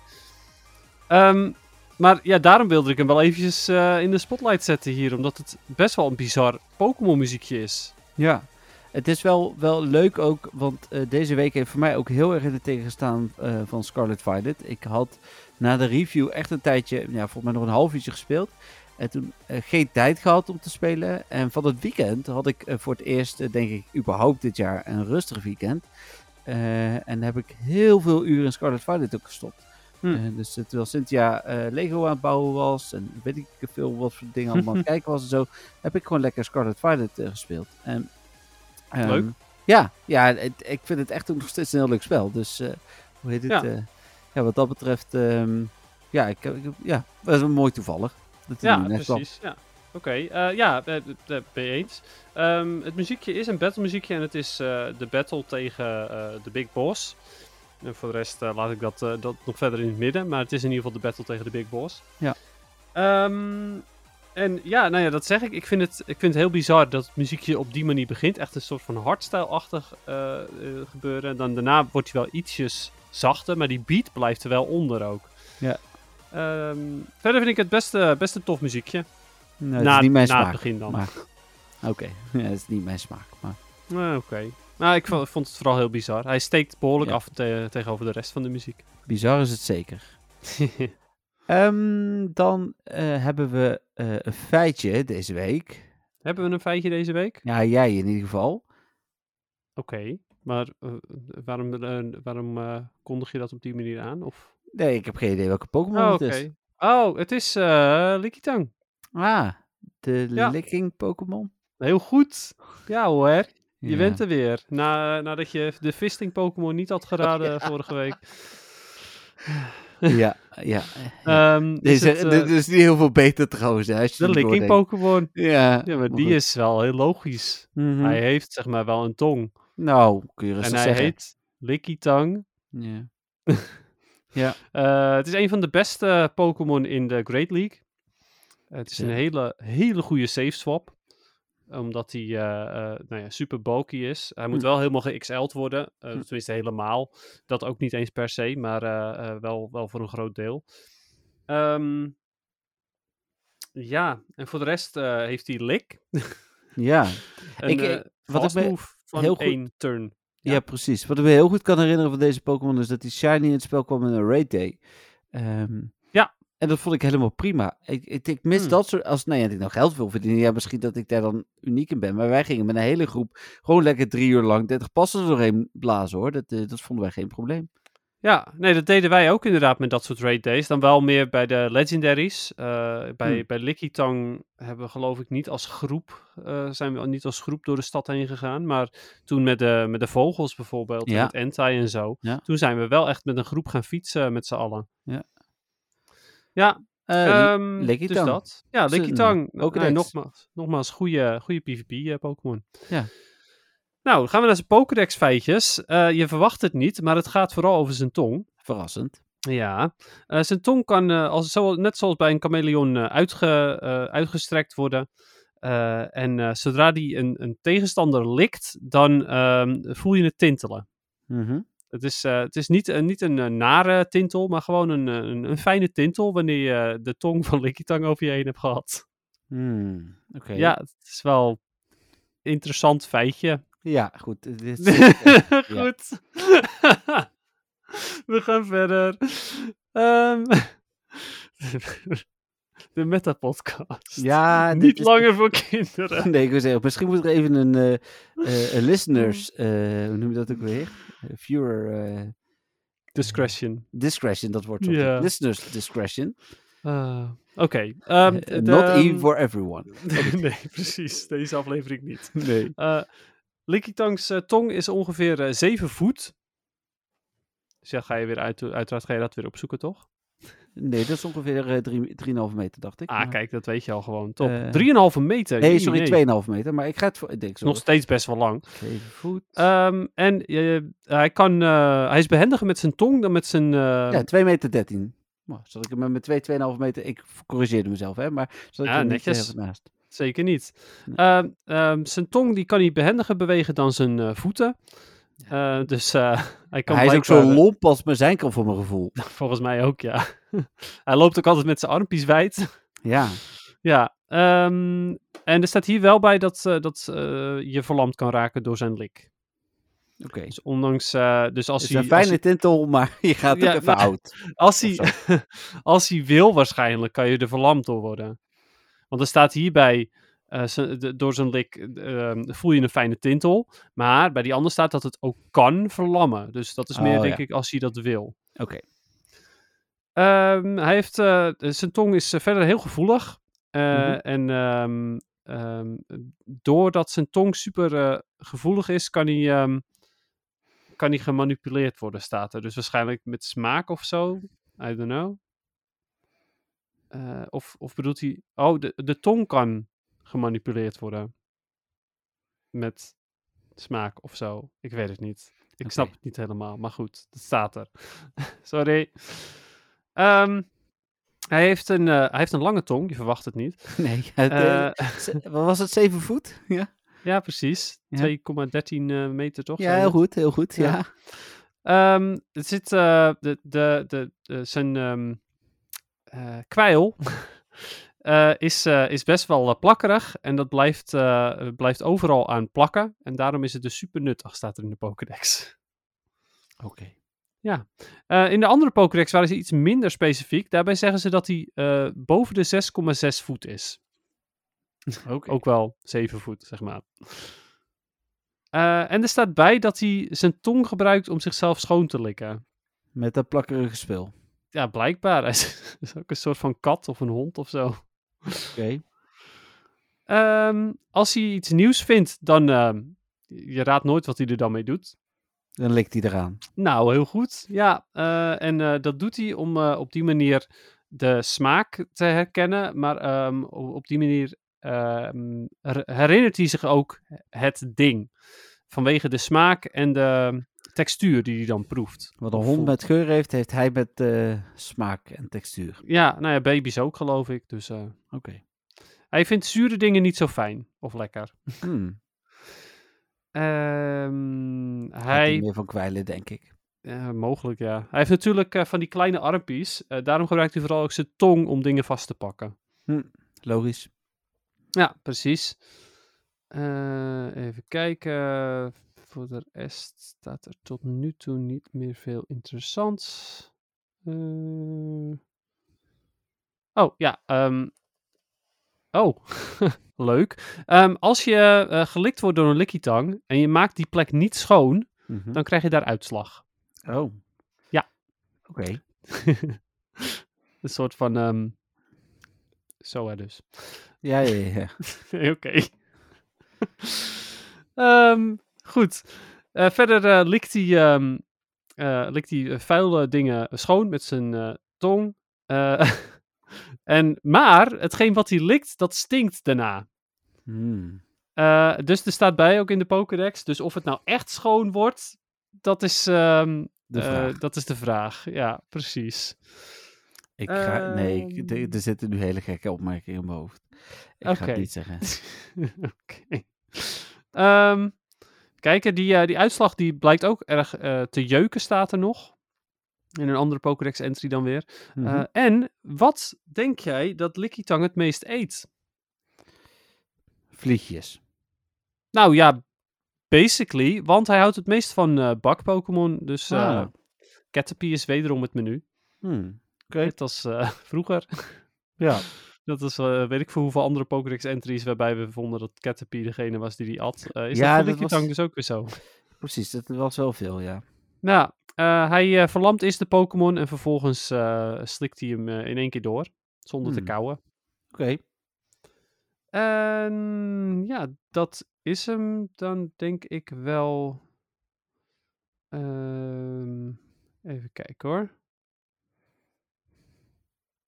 Speaker 4: Ehm, maar ja, daarom wilde ik hem wel eventjes eh, in de spotlight zetten hier. Omdat het best wel een bizar Pokémon-muziekje is.
Speaker 3: Ja. Het is wel, wel leuk ook, want eh, deze week heeft voor mij ook heel erg in de tegengestaan eh, van Scarlet Violet. Ik had na de review echt een tijdje, ja, volgens mij nog een half uurtje gespeeld. En toen eh, geen tijd gehad om te spelen. En van het weekend had ik eh, voor het eerst, eh, denk ik, überhaupt dit jaar een rustig weekend. Eh, en heb ik heel veel uren in Scarlet Violet ook gestopt.
Speaker 4: Hmm.
Speaker 3: Eh, dus eh, terwijl Cynthia eh, Lego aan het bouwen was en weet ik veel wat voor dingen allemaal aan het kijken was en zo, heb ik gewoon lekker Scarlet Violet eh, gespeeld. En, ehm,
Speaker 4: Leuk.
Speaker 3: Ja, ja het- ik vind het echt ook nog steeds een heel leuk spel. Dus eh, hoe heet het?
Speaker 4: Ja.
Speaker 3: Ja. ja, wat dat betreft, ehm, ja, ik, ik, ja, dat is wel mooi toevallig. Dat hij
Speaker 4: Ja,
Speaker 3: nu net kwam.
Speaker 4: precies. Ja. Oké, eh, ja, eh, eh, eh, ben je eens. Ehm, het muziekje is een battle muziekje en het is eh, de battle tegen eh, de Big Boss. En voor de rest eh, laat ik dat, eh, dat nog verder in het midden, maar het is in ieder geval de battle tegen de Big Boss.
Speaker 3: Ja.
Speaker 4: Ehm, en ja, nou ja, dat zeg ik. Ik vind, het, ik vind het heel bizar dat het muziekje op die manier begint. Echt een soort van hardstyle-achtig eh, eh, gebeuren. En dan daarna wordt hij wel ietsjes zachter, maar die beat blijft er wel onder ook.
Speaker 3: Ja.
Speaker 4: Ehm, verder vind ik het best, eh, best een tof muziekje.
Speaker 3: Nou, het
Speaker 4: na,
Speaker 3: is niet mijn
Speaker 4: na het
Speaker 3: smaak.
Speaker 4: begin dan.
Speaker 3: maar- Oké, ja, het is niet mijn smaak. Maar
Speaker 4: Ah, Oké. Nou, ik vo- vond het vooral heel bizar. Hij steekt behoorlijk
Speaker 3: Ja.
Speaker 4: af te- tegenover de rest van de muziek.
Speaker 3: bizar is het zeker. Ehm, dan eh, hebben we eh, een feitje deze week.
Speaker 4: Hebben we een feitje deze week?
Speaker 3: Ja, jij in ieder geval.
Speaker 4: Oké. Maar eh, waarom, eh, waarom eh, kondig je dat op die manier aan? Of...
Speaker 3: Nee, ik heb geen idee welke Pokémon
Speaker 4: Oh,
Speaker 3: het
Speaker 4: oké.
Speaker 3: is.
Speaker 4: Oh, het is eh Likitang.
Speaker 3: Ah, de
Speaker 4: Ja.
Speaker 3: Licking Pokémon.
Speaker 4: Heel goed. Ja hoor. Je
Speaker 3: Ja.
Speaker 4: bent er weer. Na, nadat je de Fisting Pokémon niet had geraden vorige week.
Speaker 3: Ja, ja.
Speaker 4: Ehm, is
Speaker 3: Deze,
Speaker 4: het, eh,
Speaker 3: dit is niet heel veel beter trouwens. Hè, als je
Speaker 4: de
Speaker 3: het
Speaker 4: Licking
Speaker 3: doordenkt.
Speaker 4: Pokémon.
Speaker 3: Ja,
Speaker 4: Ja, maar
Speaker 3: maar
Speaker 4: die
Speaker 3: goed.
Speaker 4: is wel heel logisch.
Speaker 3: Mhm.
Speaker 4: Hij heeft zeg maar wel een tong.
Speaker 3: Nou, kun je
Speaker 4: en
Speaker 3: rustig
Speaker 4: hij
Speaker 3: zeggen.
Speaker 4: heet Lickitung.
Speaker 3: Ja.
Speaker 4: Eh het is een van de beste Pokémon in de Great League. Eh, het is een
Speaker 3: Ja.
Speaker 4: hele, hele goede safe swap. Omdat hij eh, eh, nou ja, super bulky is. Hij moet
Speaker 3: Hm.
Speaker 4: wel helemaal ge-XL'd worden. eh,
Speaker 3: Hm.
Speaker 4: Tenminste helemaal. Dat ook niet eens per se. Maar eh, eh, wel, wel voor een groot deel. Ehm, ja, en voor de rest eh, heeft hij Lick.
Speaker 3: ja.
Speaker 4: Een,
Speaker 3: Ik, eh,
Speaker 4: eh,
Speaker 3: wat
Speaker 4: fast
Speaker 3: ik me
Speaker 4: move van
Speaker 3: heel goed-
Speaker 4: één turn. Ja.
Speaker 3: Ja. precies. Wat ik me heel goed kan herinneren van deze Pokémon is dat die Shiny in het spel kwam in een Raid Day. Ehm,
Speaker 4: Ja.
Speaker 3: En dat vond ik helemaal prima. Ik, ik, ik mis
Speaker 4: Hmm.
Speaker 3: dat soort. Als nou ja, dat ik nog geld wil verdienen, ja, misschien dat ik daar dan uniek in ben. Maar wij gingen met een hele groep gewoon lekker drie uur lang 30 passen er doorheen blazen hoor. Dat, eh, dat vonden wij geen probleem.
Speaker 4: Ja, nee, dat deden wij ook inderdaad met dat soort raid days. Dan wel meer bij de legendaries. Eh, bij,
Speaker 3: Hmm.
Speaker 4: bij Lickitung hebben we geloof ik niet als groep, eh, zijn we al niet als groep door de stad heen gegaan. Maar toen met de, met de vogels bijvoorbeeld, en
Speaker 3: Ja.
Speaker 4: met Entai en zo.
Speaker 3: Ja.
Speaker 4: Toen zijn we wel echt met een groep gaan fietsen met z'n allen.
Speaker 3: Ja.
Speaker 4: Ja,
Speaker 3: Eh,
Speaker 4: ehm dus
Speaker 3: Lickitung.
Speaker 4: dat. Ja,
Speaker 3: Is een
Speaker 4: Lickitung.
Speaker 3: Pokédex.
Speaker 4: Nee, nogmaals, nogmaals goede, goede PvP-Pokémon.
Speaker 3: Ja.
Speaker 4: eh, Nou, dan gaan we naar zijn Pokédex-feitjes. Eh, je verwacht het niet, maar het gaat vooral over zijn tong.
Speaker 3: verrassend.
Speaker 4: Ja, eh, zijn tong kan eh, als, zo, net zoals bij een chameleon eh, uitge, eh, uitgestrekt worden. Eh, en eh, zodra die een, een tegenstander likt, dan ehm, voel je het tintelen.
Speaker 3: Mhm.
Speaker 4: Het is, eh, het is niet, eh, niet een eh, nare tintel, maar gewoon een, eh, een, een fijne tintel wanneer je de tong van Likitang over je heen hebt gehad.
Speaker 3: Hmm, Oké.
Speaker 4: Ja, het is wel een interessant feitje.
Speaker 3: ja, goed. Dit is-
Speaker 4: Goed. We gaan verder. Ehm de Meta-podcast.
Speaker 3: ja, dit
Speaker 4: Niet
Speaker 3: is-
Speaker 4: langer voor kinderen.
Speaker 3: Nee, ik wil zeggen, misschien moet er even een eh, eh, een listeners, eh, hoe noem je dat ook weer? Eh, viewer eh,
Speaker 4: Discretion.
Speaker 3: discretion, dat wordt toch?
Speaker 4: Ja.
Speaker 3: Listeners discretion.
Speaker 4: Eh, Oké. ehm,
Speaker 3: Eh,
Speaker 4: de-
Speaker 3: Not even for everyone.
Speaker 4: nee, precies. Deze aflevering niet.
Speaker 3: Nee.
Speaker 4: Eh Licky Tong's eh, tong is ongeveer eh, 7 voet. Dus ja, ga je weer uit, uiteraard ga je dat weer opzoeken, toch?
Speaker 3: Nee, dat is ongeveer eh, drie- 3,5 meter, dacht ik.
Speaker 4: Ah,
Speaker 3: maar-
Speaker 4: kijk, dat weet je al gewoon. Top.
Speaker 3: Eh,
Speaker 4: 3,5 meter.
Speaker 3: Nee,
Speaker 4: jee,
Speaker 3: sorry,
Speaker 4: nee.
Speaker 3: 2,5 meter. Maar ik ga het voor. Ik denk zo.
Speaker 4: Nog steeds best wel lang.
Speaker 3: Zeven voet.
Speaker 4: Ehm, en je- hij, kan, eh, hij is behendiger met zijn tong dan met zijn... eh,
Speaker 3: ja, 2 meter 13. Nou, zat ik hem met twee 2,5 meter. Ik corrigeerde mezelf, hè? Maar zat ik
Speaker 4: Ja,
Speaker 3: er niet
Speaker 4: netjes.
Speaker 3: even naast.
Speaker 4: Zeker niet.
Speaker 3: Nee.
Speaker 4: Ehm, ehm, zijn tong die kan hij behendiger bewegen dan zijn eh, voeten. Eh, dus eh, hij kan
Speaker 3: Hij is ook
Speaker 4: blijkbaar-
Speaker 3: zo lomp als maar zijn kan, voor mijn gevoel.
Speaker 4: Volgens mij ook, ja. hij loopt ook altijd met zijn armpjes wijd.
Speaker 3: Ja.
Speaker 4: Ja, ehm, en er staat hier wel bij dat, eh, dat eh, je verlamd kan raken door zijn lik.
Speaker 3: Oké.
Speaker 4: Dus ondanks, eh, dus
Speaker 3: Het
Speaker 4: als
Speaker 3: is
Speaker 4: hij,
Speaker 3: een
Speaker 4: als,
Speaker 3: fijne
Speaker 4: hij,
Speaker 3: tintel, maar je gaat ook
Speaker 4: Ja,
Speaker 3: even
Speaker 4: nou-
Speaker 3: oud.
Speaker 4: als, hij, als hij wil waarschijnlijk, kan je er verlamd door worden. Want er staat hierbij, eh, ze- de- door zijn lik eh, ehm, voel je een fijne tintel, maar bij die ander staat dat het ook kan verlammen. Dus dat is meer,
Speaker 3: Oh,
Speaker 4: denk
Speaker 3: ja.
Speaker 4: ik, als hij dat wil.
Speaker 3: Oké.
Speaker 4: Ehm, hij heeft, eh, zijn tong is eh, verder heel gevoelig. Eh,
Speaker 3: Mhm.
Speaker 4: En ehm, ehm, doordat zijn tong super eh, gevoelig is, kan hij, ehm, kan hij gemanipuleerd worden, staat er. Dus waarschijnlijk met smaak of zo. I don't know. Eh, of, of bedoelt hij... Oh, de, de tong kan gemanipuleerd worden. Met smaak of zo. Ik weet het niet. Ik
Speaker 3: Oké.
Speaker 4: snap het niet helemaal, maar goed, dat staat er. Sorry. Ehm, hij, heeft een, eh, hij heeft een lange tong, je verwacht het niet.
Speaker 3: Nee. het, eh,
Speaker 4: Eh,
Speaker 3: ze- wat was het? 7 voet? Ja.
Speaker 4: ja, precies. 2,13 eh, meter toch?
Speaker 3: Ja,
Speaker 4: zei
Speaker 3: heel
Speaker 4: het?
Speaker 3: goed. Heel goed.
Speaker 4: Ja.
Speaker 3: Ja.
Speaker 4: Ehm, er zit eh, de, de, de, de- zijn ehm, eh, kwijl eh, is, eh, is best wel eh, plakkerig en dat blijft, eh, blijft overal aan plakken. En daarom is het dus super nuttig, staat er in de Pokédex.
Speaker 3: Oké.
Speaker 4: Eh, in de andere Pokédex waren ze iets minder specifiek. Daarbij zeggen ze dat hij eh, boven de 6,6 voet is. Ook wel 7 voet, zeg maar. Eh, en er staat bij dat hij zijn tong gebruikt om zichzelf schoon te likken.
Speaker 3: Met dat plakkerige speel. Oké.
Speaker 4: Ja, blijkbaar. Hij is, is ook een soort van kat of een hond of zo. Ehm, als hij iets nieuws vindt, dan... ehm, je raadt nooit wat hij er dan mee doet.
Speaker 3: Dan likt hij eraan.
Speaker 4: Nou, heel goed. Ja, eh, en eh, dat doet hij om eh, op die manier de smaak te herkennen. Maar ehm, o- op die manier ehm, her- herinnert hij zich ook het ding. Vanwege de smaak en de textuur die hij dan proeft.
Speaker 3: Wat een
Speaker 4: Of
Speaker 3: hond
Speaker 4: voelt.
Speaker 3: met geur heeft, heeft hij met eh, smaak en textuur.
Speaker 4: Ja, nou ja, baby's ook geloof ik. Dus eh,
Speaker 3: Oké.
Speaker 4: hij vindt zure dingen niet zo fijn of lekker.
Speaker 3: Hmm.
Speaker 4: Ehm,
Speaker 3: Gaat hij
Speaker 4: hij
Speaker 3: meer van kwijlen, denk ik.
Speaker 4: Eh, mogelijk, ja. Hij heeft natuurlijk eh, van die kleine armpjes. Eh, daarom gebruikt hij vooral ook zijn tong om dingen vast te pakken.
Speaker 3: Logisch.
Speaker 4: Ja, precies. Eh, even kijken. Voor de rest staat er tot nu toe niet meer veel interessants. Eh, Oh, ja. ehm, Oh, leuk. Ehm, als je eh, gelikt wordt door een likkietang en je maakt die plek niet schoon,
Speaker 3: Mhm.
Speaker 4: dan krijg je daar uitslag.
Speaker 3: Oh.
Speaker 4: Ja.
Speaker 3: Oké.
Speaker 4: een soort van. ehm zo hè, dus.
Speaker 3: Ja, ja, ja, ja.
Speaker 4: Nee, Oké. Ehm, goed. Eh, verder eh, likt hij, ehm, eh, likt hij eh, vuile dingen schoon met zijn eh, tong. Eh, en, maar hetgeen wat hij likt, dat stinkt daarna.
Speaker 3: Hmm.
Speaker 4: Eh, dus er staat bij ook in de Pokédex. Dus of het nou echt schoon wordt, dat is, ehm,
Speaker 3: De
Speaker 4: eh,
Speaker 3: vraag.
Speaker 4: dat is de vraag. Ja, precies.
Speaker 3: Ik ga... Nee, ik-
Speaker 4: Ehm.
Speaker 3: er- er zitten nu hele gekke opmerkingen in mijn hoofd. Ik ga
Speaker 4: Oké. Eh.
Speaker 3: het niet zeggen.
Speaker 4: Oké. Ehm, kijk, die, eh, die uitslag die blijkt ook erg eh, te jeuken, staat er nog. In een andere Pokédex-entry dan weer.
Speaker 3: Mhm.
Speaker 4: Eh, en wat denk jij dat Likitang het meest eet?
Speaker 3: Vliegjes.
Speaker 4: Nou ja, basically, want hij houdt het meest van eh, bak-Pokémon. Dus eh
Speaker 3: Ah.
Speaker 4: Caterpie is wederom het menu.
Speaker 3: Hmm.
Speaker 4: Net als eh, vroeger.
Speaker 3: Ja.
Speaker 4: Dat is, eh, weet ik voor hoeveel andere Pokédex-entries waarbij we vonden dat Caterpie degene was die die at. Eh, is
Speaker 3: Ja,
Speaker 4: dat voor
Speaker 3: dat was-
Speaker 4: Likitang dus ook weer zo?
Speaker 3: Precies, dat was wel veel, ja.
Speaker 4: Nou, eh, hij eh verlamt is de Pokémon en vervolgens eh, slikt hij hem eh, in één keer door. Zonder te
Speaker 3: Hmm.
Speaker 4: kauwen.
Speaker 3: Oké.
Speaker 4: En Ehm, ja, dat is hem dan denk ik wel. Ehm, even kijken hoor.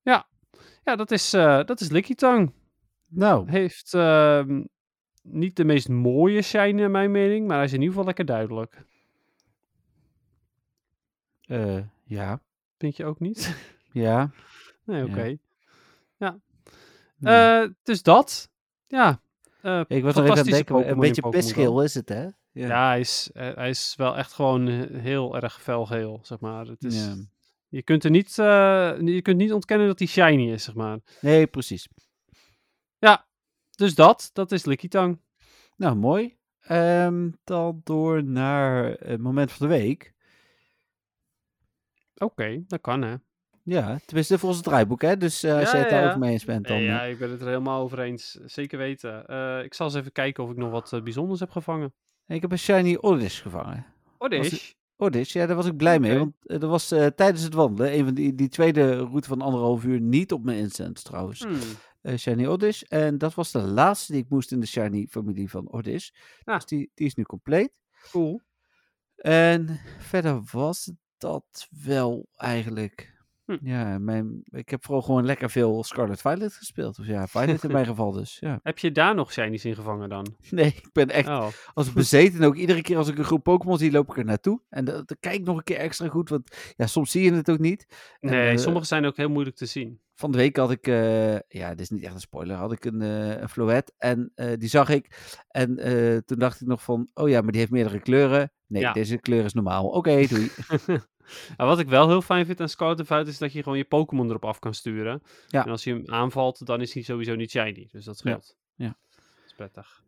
Speaker 4: Ja, ja dat is, eh dat is Licky Tang.
Speaker 3: Nou,
Speaker 4: Heeft ehm, niet de meest mooie shine in mijn mening, maar hij is in ieder geval lekker duidelijk.
Speaker 3: eh, ja.
Speaker 4: Vind je ook niet?
Speaker 3: Ja.
Speaker 4: nee,
Speaker 3: Ja.
Speaker 4: oké.
Speaker 3: Nee.
Speaker 4: Eh, dus dat. Ja. eh,
Speaker 3: ik was er even aan het
Speaker 4: fantastische
Speaker 3: denken, maar een
Speaker 4: Pokémon in
Speaker 3: beetje
Speaker 4: Pokémon Go.
Speaker 3: pestgeel is het, hè?
Speaker 4: Ja, hij is, eh, hij is wel echt gewoon eh, heel erg felgeel, zeg maar. Het is,
Speaker 3: Ja.
Speaker 4: je, kunt er niet, eh, je kunt niet ontkennen dat hij shiny is, zeg maar.
Speaker 3: Nee, precies.
Speaker 4: Dus dat, dat is Likitang.
Speaker 3: Nou, mooi. Ehm, dan door naar het moment van de week.
Speaker 4: Oké, dat kan hè.
Speaker 3: Ja, tenminste volgens het draaiboek, hè? Dus eh, als
Speaker 4: Ja,
Speaker 3: jij het
Speaker 4: ja,
Speaker 3: daarover
Speaker 4: ja.
Speaker 3: mee eens bent, dan...
Speaker 4: ja,
Speaker 3: eh,
Speaker 4: ik ben het er helemaal over eens. Zeker weten. Eh, ik zal eens even kijken of ik nog wat eh, bijzonders heb gevangen.
Speaker 3: eh, Ik heb een shiny Oddish gevangen.
Speaker 4: Oh,
Speaker 3: Was
Speaker 4: is.
Speaker 3: Oddish, ja, daar was ik blij mee,
Speaker 4: Oké.
Speaker 3: want eh, dat was eh, tijdens het wandelen. Een van die, die tweede route van anderhalf uur niet op mijn incense trouwens.
Speaker 4: Hmm.
Speaker 3: eh, Shiny Oddish. En dat was de laatste die ik moest in de Shiny familie van Oddish.
Speaker 4: Ah.
Speaker 3: Dus die, die is nu compleet.
Speaker 4: Cool.
Speaker 3: En verder was dat wel eigenlijk.
Speaker 4: Hm.
Speaker 3: Ja, mijn, ik heb vooral gewoon lekker veel Scarlet Violet gespeeld. Of ja, Violet in mijn geval dus. Ja.
Speaker 4: Heb je daar nog shinies in gevangen dan?
Speaker 3: Nee, ik ben echt
Speaker 4: Oh,
Speaker 3: als bezeten. En ook iedere keer als ik een groep Pokémon zie, loop ik er naartoe. En dan dan kijk ik nog een keer extra goed. Want ja, soms zie je het ook niet. En,
Speaker 4: nee,
Speaker 3: eh,
Speaker 4: sommige zijn ook heel moeilijk te zien.
Speaker 3: van de week had ik, eh, ja, dit is niet echt een spoiler, had ik een, eh een floet en eh, die zag ik. En eh, toen dacht ik nog van, oh ja, maar die heeft meerdere kleuren. Nee,
Speaker 4: Ja.
Speaker 3: deze kleur is normaal. Oké, doei.
Speaker 4: Maar wat ik wel heel fijn vind aan Scarlet en Violet is dat je gewoon je Pokémon erop af kan sturen.
Speaker 3: Ja.
Speaker 4: En als je hem aanvalt, dan is hij sowieso niet shiny. Dus dat
Speaker 3: Ja,
Speaker 4: scheelt.
Speaker 3: ja.
Speaker 4: Dat is prettig.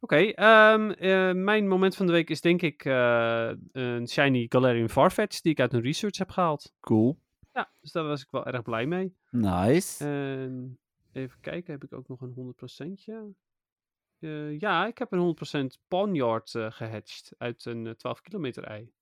Speaker 4: Oké, ehm, eh, mijn moment van de week is denk ik eh, een shiny Galarian Farfetch die ik uit een research heb gehaald.
Speaker 3: Cool. Eh,
Speaker 4: Ja, dus daar was ik wel erg blij mee.
Speaker 3: Nice.
Speaker 4: En even kijken, heb ik ook nog een 100%tje? Eh ja, ik heb een 100% Ponyard eh gehatcht uit een eh, 12 kilometer ei.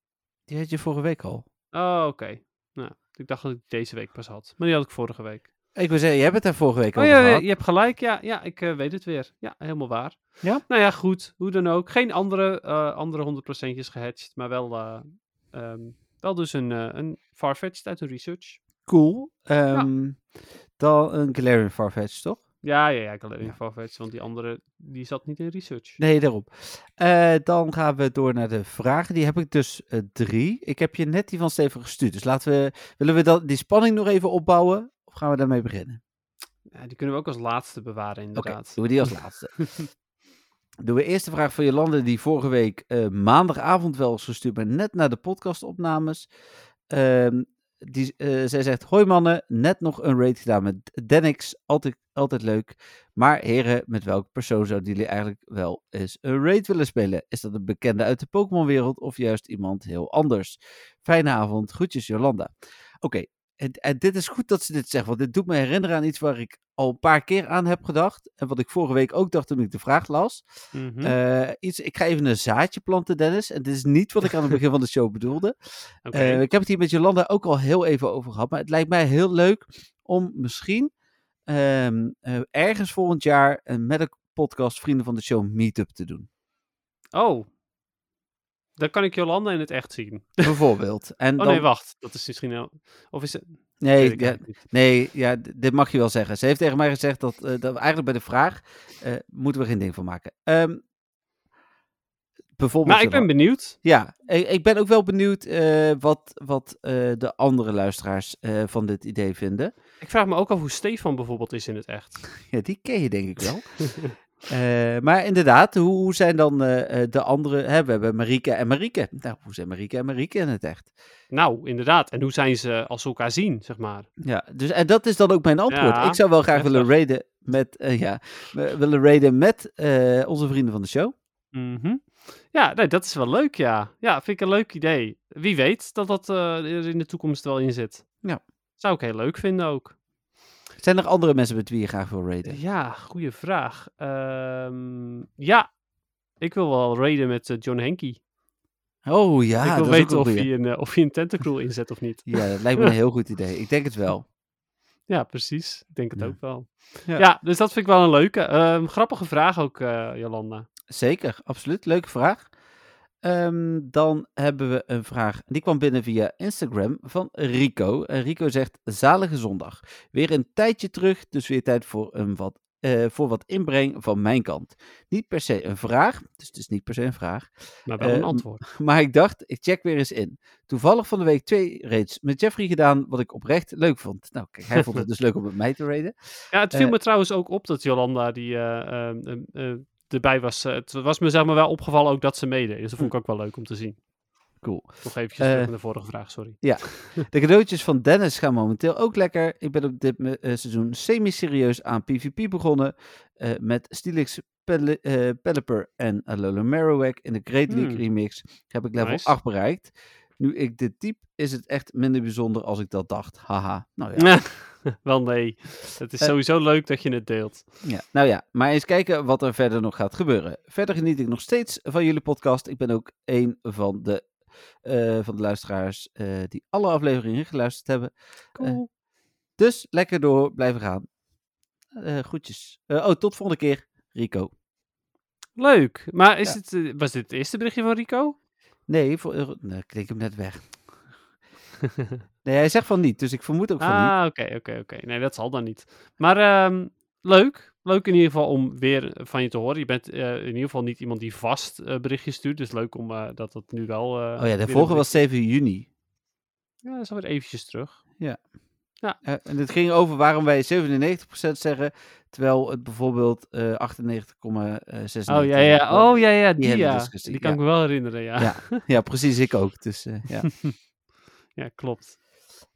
Speaker 3: die had je vorige week al.
Speaker 4: Oh, oké. Nou, ik dacht dat ik deze week pas had. Maar die had ik vorige week.
Speaker 3: Ik wil zeggen, je hebt het daar vorige week
Speaker 4: Oh
Speaker 3: over
Speaker 4: ja,
Speaker 3: gehad.
Speaker 4: je hebt gelijk. Ja, ja ik eh, weet het weer. Ja, helemaal waar.
Speaker 3: Ja?
Speaker 4: Nou ja, goed. Hoe dan ook. Geen andere, eh andere 100%'jes gehatcht. Maar wel, eh, ehm, wel dus een, eh een Farfetch'd uit een research.
Speaker 3: Cool. Ehm, Dan een Galarian Farfetch, toch?
Speaker 4: Ja, ja, ja. Ik had alleen
Speaker 3: Ja.
Speaker 4: Farfetch'd, want die andere die zat niet in research.
Speaker 3: Nee, daarom. Eh, dan gaan we door naar de vragen. Die heb ik dus eh, drie. Ik heb je net die van Steven gestuurd. Dus laten we, willen we dat, die spanning nog even opbouwen? Of gaan we daarmee beginnen?
Speaker 4: Ja, die kunnen we ook als laatste bewaren,
Speaker 3: Oké,
Speaker 4: inderdaad.
Speaker 3: doen we die als laatste. doen we eerst de vraag van Jolande, die vorige week eh, maandagavond wel is gestuurd, maar net na de podcastopnames. Ehm, die, eh, zij zegt, hoi mannen, net nog een raid gedaan met Denix, altijd, altijd leuk. Maar heren, met welk persoon zouden jullie eigenlijk wel eens een raid willen spelen? Is dat een bekende uit de Pokémon wereld of juist iemand heel anders? Fijne avond, groetjes Jolanda. Oké, en, en dit is goed dat ze dit zegt, want dit doet me herinneren aan iets waar ik al een paar keer aan heb gedacht. En wat ik vorige week ook dacht toen ik de vraag las.
Speaker 4: Mhm.
Speaker 3: Eh, iets, ik ga even een zaadje planten, Dennis. En dit is niet wat ik aan het begin van de show bedoelde.
Speaker 4: Oké.
Speaker 3: Eh, ik heb het hier met Jolanda ook al heel even over gehad. Maar het lijkt mij heel leuk om misschien ehm, eh, ergens volgend jaar een met een podcast Vrienden van de Show meetup te doen.
Speaker 4: Oh. Dan kan ik Jolanda in het echt zien.
Speaker 3: Bijvoorbeeld. En
Speaker 4: Oh
Speaker 3: dan,
Speaker 4: nee, wacht. Dat is misschien... wel- Of is het...
Speaker 3: nee,
Speaker 4: Weet ik
Speaker 3: ja,
Speaker 4: eigenlijk niet.
Speaker 3: Nee, ja, d- dit mag je wel zeggen. Ze heeft tegen mij gezegd dat, eh, dat we eigenlijk bij de vraag eh, moeten we geen ding van maken. Ehm, bijvoorbeeld.
Speaker 4: Nou, ik ben
Speaker 3: Jolanda.
Speaker 4: benieuwd.
Speaker 3: Ja, ik, ik ben ook wel benieuwd eh, wat, wat eh, de andere luisteraars eh, van dit idee vinden.
Speaker 4: Ik vraag me ook af hoe Stefan bijvoorbeeld is in het echt.
Speaker 3: Ja, die ken je denk ik wel. Eh, maar inderdaad, hoe, hoe zijn dan eh, eh, de andere? Hè, we hebben Marieke en Marieke. Nou, hoe zijn Marieke en Marieke in het echt?
Speaker 4: Nou, inderdaad. En hoe zijn ze als ze elkaar zien, zeg maar?
Speaker 3: Ja, dus en dat is dan ook mijn antwoord.
Speaker 4: Ja,
Speaker 3: ik zou wel graag willen
Speaker 4: heftig.
Speaker 3: raiden met, eh, ja, we- willen raiden met eh, onze vrienden van de show.
Speaker 4: Mhm. Ja, nee, dat is wel leuk, ja. Ja, vind ik een leuk idee. Wie weet dat dat eh, er in de toekomst wel in zit.
Speaker 3: Ja.
Speaker 4: Zou ik heel leuk vinden ook.
Speaker 3: Zijn er andere mensen met wie je graag wil raiden?
Speaker 4: Ja, goede vraag. Ehm, ja, ik wil wel raiden met eh, John Henky.
Speaker 3: Oh ja,
Speaker 4: ik
Speaker 3: dat
Speaker 4: wil
Speaker 3: is ook een
Speaker 4: weten of
Speaker 3: goeie.
Speaker 4: hij, een, eh, of hij een tentacruel inzet of niet.
Speaker 3: Ja, dat lijkt me een heel goed idee. Ik denk het wel.
Speaker 4: Ja, precies. Ik denk het
Speaker 3: Ja.
Speaker 4: ook wel.
Speaker 3: Ja.
Speaker 4: Ja. dus dat vind ik wel een leuke. Ehm, grappige vraag ook, eh, Jolanda.
Speaker 3: Zeker, absoluut. Leuke vraag. Ehm, dan hebben we een vraag. Die kwam binnen via Instagram van Rico. En Rico zegt: Zalige zondag. Weer een tijdje terug, dus weer tijd voor, een wat, eh, voor wat inbreng van mijn kant. Niet per se een vraag, dus het is niet per se een vraag.
Speaker 4: Maar wel
Speaker 3: Eh,
Speaker 4: een antwoord.
Speaker 3: Maar ik dacht, ik check weer eens in. Toevallig van de week twee raids met Jeffrey gedaan, wat ik oprecht leuk vond. Nou, kijk, hij vond het dus leuk om met mij te raiden.
Speaker 4: Ja, het viel
Speaker 3: eh,
Speaker 4: me trouwens ook op dat Jolanda die eh, ehm, ehm, eh, erbij was. Eh, het was me zeg maar wel opgevallen ook dat ze meedeed. Dus dat vond ik ook wel leuk om te zien.
Speaker 3: Cool.
Speaker 4: Nog eventjes terug
Speaker 3: Hm. Eh,
Speaker 4: naar de vorige vraag, sorry.
Speaker 3: De cadeautjes van Dennis gaan momenteel ook lekker. Ik ben op dit me- eh, seizoen semi-serieus aan PvP begonnen. eh, met Steelix, Pel- eh, Pelipper en Alola Marowak in de Great League
Speaker 4: Hmm.
Speaker 3: remix. Heb ik level
Speaker 4: Nice.
Speaker 3: 8 bereikt. Nu ik dit type, is het echt minder bijzonder als ik dat dacht. Haha. Nou ja.
Speaker 4: wel nee. Het is
Speaker 3: Eh,
Speaker 4: sowieso leuk dat je het deelt.
Speaker 3: Ja, nou ja, maar eens kijken wat er verder nog gaat gebeuren. Verder geniet ik nog steeds van jullie podcast. Ik ben ook een van de, eh, van de luisteraars eh, die alle afleveringen geluisterd hebben.
Speaker 4: Cool.
Speaker 3: Dus lekker door blijven gaan. Eh groetjes. Eh, oh, tot volgende keer, Rico.
Speaker 4: leuk. Maar is
Speaker 3: ja.
Speaker 4: het, eh, was dit het eerste berichtje van Rico?
Speaker 3: Nee, voor, eh, nee, ik klik hem net weg. Nee, hij zegt van niet, dus ik vermoed ook van niet.
Speaker 4: Ah, oké, oké, oké. Nee, dat zal dan niet. Maar ehm, leuk. Leuk in ieder geval om weer van je te horen. Je bent eh, in ieder geval niet iemand die vast eh, berichtjes stuurt. Dus leuk om eh, dat dat nu wel... eh,
Speaker 3: Oh ja,
Speaker 4: weer
Speaker 3: de
Speaker 4: een
Speaker 3: vorige was
Speaker 4: bericht-
Speaker 3: 7 juni.
Speaker 4: Ja, dat is alweer eventjes terug.
Speaker 3: Eh, en het ging over waarom wij 97% zeggen, terwijl het bijvoorbeeld eh 98,96.
Speaker 4: Oh ja,
Speaker 3: eh,
Speaker 4: ja. Oh ja, ja. Die,
Speaker 3: hele
Speaker 4: ja.
Speaker 3: discussie,
Speaker 4: die kan
Speaker 3: dus ja.
Speaker 4: ik me wel herinneren, ja.
Speaker 3: Ja.
Speaker 4: Ja,
Speaker 3: Ja, precies, ik ook. Dus, eh, ja.
Speaker 4: klopt.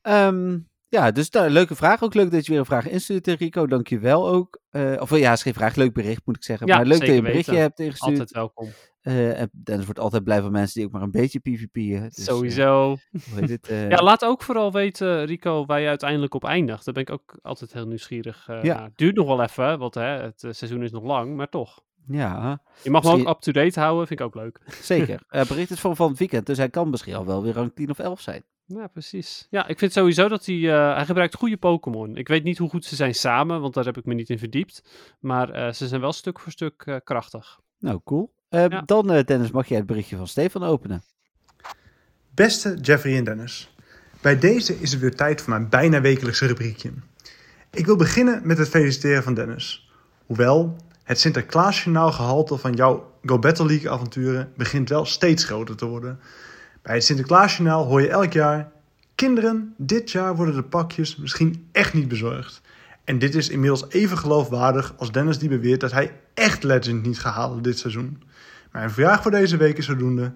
Speaker 3: Ehm, ja, dus daar, leuke vraag. Ook leuk dat je weer een vraag instuurt, eh, Rico. Dankjewel ook. Eh, of ja, is geen vraag, leuk bericht moet ik zeggen.
Speaker 4: Ja,
Speaker 3: maar leuk dat je
Speaker 4: zeker
Speaker 3: een berichtje
Speaker 4: weten.
Speaker 3: hebt ingestuurd.
Speaker 4: Altijd welkom.
Speaker 3: Eh, en Dennis wordt altijd blij van mensen die ook maar een beetje PvP'en. Dus, eh,
Speaker 4: Sowieso.
Speaker 3: hoe heet het? eh,
Speaker 4: Ja, laat ook vooral weten, eh, Rico, waar je uiteindelijk op eindigt. Daar ben ik ook altijd heel nieuwsgierig eh,
Speaker 3: Ja.
Speaker 4: naar. Duurt nog wel even, want hè, het eh, seizoen is nog lang, maar toch.
Speaker 3: ja,
Speaker 4: Je mag me
Speaker 3: Misschien-
Speaker 4: ook up-to-date houden, vind ik ook leuk.
Speaker 3: zeker. Eh bericht is van van het weekend, dus hij kan misschien al wel weer rang 10 of 11 zijn.
Speaker 4: Ja, precies. Ja, ik vind sowieso dat hij... eh, hij gebruikt goede Pokémon. Ik weet niet hoe goed ze zijn samen, want daar heb ik me niet in verdiept. Maar eh, ze zijn wel stuk voor stuk eh, krachtig.
Speaker 3: Nou, cool. Eh,
Speaker 4: Ja.
Speaker 3: Dan, eh, Dennis, mag jij het berichtje van Stefan openen?
Speaker 1: Beste Jeffrey en Dennis, bij deze is het weer tijd voor mijn bijna wekelijkse rubriekje. Ik wil beginnen met het feliciteren van Dennis. Hoewel, het Sinterklaasjournaal gehalte van jouw Go Battle League avonturen begint wel steeds groter te worden. Bij het Sinterklaasjournaal hoor je elk jaar... Kinderen, dit jaar worden de pakjes misschien echt niet bezorgd. En dit is inmiddels even geloofwaardig als Dennis die beweert dat hij echt Legend niet gaat halen dit seizoen. Mijn vraag voor deze week is zodoende...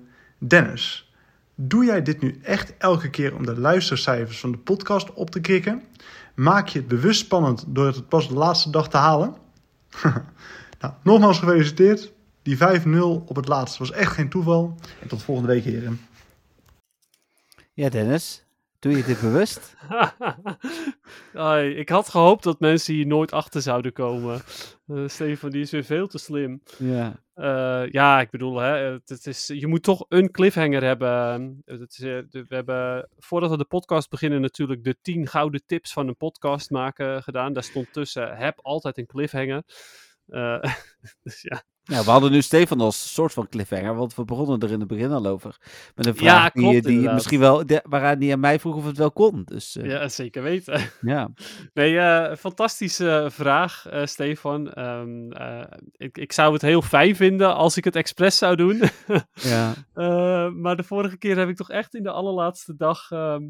Speaker 1: Dennis, Doe jij dit nu echt elke keer om de luistercijfers van de podcast op te krikken? Maak je het bewust spannend door het pas de laatste dag te halen? nou, nogmaals gefeliciteerd. Die 5-0 op het laatst was echt geen toeval. En tot volgende week, heren.
Speaker 3: Ja, Dennis. Doe je dit bewust?
Speaker 4: Ai, ik had gehoopt dat mensen hier nooit achter zouden komen. Eh, Stefan, die is weer veel te slim.
Speaker 3: Ja.
Speaker 4: Eh, ja, ik bedoel, hè, het, het is, je moet toch een cliffhanger hebben. Eh, Het is, eh, de- we hebben, voordat we de podcast beginnen, natuurlijk de 10 gouden tips van een podcast maken gedaan. Daar stond tussen: heb altijd een cliffhanger. Eh, dus ja.
Speaker 3: Nou, we hadden nu Stefan als soort van cliffhanger, want we begonnen er in het begin al over. Met een
Speaker 4: Ja,
Speaker 3: vraag die,
Speaker 4: klopt,
Speaker 3: die
Speaker 4: inderdaad.
Speaker 3: misschien wel, de- waaraan die aan mij vroeg of het wel kon. Dus eh, ja.
Speaker 4: ja, zeker weten. Nee, eh, fantastische vraag, eh, Stefan. Ehm, eh, ik, ik zou het heel fijn vinden als ik het expres zou doen.
Speaker 3: ja.
Speaker 4: Eh, maar de vorige keer heb ik toch echt in de allerlaatste dag ehm,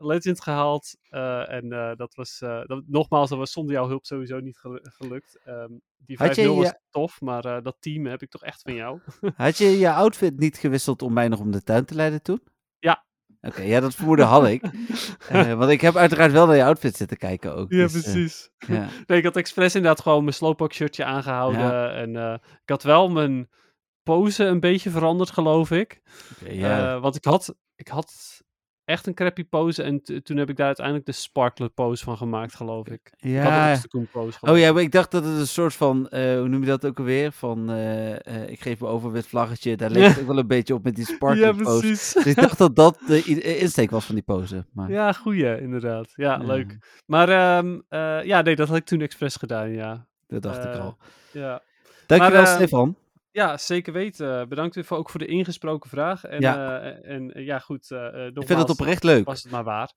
Speaker 4: Legend gehaald. Eh, en eh, dat was, eh, dat, nogmaals, dat was zonder jouw hulp sowieso niet gelu- gelukt. Ehm, die 5-0
Speaker 3: Had je
Speaker 4: was
Speaker 3: je-
Speaker 4: tof, maar eh, dat team heb ik toch echt van jou.
Speaker 3: Had je je outfit niet gewisseld om mij nog om de tuin te leiden toen?
Speaker 4: Ja.
Speaker 3: Oké, ja, dat vermoeden had ik. Eh, want ik heb uiteraard wel naar je outfit zitten kijken ook.
Speaker 4: ja,
Speaker 3: dus, eh,
Speaker 4: precies.
Speaker 3: ja.
Speaker 4: Nee, ik had expres inderdaad gewoon mijn Slowpoke shirtje aangehouden.
Speaker 3: Ja.
Speaker 4: En eh, ik had wel mijn pose een beetje veranderd, geloof ik.
Speaker 3: Oké, ja.
Speaker 4: Eh, want ik had, ik had echt een crappy pose. En t- toen heb ik daar uiteindelijk de sparkler pose van gemaakt, geloof ik. Ik Eh, dus had ook
Speaker 3: Ja.
Speaker 4: eens de Koen pose
Speaker 3: Oh ja, maar ik dacht dat het een soort van, eh, hoe noem je dat ook alweer? Van, eh, eh, ik geef me over met vlaggetje. Daar leek het ook wel een beetje op met die sparkle
Speaker 4: ja,
Speaker 3: pose.
Speaker 4: precies.
Speaker 3: Dus ik dacht dat dat de i- eh, insteek was van die pose. Maar,
Speaker 4: Ja, goeie, inderdaad. Ja,
Speaker 3: Ja.
Speaker 4: leuk. Maar ehm, eh, ja, nee, dat had ik toen expres gedaan, ja.
Speaker 3: Dat dacht ik
Speaker 4: Eh,
Speaker 3: al.
Speaker 4: Ja,
Speaker 3: Dankjewel,
Speaker 4: eh,
Speaker 3: Stefan.
Speaker 4: ja zeker weten. Bedankt weer voor, ook voor de ingesproken vraag. En ja, en, eh, ja goed. eh, eh,
Speaker 3: Ik vind dat
Speaker 4: nogmaals,
Speaker 3: oprecht leuk.
Speaker 4: Was het maar waar.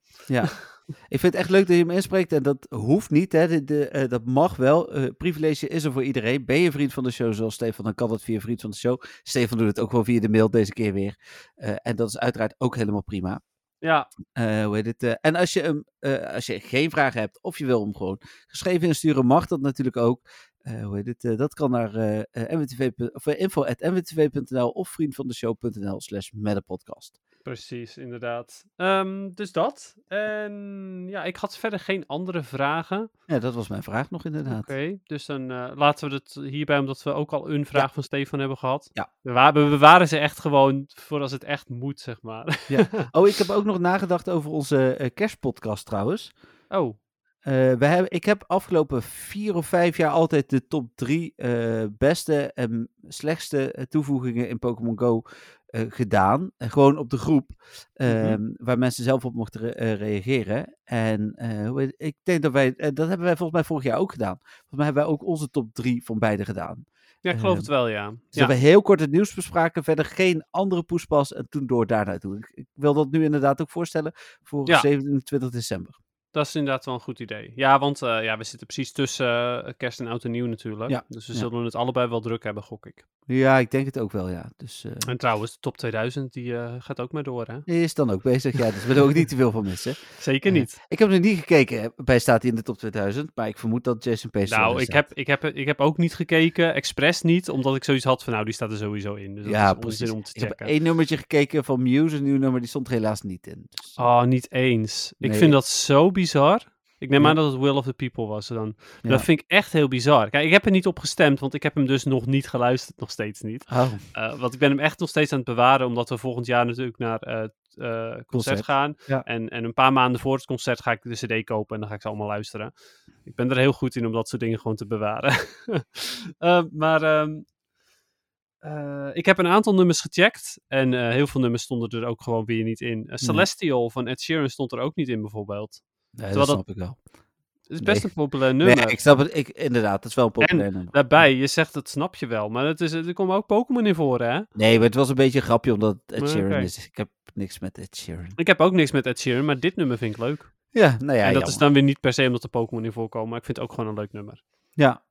Speaker 3: Ik vind het echt leuk dat je hem inspreekt. En dat hoeft niet. Hè. De, de, eh, dat mag wel. Eh, privilege is er voor iedereen. Ben je vriend van de show zoals Stefan, dan kan dat via vriend van de show. Stefan doet het ook wel via de mail deze keer weer. Eh, en dat is uiteraard ook helemaal prima.
Speaker 4: Ja,
Speaker 3: Eh, hoe heet het? eh, en als je, hem, eh, als je geen vragen hebt of je wil hem gewoon geschreven insturen, mag dat natuurlijk ook. Eh, hoe heet het? eh, dat kan naar eh eh, nwtv. of, eh, info.nwtv.nl of vriendvandeshow.nl slash met een podcast.
Speaker 4: precies, inderdaad. Ehm, dus dat. En ja, ik had verder geen andere vragen.
Speaker 3: Ja, dat was mijn vraag nog inderdaad.
Speaker 4: Oké, dus dan eh, laten we het hierbij, omdat we ook al een vraag van Stefan hebben gehad.
Speaker 3: Ja.
Speaker 4: We, wa- we bewaren ze echt gewoon voor als het echt moet, zeg maar.
Speaker 3: Oh, ik heb ook nog nagedacht over onze eh, kerstpodcast trouwens.
Speaker 4: Oh,
Speaker 3: Eh, we hebben, ik heb afgelopen vier of vijf jaar altijd de top drie eh, beste en slechtste eh, toevoegingen in Pokémon Go eh, gedaan. En gewoon op de groep, ehm, waar mensen zelf op mochten re- eh, reageren. En eh, hoe heet- ik denk dat wij, eh, dat hebben wij volgens mij vorig jaar ook gedaan. Volgens mij hebben wij ook onze top drie van beide gedaan.
Speaker 4: ja, ik geloof
Speaker 3: Ehm,
Speaker 4: het wel, ja.
Speaker 3: Dus
Speaker 4: ja.
Speaker 3: dat we heel kort het nieuws bespraken, verder geen andere poespas en toen door daar naartoe. Ik, ik wil dat nu inderdaad ook voorstellen voor
Speaker 4: Ja.
Speaker 3: 27 december.
Speaker 4: Dat is inderdaad wel een goed idee. Ja, want eh, ja, we zitten precies tussen eh, kerst en oud en nieuw natuurlijk.
Speaker 3: Ja,
Speaker 4: Dus we
Speaker 3: ja.
Speaker 4: zullen het allebei wel druk hebben, gok ik.
Speaker 3: Ja, ik denk het ook wel, ja. Dus... eh,
Speaker 4: En trouwens, de top 2000 die eh, gaat ook maar door, hè?
Speaker 3: Is dan ook bezig, ja. Dus we willen ook niet te veel van missen.
Speaker 4: Zeker
Speaker 3: Ja.
Speaker 4: niet.
Speaker 3: Ik heb nog niet gekeken hè, bij staat hij in de top 2000, maar ik vermoed dat Jason Pace
Speaker 4: nou, ik heb, ik, heb, ik heb ook niet gekeken, expres niet, omdat ik zoiets had van, nou, die staat er sowieso in. Dus dat
Speaker 3: ja,
Speaker 4: is
Speaker 3: precies.
Speaker 4: onzin om te
Speaker 3: ik heb
Speaker 4: checken.
Speaker 3: één nummertje gekeken van Muse, een nieuw nummer, die stond er helaas niet in. Dus,
Speaker 4: Oh, niet eens. Ik
Speaker 3: Nee.
Speaker 4: vind dat zo bizar. Ik neem
Speaker 3: Ja.
Speaker 4: aan dat het Will of the People was dan.
Speaker 3: Ja.
Speaker 4: Dat vind ik echt heel bizar. Kijk, ik heb er niet op gestemd, want ik heb hem dus nog niet geluisterd, nog steeds niet.
Speaker 3: oh,
Speaker 4: Eh, want ik ben hem echt nog steeds aan het bewaren, omdat we volgend jaar natuurlijk naar eh, het eh, concert,
Speaker 3: Concert,
Speaker 4: gaan.
Speaker 3: ja.
Speaker 4: En, en een paar maanden voor het concert ga ik de CD kopen en dan ga ik ze allemaal luisteren. Ik ben er heel goed in om dat soort dingen gewoon te bewaren. Eh, maar ehm, eh, ik heb een aantal nummers gecheckt en eh, heel veel nummers stonden er ook gewoon weer niet in. Eh, Celestial van Ed Sheeran stond er ook niet in bijvoorbeeld.
Speaker 3: nee, dat
Speaker 4: dat-
Speaker 3: snap ik wel.
Speaker 4: Het is best
Speaker 3: Nee.
Speaker 4: een populair nummer.
Speaker 3: Nee, ik snap het. Ik, inderdaad, dat is wel een populair nummer.
Speaker 4: Daarbij, je zegt dat snap je wel, maar het is, er komen ook Pokémon in voor, hè?
Speaker 3: Nee, maar het was een beetje een grapje, omdat het
Speaker 4: Maar
Speaker 3: Ed Sheeran
Speaker 4: oké.
Speaker 3: is. Ik heb niks met Ed Sheeran.
Speaker 4: Ik heb ook niks met Ed Sheeran, maar dit nummer vind ik leuk.
Speaker 3: Ja, nou ja,
Speaker 4: en dat
Speaker 3: jammer.
Speaker 4: is dan weer niet per se omdat er Pokémon in voorkomen, maar ik vind het ook gewoon een leuk nummer.
Speaker 3: Ja.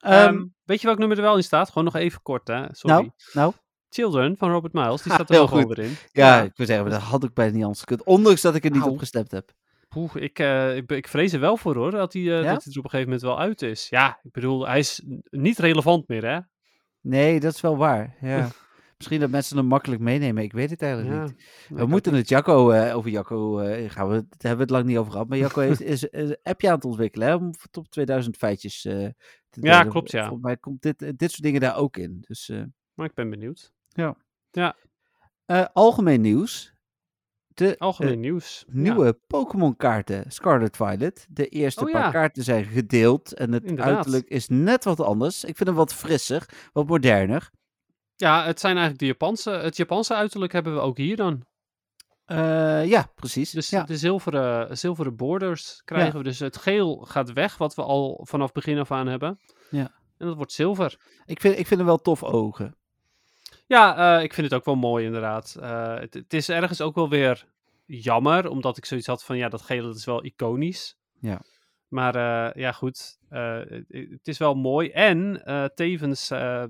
Speaker 4: Ehm,
Speaker 3: Ehm,
Speaker 4: weet je welk nummer er wel in staat? Gewoon nog even kort, hè? Sorry.
Speaker 3: nou, nou,
Speaker 4: Children van Robert Miles, die
Speaker 3: Ha,
Speaker 4: staat er
Speaker 3: heel
Speaker 4: wel gewoon
Speaker 3: goed.
Speaker 4: weer in.
Speaker 3: ja, ik wil zeggen, maar dat had ik bijna niet anders gekund. Ondanks dat ik er niet
Speaker 4: Nou.
Speaker 3: op gestemd heb.
Speaker 4: Poeh, ik, eh, ik, be- ik vrees er wel voor, hoor, dat hij, eh, dat
Speaker 3: Ja?
Speaker 4: hij er op een gegeven moment wel uit is. Ja, ik bedoel, hij is n- niet relevant meer, hè?
Speaker 3: Nee, dat is wel waar. Ja. Misschien dat mensen hem makkelijk meenemen. Ik weet het eigenlijk
Speaker 4: Ja.
Speaker 3: niet. We moeten het Jacco, eh, over Jacco eh, gaan we, daar hebben we het lang niet over gehad. Maar Jacco heeft, is een appje aan het ontwikkelen hè, om voor top 2000 feitjes eh, te
Speaker 4: Ja,
Speaker 3: delen.
Speaker 4: klopt, ja.
Speaker 3: Volgens mij komt dit, eh, dit soort dingen daar ook in. Dus eh,
Speaker 4: Maar ik ben benieuwd.
Speaker 3: eh, algemeen nieuws. De
Speaker 4: Algemeen
Speaker 3: eh,
Speaker 4: nieuws. Ja.
Speaker 3: nieuwe Pokémon kaarten Scarlet Violet. De eerste
Speaker 4: Oh,
Speaker 3: paar
Speaker 4: ja.
Speaker 3: kaarten zijn gedeeld. En het
Speaker 4: Inderdaad.
Speaker 3: uiterlijk is net wat anders. Ik vind hem wat frisser, wat moderner.
Speaker 4: Ja, het zijn eigenlijk de Japanse. Het Japanse uiterlijk hebben we ook hier dan.
Speaker 3: Eh, ja, precies.
Speaker 4: Dus
Speaker 3: ja.
Speaker 4: de zilveren, zilveren borders krijgen
Speaker 3: Ja.
Speaker 4: we. Dus het geel gaat weg, wat we al vanaf begin af aan hebben.
Speaker 3: Ja.
Speaker 4: En dat wordt zilver.
Speaker 3: Ik, vind, ik vind hem wel tof ogen.
Speaker 4: Ja, eh, ik vind het ook wel mooi inderdaad. Eh, het, het is ergens ook wel weer jammer, omdat ik zoiets had van ja, dat gele dat is wel iconisch.
Speaker 3: Ja.
Speaker 4: Maar eh, ja, goed. eh, het, het is wel mooi. En eh, tevens eh,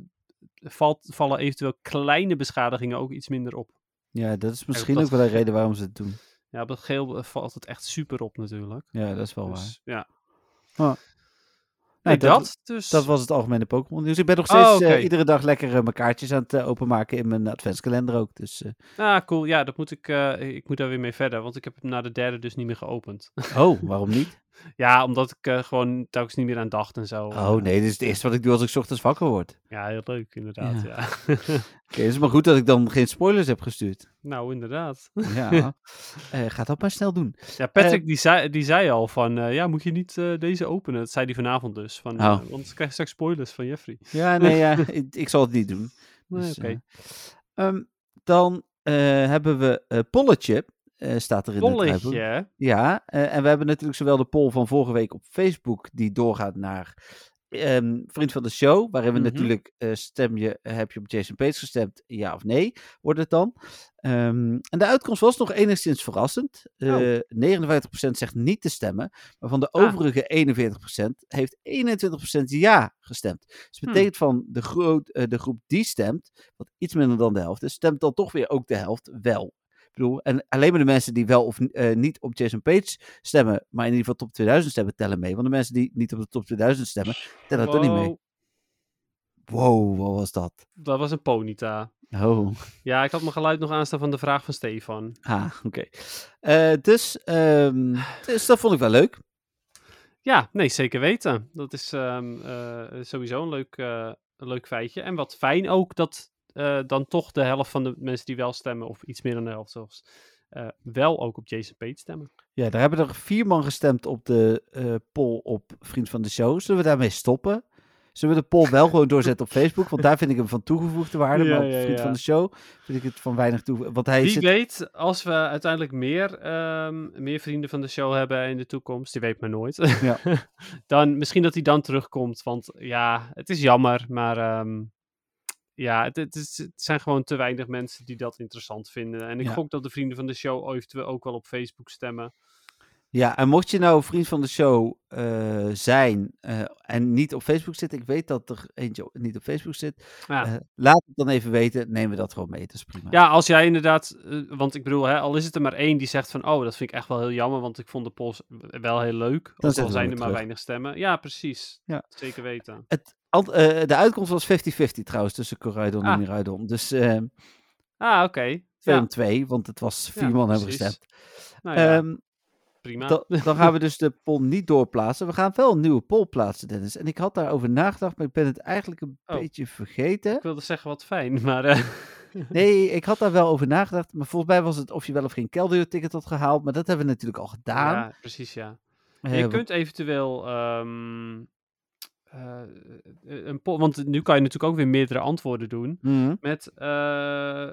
Speaker 4: valt, vallen eventueel kleine beschadigingen ook iets minder op.
Speaker 3: Ja, dat is misschien
Speaker 4: dat-
Speaker 3: ook wel een reden waarom ze het doen.
Speaker 4: Ja, op dat geel eh, valt het echt super op natuurlijk.
Speaker 3: Ja, dat is wel waar.
Speaker 4: Dus, ja.
Speaker 3: Ah.
Speaker 4: Nee,
Speaker 3: Nou,
Speaker 4: dat, dus.
Speaker 3: Dat was het algemene Pokémon nieuws. Ik ben nog steeds
Speaker 4: Oh, oké.
Speaker 3: eh, iedere dag lekker eh, mijn kaartjes aan het eh, openmaken in mijn adventskalender ook. Dus, eh,
Speaker 4: Ah, cool. Ja, dat moet ik, eh, ik moet daar weer mee verder, want ik heb hem na de derde dus niet meer geopend.
Speaker 3: oh, waarom niet?
Speaker 4: Ja, omdat ik eh, gewoon telkens niet meer aan dacht en zo.
Speaker 3: Oh nee, dit is het eerste wat ik doe als ik 's ochtends wakker word. Oké,
Speaker 4: Ja, heel leuk inderdaad. Ja.
Speaker 3: het is maar goed dat ik dan geen spoilers heb gestuurd.
Speaker 4: nou, inderdaad.
Speaker 3: Ja, Eh, ga dat maar snel doen.
Speaker 4: Ja, Patrick die, zei, die zei al van, eh, ja, moet je niet eh, deze openen? Dat zei hij vanavond dus. Van, eh,
Speaker 3: Oh.
Speaker 4: want ze krijgen straks spoilers van Jeffrey.
Speaker 3: Ja, nee, ja, ik, ik zal het niet doen.
Speaker 4: Nee,
Speaker 3: Dus,
Speaker 4: oké.
Speaker 3: eh, ehm, dan eh, hebben we eh Polletje, eh, staat er in het
Speaker 4: Bolletje,
Speaker 3: draaiboek.
Speaker 4: hè?
Speaker 3: Ja, eh, en we hebben natuurlijk zowel de poll van vorige week op Facebook, die doorgaat naar ehm, Vriend van de Show, waarin we
Speaker 4: Mhm.
Speaker 3: natuurlijk eh, stem je, heb je op Jason Page gestemd, ja of nee, wordt het dan. Ehm, en de uitkomst was nog enigszins verrassend.
Speaker 4: Oh.
Speaker 3: Eh 59% zegt niet te stemmen, maar van de
Speaker 4: Ah.
Speaker 3: overige 41% heeft 21% ja gestemd. Dus dat
Speaker 4: Hmm.
Speaker 3: betekent van de, groot, eh, de groep die stemt, wat iets minder dan de helft is, stemt dan toch weer ook de helft wel. Ik bedoel, en alleen maar de mensen die wel of eh, niet op Jason Page stemmen, maar in ieder geval top 2000 stemmen, tellen mee. Want de mensen die niet op de top 2000 stemmen, tellen toch niet mee.
Speaker 4: Wow,
Speaker 3: Wow, wat was dat?
Speaker 4: Dat was een ponita.
Speaker 3: Oh,
Speaker 4: Ja, ik had mijn geluid nog aanstaan van de vraag van Stefan.
Speaker 3: ah, oké. Eh, dus, ehm, dus dat vond ik wel leuk.
Speaker 4: Ja, nee, zeker weten. Dat is ehm, eh, sowieso een leuk, eh, een leuk feitje. En wat fijn ook dat eh, dan toch de helft van de mensen die wel stemmen, of iets meer dan de helft zelfs, eh, wel ook op Jason Pate stemmen.
Speaker 3: Ja, daar hebben er vier man gestemd op de eh, poll op Vriend van de Show. Zullen we daarmee stoppen? Zullen we de poll wel gewoon doorzetten op Facebook? Want daar vind ik hem van toegevoegde waarde.
Speaker 4: Ja,
Speaker 3: maar op
Speaker 4: ja,
Speaker 3: Vriend
Speaker 4: ja.
Speaker 3: van de Show vind ik het van weinig toe. Want hij
Speaker 4: Wie
Speaker 3: zit...
Speaker 4: weet, als we uiteindelijk meer, ehm, meer vrienden van de show hebben in de toekomst, die weet maar nooit,
Speaker 3: Ja.
Speaker 4: dan misschien dat hij dan terugkomt. Want ja, het is jammer, maar ehm, ja, het, het, is, het zijn gewoon te weinig mensen die dat interessant vinden. En ik
Speaker 3: Ja.
Speaker 4: gok dat de vrienden van de show eventueel ook wel op Facebook stemmen.
Speaker 3: Ja, en mocht je nou vriend van de show eh, zijn eh, en niet op Facebook zit, ik weet dat er eentje op- niet op Facebook zit,
Speaker 4: Ja.
Speaker 3: eh, laat het dan even weten, nemen we dat gewoon mee, dat is prima.
Speaker 4: Ja, als jij inderdaad, eh, want ik bedoel, hè, al is het er maar één die zegt van, oh, dat vind ik echt wel heel jammer, want ik vond de polls wel heel leuk. Ook
Speaker 3: zetten
Speaker 4: al
Speaker 3: we
Speaker 4: zijn
Speaker 3: hem
Speaker 4: er maar
Speaker 3: terug.
Speaker 4: weinig stemmen. Ja, precies.
Speaker 3: Ja.
Speaker 4: Zeker weten.
Speaker 3: Al- eh, de uitkomst was 50-50 trouwens tussen Corrijdon
Speaker 4: Ah.
Speaker 3: en Miraidon, dus eh,
Speaker 4: Ah, oké.
Speaker 3: twee
Speaker 4: Ja.
Speaker 3: om twee, want het was vier
Speaker 4: Ja,
Speaker 3: man hebben
Speaker 4: precies.
Speaker 3: gestemd.
Speaker 4: Nou ja,
Speaker 3: Ehm,
Speaker 4: prima.
Speaker 3: da- dan gaan we dus de poll niet doorplaatsen, we gaan wel een nieuwe poll plaatsen Dennis. En ik had daarover nagedacht, maar ik ben het eigenlijk een
Speaker 4: Oh.
Speaker 3: beetje vergeten.
Speaker 4: Ik wilde zeggen wat fijn, maar eh,
Speaker 3: Nee, ik had daar wel over nagedacht, maar volgens mij was het of je wel of geen kelderticket had gehaald, maar dat hebben we natuurlijk al gedaan.
Speaker 4: ja, precies ja.
Speaker 3: Eh,
Speaker 4: je
Speaker 3: want-
Speaker 4: kunt eventueel ehm, eh, een poll, want nu kan je natuurlijk ook weer meerdere antwoorden doen
Speaker 3: Mhm.
Speaker 4: met eh,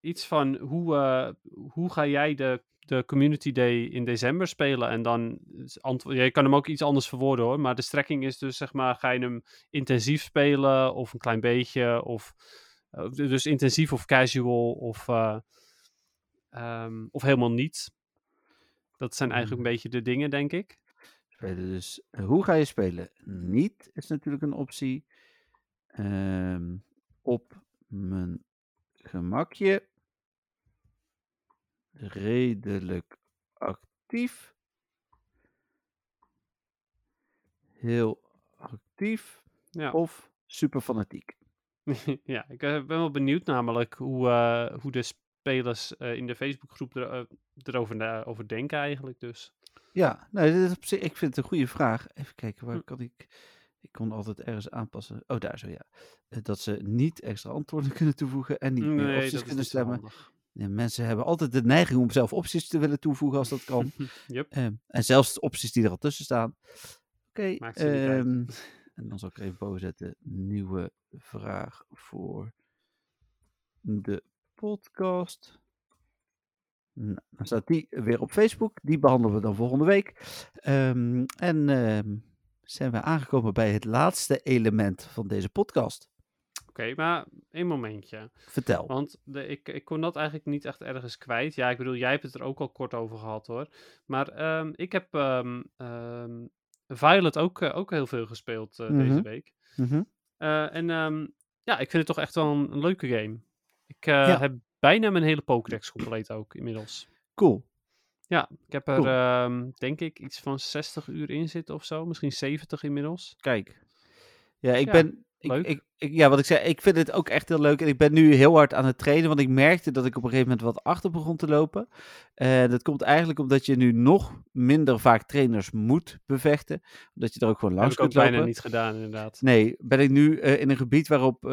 Speaker 4: iets van hoe, eh, hoe ga jij de, de Community Day in december spelen en dan is antwo- ja, je kan hem ook iets anders verwoorden hoor, maar de strekking is dus zeg maar ga je hem intensief spelen of een klein beetje of eh, dus intensief of casual of eh, ehm, of helemaal niet. Dat zijn eigenlijk een beetje de dingen, denk ik.
Speaker 3: Spelen dus. eh, Hoe ga je spelen? Niet is natuurlijk een optie. Ehm, op mijn gemakje. Redelijk actief. Heel actief.
Speaker 4: Ja.
Speaker 3: Of super fanatiek.
Speaker 4: ja, ik eh, ben wel benieuwd namelijk hoe, eh, hoe de spelers eh, in de Facebookgroep er, eh, erover na- over denken eigenlijk. Dus
Speaker 3: Ja, nou, dit is op zich, ik vind het een goede vraag. Even kijken, waar
Speaker 4: Hm.
Speaker 3: kan ik... Ik kon altijd ergens aanpassen. Oh, daar zo, ja. Eh, Dat ze niet extra antwoorden kunnen toevoegen en niet meer opties
Speaker 4: is
Speaker 3: kunnen
Speaker 4: niet zo
Speaker 3: stemmen.
Speaker 4: handig.
Speaker 3: Ja, mensen hebben altijd de neiging om zelf opties te willen toevoegen als dat kan.
Speaker 4: Yep.
Speaker 3: Ehm, en zelfs de opties die er al tussen staan. Oké.
Speaker 4: Maakt ze niet uit.
Speaker 3: ehm, en dan zal ik er even boven zetten. Nieuwe vraag voor de podcast. Nou, dan staat die weer op Facebook. Die behandelen we dan volgende week. Ehm, en ehm, zijn we aangekomen bij het laatste element van deze podcast.
Speaker 4: Oké, maar één momentje.
Speaker 3: Vertel.
Speaker 4: Want de, ik, ik kon dat eigenlijk niet echt ergens kwijt. Ja, ik bedoel, jij hebt het er ook al kort over gehad hoor. Maar ehm, ik heb ehm, ehm, Violet ook, eh, ook heel veel gespeeld eh,
Speaker 3: Mhm.
Speaker 4: deze week.
Speaker 3: Mhm.
Speaker 4: Eh, en ehm, ja, ik vind het toch echt wel een, een leuke game. Ik eh,
Speaker 3: Ja.
Speaker 4: heb bijna mijn hele Pokédex compleet ook inmiddels.
Speaker 3: Cool.
Speaker 4: Ja, ik heb er
Speaker 3: Cool. Nou,
Speaker 4: ehm, denk ik iets van 60 uur in zitten of zo. Misschien 70 inmiddels.
Speaker 3: Kijk. Ja, ik
Speaker 4: Ja,
Speaker 3: ben. Ik,
Speaker 4: leuk.
Speaker 3: ik, ik- ja, wat ik zei, ik vind het ook echt heel leuk. En ik ben nu heel hard aan het trainen, want ik merkte dat ik op een gegeven moment wat achter begon te lopen. Eh dat komt eigenlijk omdat je nu nog minder vaak trainers moet bevechten. Omdat je er ook gewoon
Speaker 4: Heb
Speaker 3: langs
Speaker 4: ik ook
Speaker 3: kunt
Speaker 4: bijna
Speaker 3: lopen. Nou,
Speaker 4: niet gedaan, inderdaad.
Speaker 3: Nee, ben ik nu eh, in een gebied waarop eh,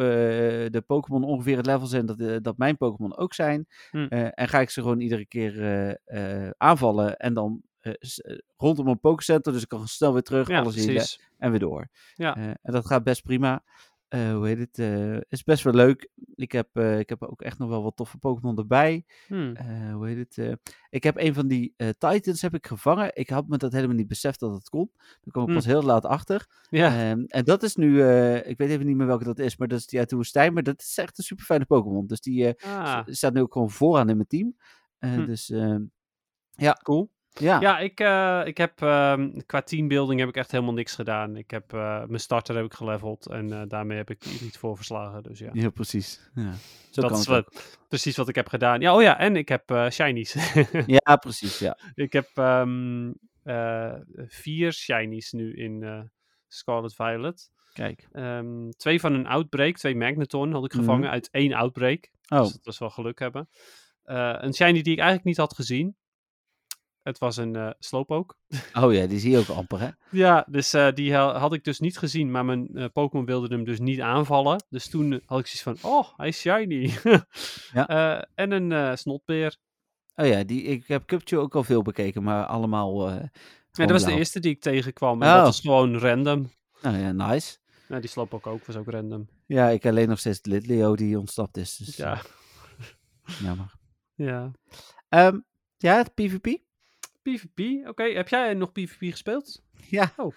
Speaker 3: de Pokémon ongeveer het level zijn dat, eh, dat mijn Pokémon ook zijn.
Speaker 4: Hm.
Speaker 3: Eh, en ga ik ze gewoon iedere keer eh, eh, aanvallen en dan eh, s- eh, rondom een Pokécenter. Dus ik kan snel weer terug,
Speaker 4: Ja,
Speaker 3: alles healen
Speaker 4: precies.
Speaker 3: en weer door.
Speaker 4: Ja.
Speaker 3: Eh, en dat gaat best prima. Eh, hoe heet het? eh is best wel leuk. Ik heb, eh, ik heb ook echt nog wel wat toffe Pokémon erbij.
Speaker 4: Hm.
Speaker 3: Eh, hoe heet het? eh, ik heb een van die eh, Titans heb ik gevangen. Ik had me dat helemaal niet beseft dat het kon. Daar kwam ik
Speaker 4: Hm.
Speaker 3: pas heel laat achter.
Speaker 4: Ja,
Speaker 3: Ehm, en dat is nu, eh, ik weet even niet meer welke dat is, maar dat is die uit de woestijn. Maar dat is echt een super fijne Pokémon. Dus die eh,
Speaker 4: Ah,
Speaker 3: staat nu ook gewoon vooraan in mijn team. Eh,
Speaker 4: Hm.
Speaker 3: Dus ehm, ja,
Speaker 4: cool.
Speaker 3: ja.
Speaker 4: Ja, ik, eh, ik heb ehm, qua teambuilding heb ik echt helemaal niks gedaan. Ik heb eh, mijn starter heb ik geleveld en eh, daarmee heb ik niet voor verslagen. Dus ja,
Speaker 3: Ja, precies. Ja. Zo
Speaker 4: dat
Speaker 3: kan
Speaker 4: is
Speaker 3: het ook.
Speaker 4: wat, precies wat ik heb gedaan. Ja, oh ja, en ik heb eh, shinies.
Speaker 3: Ja, precies. Ja.
Speaker 4: ik heb ehm, eh, vier shinies nu in eh, Scarlet Violet.
Speaker 3: Kijk.
Speaker 4: Ehm, twee van een Outbreak, twee Magneton had ik
Speaker 3: Mhm.
Speaker 4: gevangen uit één Outbreak.
Speaker 3: Oh,
Speaker 4: Dus dat was wel geluk hebben. Eh, een shiny die ik eigenlijk niet had gezien. Het was een eh Slowpoke.
Speaker 3: oh ja, die zie je ook amper, hè?
Speaker 4: Ja, dus eh, die ha- had ik dus niet gezien, maar mijn eh, Pokémon wilde hem dus niet aanvallen. Dus toen had ik zoiets van, oh, hij is shiny.
Speaker 3: Ja.
Speaker 4: Eh, en een eh, snotbeer.
Speaker 3: Oh ja, die, ik heb Cuptje ook al veel bekeken, maar allemaal... eh
Speaker 4: Ja,
Speaker 3: gewoon
Speaker 4: dat was de
Speaker 3: blauw.
Speaker 4: eerste die ik tegenkwam. En
Speaker 3: Oh.
Speaker 4: dat was gewoon random.
Speaker 3: Oh ja, nice.
Speaker 4: Nou, die Slowpoke ook was ook random.
Speaker 3: Ja, ik alleen nog steeds Litleo die ontstapt is. Dus
Speaker 4: Ja,
Speaker 3: ja. Jammer.
Speaker 4: ja.
Speaker 3: Ehm, ja, het PvP.
Speaker 4: PvP, oké. Heb jij nog PvP gespeeld?
Speaker 3: Ja.
Speaker 4: Oh.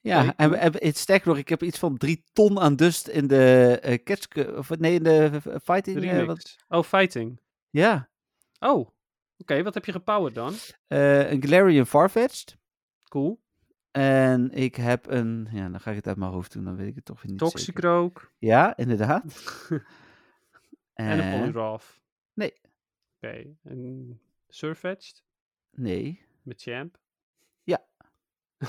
Speaker 3: Ja,
Speaker 4: Oké,
Speaker 3: en, en het sterk nog, ik heb iets van drie ton aan dust in de eh catch... Of nee, in de eh, fighting...
Speaker 4: De
Speaker 3: eh,
Speaker 4: remix.
Speaker 3: wat,
Speaker 4: Oh, fighting.
Speaker 3: ja,
Speaker 4: Oh, oké. Wat heb je gepowered dan?
Speaker 3: eh, een Galarian Farfetch'd.
Speaker 4: Cool.
Speaker 3: En ik heb een... Ja, dan ga ik het uit mijn hoofd doen, dan weet ik het toch weer niet zeker.
Speaker 4: Toxicroak
Speaker 3: Ja, inderdaad. Eh,
Speaker 4: en een
Speaker 3: En-
Speaker 4: Poliwrath.
Speaker 3: Nee.
Speaker 4: Oké. En Surfetched
Speaker 3: Nee.
Speaker 4: met Champ.
Speaker 3: Ja.
Speaker 4: ja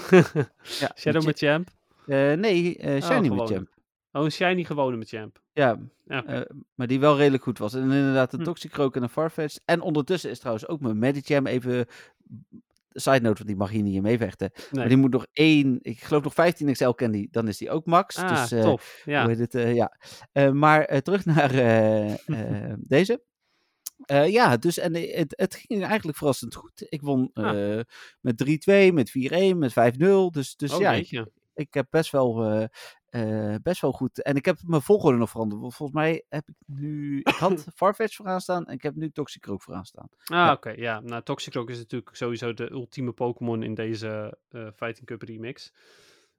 Speaker 3: Ja,
Speaker 4: Shadow
Speaker 3: met
Speaker 4: met Champ.
Speaker 3: Eh, nee,
Speaker 4: Oh,
Speaker 3: eh Shiny
Speaker 4: gewone.
Speaker 3: Machamp.
Speaker 4: Oh, een shiny gewone met Champ.
Speaker 3: Ja,
Speaker 4: Ja, oké.
Speaker 3: eh, maar die wel redelijk goed was. En inderdaad een
Speaker 4: Hm.
Speaker 3: Toxicroak en een Farfetch. En ondertussen is trouwens ook mijn Medicham even... eh, Side note, want die mag hier niet in meevechten. Maar
Speaker 4: nee.
Speaker 3: die moet nog één, ik geloof nog 15 XL candy, dan is die ook max.
Speaker 4: Ah,
Speaker 3: dus, eh,
Speaker 4: tof.
Speaker 3: Hoe
Speaker 4: Ja.
Speaker 3: heet het, eh, ja. Eh, maar eh, terug naar eh, eh, deze. Eh, ja, dus en eh, het, het ging eigenlijk verrassend goed. Ik won
Speaker 4: Ah.
Speaker 3: eh, met 3-2, met 4-1, met 5-0. Dus, dus
Speaker 4: oh,
Speaker 3: ja, ik,
Speaker 4: jeetje.
Speaker 3: ik heb best wel, eh, eh, best wel goed. En ik heb mijn volgorde nog veranderd. Want volgens mij heb ik nu. Ik had Farfetch vooraan staan en ik heb nu Toxicroak vooraan staan.
Speaker 4: Ah, oké. Ja, nou, Toxicroak is natuurlijk sowieso de ultieme Pokémon in deze eh, Fighting Cup remix.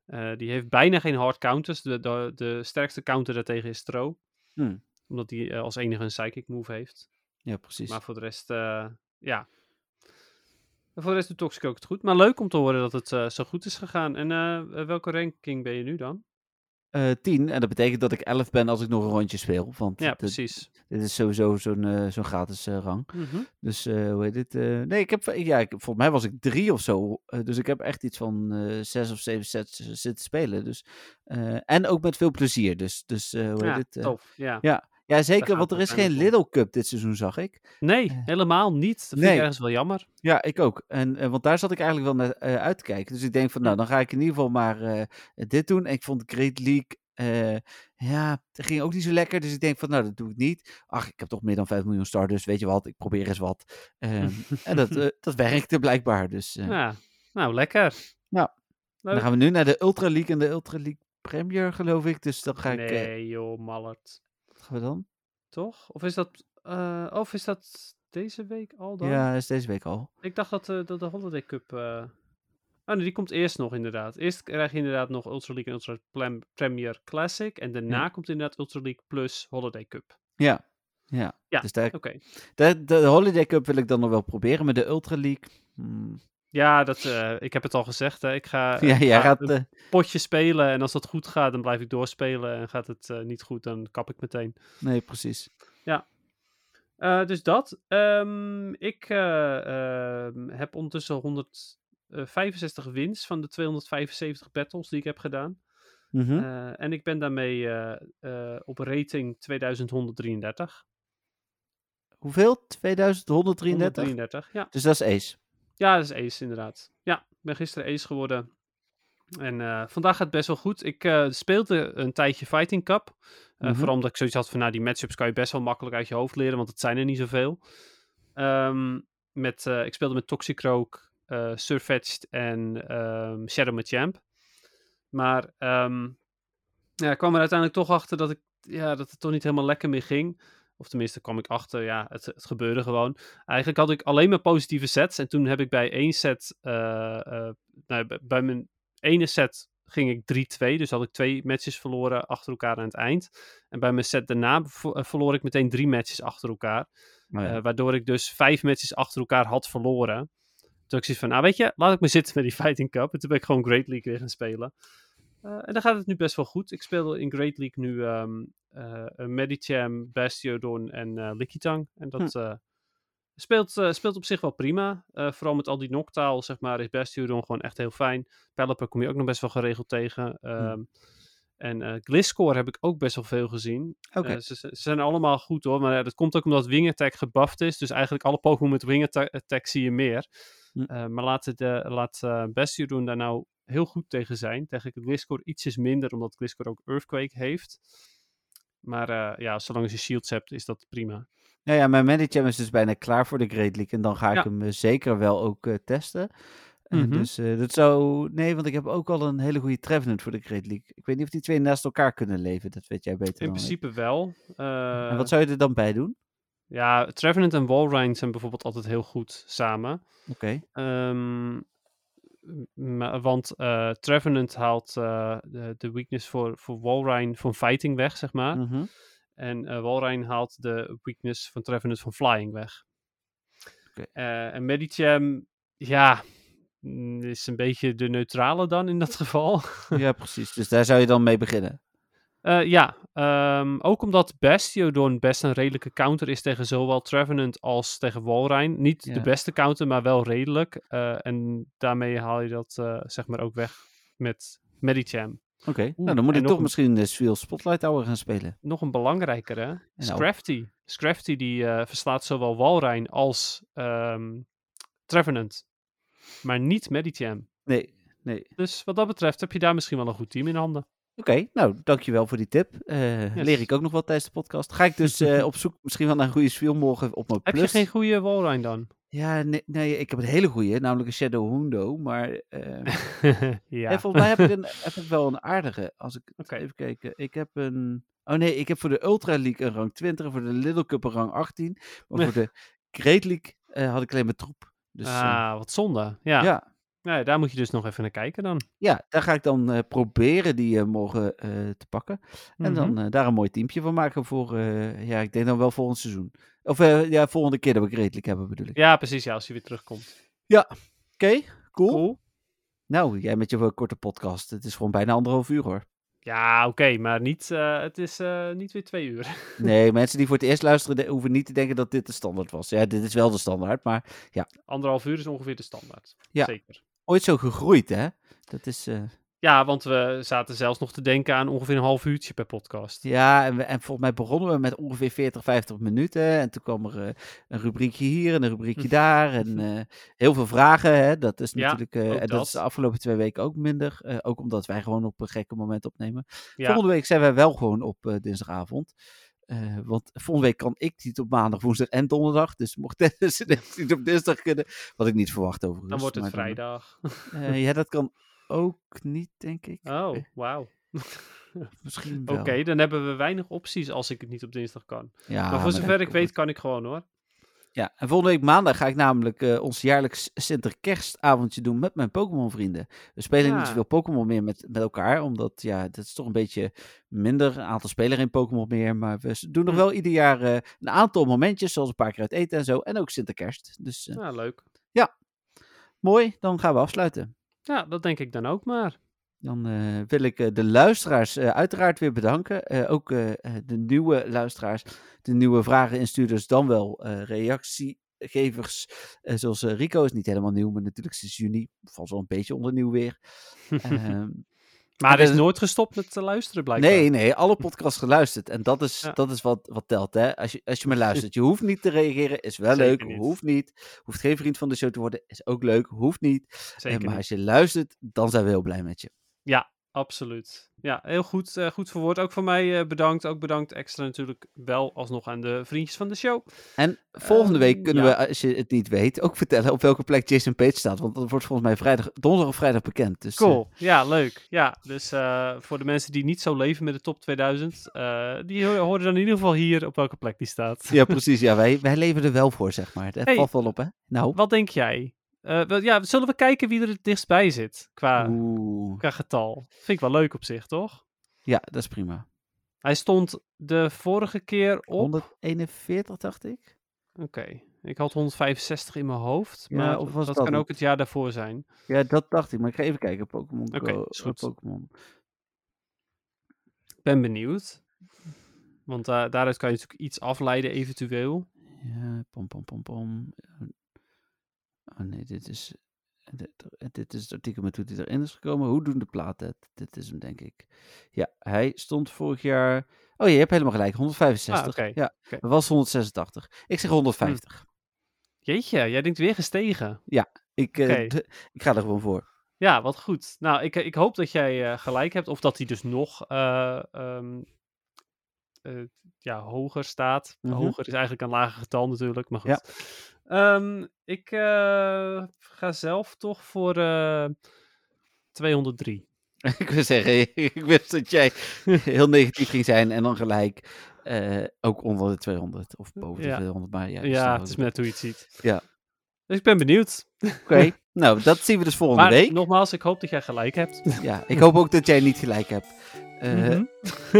Speaker 4: Eh, die heeft bijna geen hard counters. De, de, de sterkste counter daartegen is Tro.
Speaker 3: Hmm.
Speaker 4: Omdat die eh, als enige een psychic move heeft.
Speaker 3: Ja, precies.
Speaker 4: Maar voor de rest, eh, ja. En voor de rest doet Toxicroak het goed. Maar leuk om te horen dat het eh, zo goed is gegaan. En eh, eh, welke ranking ben je nu dan?
Speaker 3: Eh, 10. En dat betekent dat ik 11 ben als ik nog een rondje speel. Want
Speaker 4: Ja,
Speaker 3: dit-
Speaker 4: precies.
Speaker 3: dit is sowieso zo'n eh, zo'n gratis eh, rang.
Speaker 4: Mhm.
Speaker 3: Dus eh, hoe heet dit? eh, nee, ik heb, ja, ik, volgens mij was ik drie of zo. eh, dus ik heb echt iets van eh, zes of zeven sets eh, zitten spelen. Dus, eh, en ook met veel plezier. Dus, dus eh, hoe heet
Speaker 4: Ja,
Speaker 3: dit? eh,
Speaker 4: tof. Ja.
Speaker 3: ja,
Speaker 4: Daar gaat
Speaker 3: zeker, want
Speaker 4: het
Speaker 3: er is geen
Speaker 4: uiteindelijk
Speaker 3: Little Cup dit seizoen, zag ik.
Speaker 4: Nee,
Speaker 3: eh,
Speaker 4: helemaal niet. Dat vind
Speaker 3: nee.
Speaker 4: ik ergens wel jammer.
Speaker 3: Ja, ik ook. En, eh, want daar zat ik eigenlijk wel naar eh, uit te kijken. Dus ik denk van, nou, dan ga ik in ieder geval maar eh, dit doen. En ik vond Great League, eh, ja, dat ging ook niet zo lekker. Dus ik denk van, nou, dat doe ik niet. Ach, ik heb toch meer dan 5 miljoen star, dus weet je wat, ik probeer eens wat. Ehm, en dat, eh, dat werkte blijkbaar. Dus eh,
Speaker 4: Ja. Nou, lekker.
Speaker 3: Ja.
Speaker 4: leuk.
Speaker 3: dan gaan we nu naar de Ultra League en de Ultra League Premier, geloof ik. Dus dan ga ik, eh,
Speaker 4: Nee, joh, mallert.
Speaker 3: wat gaan we dan?
Speaker 4: Toch? Of is dat, eh, of is dat deze week al dan?
Speaker 3: Ja, dat is deze week al.
Speaker 4: Ik dacht dat, eh, dat de Holiday Cup... eh, Oh nee, die komt eerst nog inderdaad. Eerst krijg je inderdaad nog Ultra League en Ultra Plem- Premier Classic. En daarna komt inderdaad Ultra League plus Holiday Cup.
Speaker 3: Ja. Ja,
Speaker 4: Ja,
Speaker 3: dus daar,
Speaker 4: Oké.
Speaker 3: de, de Holiday Cup wil ik dan nog wel proberen, maar de Ultra League... hmm.
Speaker 4: Ja, dat, eh, ik heb het al gezegd. Hè. Ik ga,
Speaker 3: Ja,
Speaker 4: ik
Speaker 3: jij
Speaker 4: ga
Speaker 3: gaat.
Speaker 4: een
Speaker 3: eh,
Speaker 4: potje spelen. En als dat goed gaat, dan blijf ik doorspelen. En gaat het eh, niet goed, dan kap ik meteen.
Speaker 3: nee, precies.
Speaker 4: Eh, dus dat. Ehm, ik eh, ehm, heb eh, ondertussen 165 wins van de 275 battles die ik heb gedaan.
Speaker 3: Mhm.
Speaker 4: Eh, en ik ben daarmee eh, eh, op rating 2133.
Speaker 3: Hoeveel? 2133?
Speaker 4: 133, ja.
Speaker 3: Dus dat is Ace.
Speaker 4: Ja, dat is Ace inderdaad. Ja, ik ben gisteren Ace geworden. En eh, vandaag gaat het best wel goed. Ik eh, speelde een tijdje Fighting Cup. Eh,
Speaker 3: Mhm.
Speaker 4: Vooral omdat ik zoiets had van, nou, die matchups kan je best wel makkelijk uit je hoofd leren, want het zijn er niet zoveel. Ehm, met, eh, ik speelde met Toxicroak, eh Surfetched en ehm, Shadow Machamp. Maar ehm, ja, ik kwam er uiteindelijk toch achter dat, ik, ja, dat het toch niet helemaal lekker meer ging. Of tenminste kwam ik achter, ja, het, het gebeurde gewoon. Eigenlijk had ik alleen maar positieve sets. En toen heb ik bij één set, eh, eh, nou, bij- bij mijn ene set ging ik 3-2. Dus had ik twee matches verloren achter elkaar aan het eind. En bij mijn set daarna vo- eh, verloor ik meteen drie matches achter elkaar.
Speaker 3: Nou ja.
Speaker 4: Eh, waardoor ik dus vijf matches achter elkaar had verloren. Toen had ik zoiets van, nou weet je, laat ik maar zitten met die Fighting Cup. En toen ben ik gewoon Great League weer gaan spelen. Eh, en dan gaat het nu best wel goed. Ik speel in Great League nu ehm eh, eh, Medicham, Bastiodon en eh Likitang. En dat eh, speelt, eh, speelt op zich wel prima. Eh, vooral met al die noctaal, zeg maar, is Bastiodon gewoon echt heel fijn. Pelipper kom je ook nog best wel geregeld tegen. Ehm, En eh Gliscor heb ik ook best wel veel gezien.
Speaker 3: Oké.
Speaker 4: Eh, ze, ze zijn allemaal goed hoor, maar eh, dat komt ook omdat Wing Attack gebufft is. Dus eigenlijk alle Pokémon met Wing Atta- Attack zie je meer.
Speaker 3: Hm.
Speaker 4: Eh, maar laat, het, eh, laat eh, Bastiodon daar nou heel goed tegen zijn. Tegen Gliscor ietsjes minder, omdat Gliscor ook Earthquake heeft. Maar eh, ja, zolang je shields hebt, is dat prima.
Speaker 3: Nou ja, mijn Medicham is dus bijna klaar voor de Great League. En dan ga ik
Speaker 4: Ja.
Speaker 3: hem eh, zeker wel ook eh, testen. Eh,
Speaker 4: Mhm.
Speaker 3: Dus eh, dat zou... Nee, want ik heb ook al een hele goede Trevenant voor de Great League. Ik weet niet of die twee naast elkaar kunnen leven. Dat weet jij beter
Speaker 4: In
Speaker 3: dan ik.
Speaker 4: principe wel.
Speaker 3: En
Speaker 4: Eh,
Speaker 3: wat zou je er dan bij doen?
Speaker 4: Ja, Trevenant en Walrein zijn bijvoorbeeld altijd heel goed samen.
Speaker 3: Oké.
Speaker 4: Ehm, m- maar- want eh Trevenant haalt eh, de, de weakness voor, voor Walrein van fighting weg, zeg maar.
Speaker 3: Mhm.
Speaker 4: En eh Walrein haalt de weakness van Trevenant van flying weg.
Speaker 3: Oké.
Speaker 4: Eh, en Medicham, ja, mm, is een beetje de neutrale dan in dat geval.
Speaker 3: Ja, precies. Dus daar zou je dan mee beginnen.
Speaker 4: Eh, ja, ehm, ook omdat Bastiodon best een redelijke counter is tegen zowel Trevenant als tegen Walrein. Niet
Speaker 3: Ja.
Speaker 4: de beste counter, maar wel redelijk. Eh, en daarmee haal je dat eh, zeg maar ook weg met Medicham.
Speaker 3: Oké. Nou, dan
Speaker 4: en
Speaker 3: moet ik
Speaker 4: nog
Speaker 3: toch
Speaker 4: een-
Speaker 3: misschien de Swiel Spotlight Hour gaan spelen.
Speaker 4: Nog een belangrijkere,
Speaker 3: nou?
Speaker 4: Scrafty. Scrafty die eh, verslaat zowel Walrein als ehm, Trevenant. Maar niet Medicham.
Speaker 3: Nee, nee. Oké,
Speaker 4: Dus wat dat betreft heb je daar misschien wel een goed team in handen.
Speaker 3: nou, dankjewel voor die tip. Eh,
Speaker 4: Yes.
Speaker 3: Leer ik ook nog wat tijdens de podcast. Ga ik dus eh, op zoek misschien wel naar een goede Swiel morgen op mijn
Speaker 4: Heb
Speaker 3: plus.
Speaker 4: je geen goede Walrein dan?
Speaker 3: Ja, nee, nee, ik heb een hele goede, namelijk een Shadow Hundo. Maar eh,
Speaker 4: ja.
Speaker 3: eh, volgens mij heb ik, een, heb ik wel een aardige. Als ik
Speaker 4: Oké.
Speaker 3: even kijken. Ik heb een. Oh nee, ik heb voor de Ultra League een rang 20, en voor de Little Cup een rang 18. Maar voor de Great League eh, had ik alleen mijn troep. Dus eh,
Speaker 4: ah, wat zonde.
Speaker 3: ja.
Speaker 4: Ja.
Speaker 3: Ja,
Speaker 4: Nee, daar moet je dus nog even naar kijken dan.
Speaker 3: daar ga ik dan eh, proberen die eh, morgen eh, te pakken. En dan eh, daar een mooi teampje van maken voor, eh, ja, ik denk dan wel volgend seizoen. Of eh, ja, volgende keer dat we Great League hebben bedoel ik.
Speaker 4: Ja, precies. Ja, als je weer terugkomt.
Speaker 3: Oké, cool. Nou, jij met je eh, korte podcast. Het is gewoon bijna anderhalf uur hoor.
Speaker 4: Ja, oké, maar niet, eh, het is eh, niet weer twee uur.
Speaker 3: Nee, mensen die voor het eerst luisteren de- hoeven niet te denken dat dit de standaard was. Ja, dit is wel de standaard, maar
Speaker 4: Anderhalf uur is ongeveer de standaard.
Speaker 3: Ja.
Speaker 4: Zeker.
Speaker 3: ooit zo gegroeid, hè? Dat is, eh,
Speaker 4: Ja, want we zaten zelfs nog te denken aan ongeveer een half uurtje per podcast.
Speaker 3: ja, en, we- en volgens mij begonnen we met ongeveer 40, 50 minuten. En toen kwam er eh, een rubriekje hier en een rubriekje daar. En eh, heel veel vragen, hè? Dat is
Speaker 4: Ja,
Speaker 3: natuurlijk, eh,
Speaker 4: ook
Speaker 3: en dat.
Speaker 4: dat.
Speaker 3: is de afgelopen twee weken ook minder. eh, ook omdat wij gewoon op een gekke moment opnemen.
Speaker 4: Ja.
Speaker 3: Volgende week zijn wij wel gewoon op eh, dinsdagavond. Eh, want volgende week kan ik niet op maandag, woensdag en donderdag. Dus mocht Dennis en ik niet op dinsdag kunnen. Wat ik niet verwacht overigens.
Speaker 4: Dan wordt het
Speaker 3: maar
Speaker 4: vrijdag.
Speaker 3: eh, ja, dat kan ook niet, denk ik. Eh,
Speaker 4: Oh, wauw.
Speaker 3: Misschien wel.
Speaker 4: Oké, dan hebben we weinig opties als ik het niet op dinsdag kan.
Speaker 3: Ja,
Speaker 4: maar voor
Speaker 3: dat
Speaker 4: zover ik
Speaker 3: komt
Speaker 4: weet,
Speaker 3: Ah, goed.
Speaker 4: kan ik gewoon hoor.
Speaker 3: Ja, en volgende week maandag ga ik namelijk eh, ons jaarlijks Sinterkerstavondje doen met mijn Pokémon-vrienden. We spelen
Speaker 4: Ah.
Speaker 3: niet zoveel Pokémon meer met, met elkaar, omdat ja, dat is toch een beetje minder. Een aantal spelen in Pokémon meer, maar we s- doen nog
Speaker 4: Hm.
Speaker 3: wel ieder jaar eh, een aantal momentjes, zoals een paar keer uit eten en zo. En ook Sinterkerst. Dus eh,
Speaker 4: Nou, leuk.
Speaker 3: mooi, dan gaan we afsluiten.
Speaker 4: Ja, dat denk ik dan ook maar.
Speaker 3: Dan eh, wil ik eh, de luisteraars eh, uiteraard weer bedanken. Eh, ook eh, eh, de nieuwe luisteraars, de nieuwe vrageninstuurders, dan wel eh, reactiegevers. eh, zoals eh, Rico is niet helemaal nieuw, maar natuurlijk sinds juni valt wel een beetje onder nieuw weer. Ehm,
Speaker 4: Maar er
Speaker 3: Eh, En
Speaker 4: is
Speaker 3: het-
Speaker 4: nooit gestopt met te luisteren, blijkbaar.
Speaker 3: Nee, nee, alle podcasts geluisterd. En dat is,
Speaker 4: Ja.
Speaker 3: dat is wat, wat telt, hè? Als je, als je maar luistert. Je hoeft niet te reageren, is wel
Speaker 4: Zeker
Speaker 3: leuk,
Speaker 4: niet.
Speaker 3: hoeft niet. Hoeft geen vriend van de show te worden, is ook leuk, hoeft niet.
Speaker 4: Zeker
Speaker 3: Eh, maar
Speaker 4: niet.
Speaker 3: als je luistert, dan zijn we heel blij met je.
Speaker 4: Absoluut. Ja, heel goed, eh, goed verwoord. Ook van mij eh, bedankt. Ook bedankt extra natuurlijk wel alsnog aan de vriendjes van de show.
Speaker 3: En volgende week
Speaker 4: Ehm,
Speaker 3: kunnen
Speaker 4: ja.
Speaker 3: we, eh, als je het niet weet, ook vertellen op welke plek Jason Page staat. Want dat wordt volgens mij vrijdag, donderdag of vrijdag bekend. Dus, eh,
Speaker 4: Cool. Ja, leuk. Ja, dus eh, voor de mensen die niet zo leven met de top 2000, eh, die ho- horen dan in ieder geval hier op welke plek die staat.
Speaker 3: eh, ja, precies. Ja, wij, wij leven er wel voor, zeg maar. Dat
Speaker 4: Hey.
Speaker 3: valt wel op, hè? Nou.
Speaker 4: Wat denk jij? Eh, wel, ja, zullen we kijken wie er het dichtstbij zit
Speaker 3: eh,
Speaker 4: qua,
Speaker 3: Oeh.
Speaker 4: qua getal? Vind ik wel leuk op zich, toch?
Speaker 3: Ja, dat is prima.
Speaker 4: Hij stond de vorige keer op.
Speaker 3: 141, dacht ik.
Speaker 4: Oké, ik had 165 in mijn hoofd,
Speaker 3: Ja,
Speaker 4: maar
Speaker 3: of was
Speaker 4: dat,
Speaker 3: dat
Speaker 4: kan
Speaker 3: het?
Speaker 4: ook het jaar daarvoor zijn.
Speaker 3: Ja, dat dacht ik. Maar ik ga even kijken op Pokémon
Speaker 4: Oké,
Speaker 3: Go.
Speaker 4: is
Speaker 3: eh,
Speaker 4: goed.
Speaker 3: Pokémon.
Speaker 4: Ik ben benieuwd. Want eh, daaruit kan je natuurlijk iets afleiden, eventueel.
Speaker 3: Ja, pom pom pom pom. Oh nee, dit is, dit, dit is het artikel met hoe die erin is gekomen. Hoe doen de platen het? Dit is hem, denk ik. Ja, hij stond vorig jaar... Oh, je hebt helemaal gelijk. 165.
Speaker 4: Ah, oké,
Speaker 3: Ja,
Speaker 4: oké. Hm.
Speaker 3: het was 186. Ik zeg 150.
Speaker 4: Jeetje, jij denkt weer gestegen.
Speaker 3: Ik, eh,
Speaker 4: Oké.
Speaker 3: d- ik ga er gewoon voor.
Speaker 4: Ja, wat goed. Nou, ik, ik hoop dat jij eh, gelijk hebt. Of dat hij dus nog eh, ehm, eh, ja, hoger staat.
Speaker 3: Mhm.
Speaker 4: Hoger is eigenlijk een lager getal natuurlijk, maar goed. Ehm, ik eh, ga zelf toch voor eh, 203.
Speaker 3: ik wil zeggen, ik wist dat jij heel negatief ging zijn en dan gelijk eh, ook onder de 200 of boven de
Speaker 4: Ja.
Speaker 3: 200. Maar ja,
Speaker 4: Ja,
Speaker 3: je snapt
Speaker 4: het is
Speaker 3: wat ik
Speaker 4: net hoe je het ziet.
Speaker 3: Ja.
Speaker 4: Dus ik ben benieuwd.
Speaker 3: Oké, nou, dat zien we dus volgende
Speaker 4: Maar
Speaker 3: week.
Speaker 4: nogmaals, ik hoop dat jij gelijk hebt.
Speaker 3: Ja, ik hoop ook dat jij niet gelijk hebt. Eh,
Speaker 4: Mhm.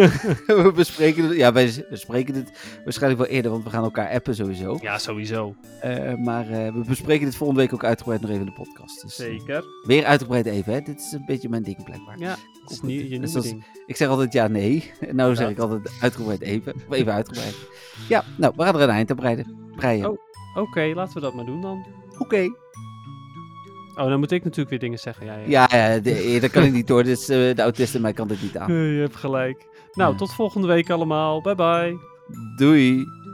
Speaker 3: we, bespreken het, ja, wij bespreken dit waarschijnlijk wel eerder, want we gaan elkaar appen sowieso.
Speaker 4: Ja, sowieso.
Speaker 3: Eh, maar eh, we bespreken dit volgende week ook uitgebreid nog even in de podcast. Dus, eh,
Speaker 4: Zeker.
Speaker 3: weer uitgebreid even, hè. Dit is een beetje mijn ding blijkbaar.
Speaker 4: Ja, het is nie- je
Speaker 3: Dus
Speaker 4: nieuwe
Speaker 3: dat is-
Speaker 4: ding.
Speaker 3: Ik zeg altijd ja, nee. En nou zeg
Speaker 4: Ja.
Speaker 3: ik altijd uitgebreid even. Maar Even uitgebreid. Ja, nou, we gaan er een eind aan breiden. breien.
Speaker 4: Oh. Oké, laten we dat maar doen dan.
Speaker 3: Oké.
Speaker 4: Oh, dan moet ik natuurlijk weer dingen zeggen. Ja, ja.
Speaker 3: Ja, eh, de- dat kan ik niet hoor. Dus eh, de autist in mij kan dit niet aan.
Speaker 4: Eh, Je hebt gelijk. Nou,
Speaker 3: Ja.
Speaker 4: tot volgende week allemaal. Bye bye.
Speaker 3: Doei.